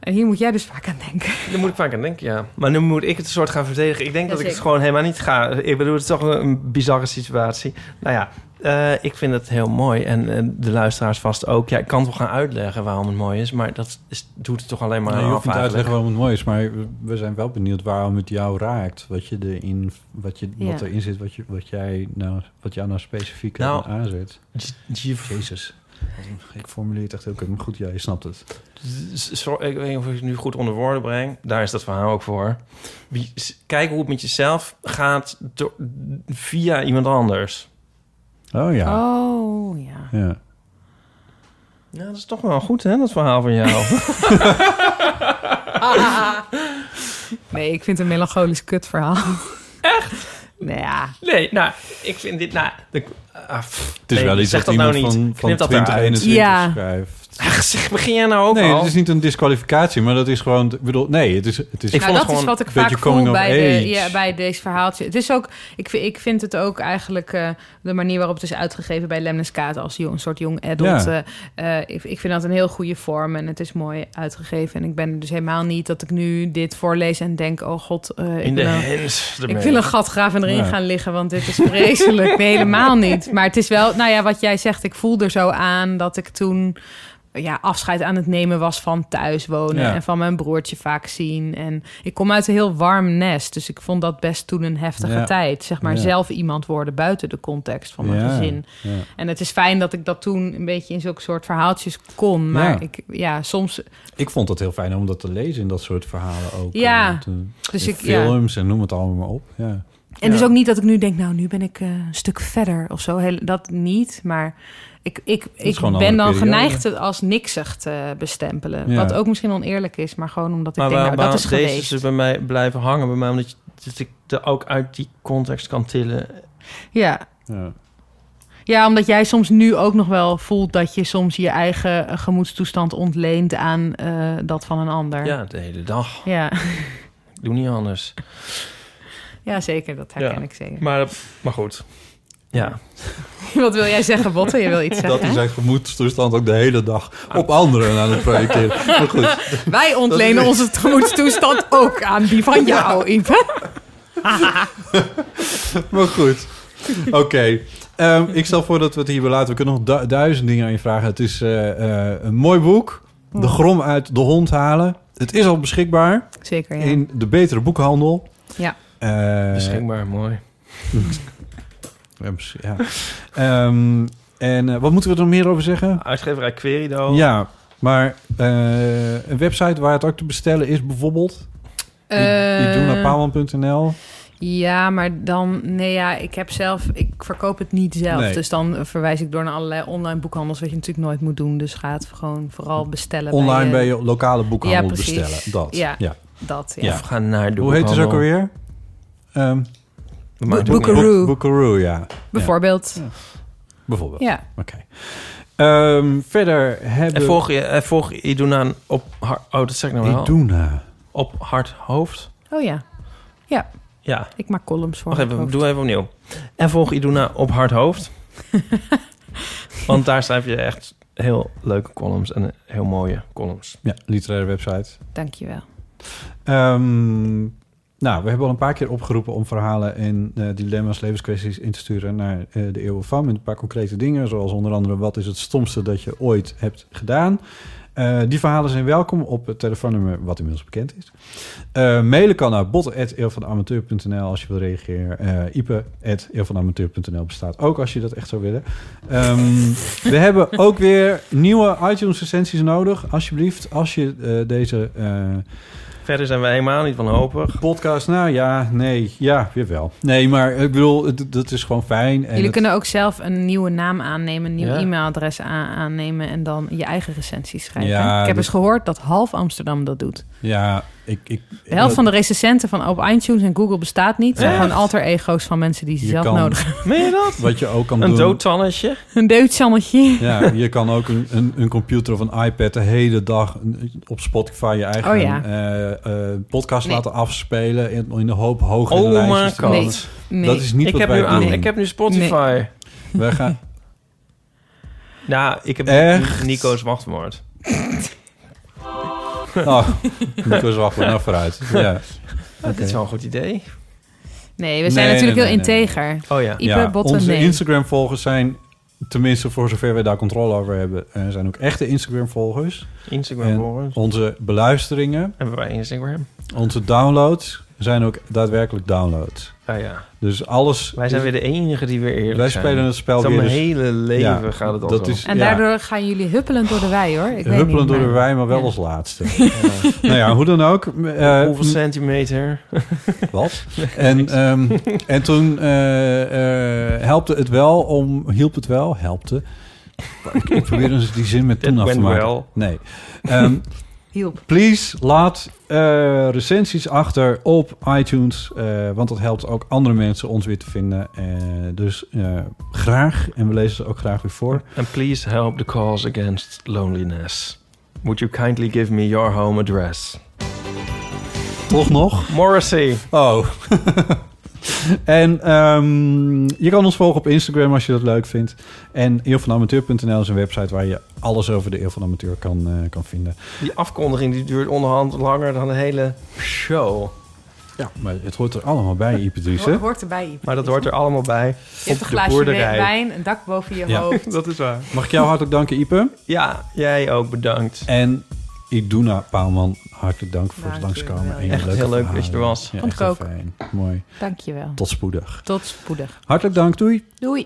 C: En hier moet jij dus vaak aan denken.
A: Daar moet ik vaak aan denken, ja. Maar nu moet ik het een soort gaan verdedigen. Ik denk dat ik het
C: Jazeker.
A: gewoon helemaal niet ga. Ik bedoel, het is toch een- een bizarre situatie. Nou ja, eh, ik vind het heel mooi. En eh, de luisteraars vast ook. Ja, ik kan het wel gaan uitleggen waarom het mooi is. Maar dat is, doet het toch alleen maar
B: Nee, je
A: af
B: hoeft niet uit te
A: eigenlijk.
B: leggen waarom het mooi is, maar we zijn wel benieuwd waarom het jou raakt. Wat, je erin, wat, je, wat
A: Ja.
B: erin zit, wat, je, wat, jij nou, wat jou nou specifiek
A: Nou,
B: aanzet. Jezus. Wat een- Ik formuleer het echt heel kut, maar goed, jij snapt het.
A: Zo- ik weet niet of ik het nu goed onder woorden breng. Daar is dat verhaal ook voor. Wie, s- kijk hoe het met jezelf gaat door- via iemand anders.
B: Oh ja.
C: Oh ja.
B: Ja.
A: Ja, dat is toch wel goed, hè, dat verhaal van jou.
C: Nee, ik vind het een melancholisch kutverhaal. Echt? Nou ja.
A: nee, nou, ik vind dit... Nou, de- ah, pff,
B: Het is
A: nee,
B: wel iets
A: zeg
B: dat
A: nou
B: iemand
A: niet.
B: van, van
A: Knip dat
B: 20,
A: eruit.
B: 21
C: Ja.
B: schrijft.
A: Ach, zeg, begin jij nou ook
B: nee,
A: al?
B: het is niet een disqualificatie, maar dat is gewoon... Ik bedoel, nee, het is... Het is
C: nou, dat is wat ik
B: een beetje
C: vaak
B: coming
C: voel
B: of
C: bij, de,
B: age.
C: ja, bij deze verhaaltje. Het is ook, ik, vind- ik vind het ook eigenlijk eh, de manier waarop het is uitgegeven bij Lemnes Kaat als jong- een soort jong adult.
K: Ja.
C: eh, eh, ik, ik vind dat een heel goede vorm en het is mooi uitgegeven. En ik ben er dus helemaal niet dat ik nu dit voorlees en denk: oh god, eh, ik
A: In de
C: wil een-
A: hens ermee.
C: Ik wil een gat graven en erin
A: Ja.
C: gaan liggen, want dit is vreselijk. Nee, helemaal niet. Maar het is wel, nou ja, wat jij zegt, ik voel er zo aan dat ik toen ja, afscheid aan het nemen was van thuis wonen
K: Ja.
C: en van mijn broertje vaak zien. En ik kom uit een heel warm nest, dus ik vond dat best toen een heftige
K: Ja.
C: tijd. Zeg maar
K: Ja.
C: zelf iemand worden buiten de context van mijn
K: Ja.
C: gezin.
K: Ja.
C: En het is fijn dat ik dat toen een beetje in zulke soort verhaaltjes kon. Maar
B: Ja.
C: ik, ja, soms
B: Ik vond het heel fijn om dat te lezen in dat soort verhalen ook.
C: Ja.
B: eh, te-
C: Dus
B: in
C: ik- ja.
B: films en noem het allemaal maar op. Ja.
C: En dus ook niet dat ik nu denk, nou, nu ben ik eh, een stuk verder of zo. Heel, dat niet, maar ik, ik, ik
B: gewoon
C: ben
B: een
C: dan
B: andere periode.
C: geneigd het als niksig te bestempelen.
A: Ja.
C: Wat ook misschien oneerlijk is, maar gewoon omdat ik
A: Maar
C: denk,
A: waar,
C: nou,
A: waar
C: dat is
A: deze
C: geweest.
A: ze bij mij blijven hangen, bij mij, omdat je, dat ik er ook uit die context kan tillen.
C: Ja.
B: Ja.
C: ja, omdat jij soms nu ook nog wel voelt dat je soms je eigen eh, gemoedstoestand ontleent aan eh, dat van een ander.
A: Ja, de hele dag.
C: Ja.
A: Ik doe niet anders.
C: ja zeker. Dat herken
A: Ja.
C: ik zeker.
A: Maar, maar goed. Eh, Ja.
C: Wat wil jij zeggen, Botte? Je wil iets zeggen?
B: Dat is zijn gemoedstoestand ook de hele dag
C: Ah.
B: op anderen aan het projecteren. Maar goed,
C: Wij ontlenen
B: Dat is-
C: onze gemoedstoestand ook aan die van jou, Ipe.
B: maar goed. Oké. Ehm, ik stel voor dat we het hierbij laten. We kunnen nog du- duizend dingen aan je vragen. Het is eh, eh, een mooi boek.
C: Hm.
B: De grom uit de hond halen. Het is al beschikbaar.
C: Zeker, ja.
B: In de betere boekhandel.
C: Ja.
B: Eh,
A: Beschikbaar, mooi.
B: Ja, misschien- ja. Ehm, En eh, wat moeten we er nog meer over zeggen?
A: Uitgeverij
C: Oh.
A: Querido.
B: Ja, maar eh, een website waar het ook te bestellen is bijvoorbeeld...
C: Eh,
B: Idunapawon.nl.
C: Ja, maar dan, nee ja, ik heb zelf, ik verkoop het niet zelf.
B: Nee.
C: Dus dan verwijs ik door naar allerlei online boekhandels, wat je natuurlijk nooit moet doen. Dus ga het gewoon vooral bestellen.
B: Online bij
C: eh,
B: je lokale boekhandel
C: Ja, precies.
B: bestellen. Dat.
C: Ja, dat, ja. Of
A: gaan naar de
B: Hoe heet het dus ook
A: boekhandel.
B: alweer? Ehm
A: maakt
C: ook niet uit.
B: Boekaroo. Boekaroo, ja.
C: Bijvoorbeeld.
B: Ja, bijvoorbeeld.
C: Ja.
B: Oké. Ehm, verder hebben
A: En volg, je, en volg Iduna op haar... Oh, dat zeg ik nou wel.
B: Iduna.
A: Op hard hoofd.
C: Oh ja. Ja,
A: Ja.
C: ik maak columns voor.
A: Wacht
C: mijn
A: even,
C: hoofd.
A: doe even opnieuw. En volg Iduna op hard hoofd. Want daar schrijf je echt heel leuke columns en heel mooie columns.
B: Ja, literaire website.
C: Dankjewel.
B: Ehm, nou, we hebben al een paar keer opgeroepen om verhalen en eh, dilemma's, levenskwesties in te sturen naar eh, de Eeuw van. Met een paar concrete dingen, zoals onder andere wat is het stomste dat je ooit hebt gedaan. Eh, die verhalen zijn welkom op het telefoonnummer wat inmiddels bekend is. Eh, mailen kan naar bot.eeuwvanamateur.nl als je wil reageren. Eh Ipe.eeuwvanamateur.nl bestaat ook als je dat echt zou willen. Ehm, we hebben ook weer nieuwe iTunes recensies nodig. Alsjeblieft, als je eh, deze... eh,
A: Verder zijn we helemaal niet wanhopig.
B: Podcast, nou ja, nee, ja, weer wel. Nee, maar ik bedoel, het- dat is gewoon fijn. En
C: Jullie
B: het-
C: kunnen ook zelf een nieuwe naam aannemen, een nieuw
B: Ja.
C: e-mailadres aan- aannemen en dan je eigen recensies schrijven.
B: Ja,
C: ik heb
B: dat-
C: eens gehoord dat half Amsterdam dat doet.
B: Ja, ik... ik
C: De helft van de recensenten van op iTunes en Google bestaat niet. zijn
B: Echt?
C: gewoon alter ego's van mensen die ze
B: Je
C: zelf
B: kan-
C: nodig hebben.
A: Meen je dat?
B: Wat je ook kan
A: Een
B: doen...
A: doodtannetje.
C: Een deutschannetje.
B: Ja, je kan ook een, een, een computer of een iPad de hele dag een- op Spotify je eigen
C: Oh ja.
B: eh, eh, podcast
C: Nee.
B: laten afspelen... in, in de hoop hogere
A: Oh
B: lijstjes
A: my
B: te komen.
A: god.
B: Dat is niet
A: ik
B: wat
A: heb
B: wij
A: nu aan-
B: doen.
A: Ik heb nu Spotify.
B: Wij gaan...
A: Nou, ik heb
B: Echt?
A: Nico's wachtwoord.
B: Oh, Nico's wachtwoord, nou vooruit. Ja.
A: Dat
B: Oké.
A: is wel een goed idee.
C: Nee, we zijn
B: Nee,
C: natuurlijk heel
B: nee, nee, nee.
C: integer.
A: Oh
C: Ipe, botten,
B: onze
C: nee.
B: Instagram-volgers zijn, tenminste voor zover we daar controle over hebben, eh, zijn ook echte Instagram-volgers.
A: Instagram-volgers.
B: En Onze beluisteringen,
A: Hebben wij Instagram?
B: onze downloads zijn ook daadwerkelijk downloads.
A: Ah ja.
B: Dus alles.
A: Wij zijn weer de enige die weer eerlijk
B: Wij
A: zijn.
B: spelen het spel
A: Het is al
B: weer.
A: mijn
B: dus-
A: hele leven
B: Ja,
A: gaat het al
B: dat
A: zo.
B: Is,
C: En
B: ja.
C: daardoor gaan jullie huppelend door de wei, hoor. Ik weet
B: Huppelend
C: niet,
B: door de
C: maar-
B: wei, maar wel
C: Ja.
B: als laatste. nou ja, hoe dan ook. eh,
A: Hoeveel centimeter?
B: Wat? En, ehm, en toen eh, eh, helpte het wel om... Hielp het wel? Helpte. Ik, ik probeer eens die zin met toen
A: It
B: af te
A: went
B: maken.
A: well.
B: Nee. Ehm,
C: Hielp.
B: Please, laat eh, recensies achter op iTunes. eh, want dat helpt ook andere mensen ons weer te vinden. Eh, dus eh, graag. En we lezen ze ook graag weer voor.
A: And please help the cause against loneliness. Would you kindly give me your home address?
B: Toch nog?
A: Morrissey.
B: Oh. en ehm, je kan ons volgen op Instagram als je dat leuk vindt. En eeuwvanamateur.nl is een website waar je alles over de Eeuw van de Amateur kan, eh, kan vinden.
A: Die afkondiging die duurt onderhand langer dan de hele show.
B: Ja, maar het hoort er allemaal bij, Ipedrice.
C: Ho- hoort erbij, Ipe.
A: Maar dat hoort er allemaal bij.
C: Je hebt een glaasje wijn, een dak boven je
B: Ja.
C: hoofd.
A: Dat is waar.
B: Mag ik jou hartelijk danken, Ipe?
A: Ja, jij ook bedankt.
B: En Iduna Paalman, hartelijk dank voor het langskomen. En je
A: Nou, Echt
B: leuke
A: heel leuk dat je er
B: verhalen.
A: was.
B: Ja,
C: Vond
B: echt
C: ik
B: heel
C: ook.
B: fijn. Mooi.
C: Dankjewel.
B: Tot spoedig.
C: Tot spoedig.
B: Hartelijk dank, doei.
C: Doei.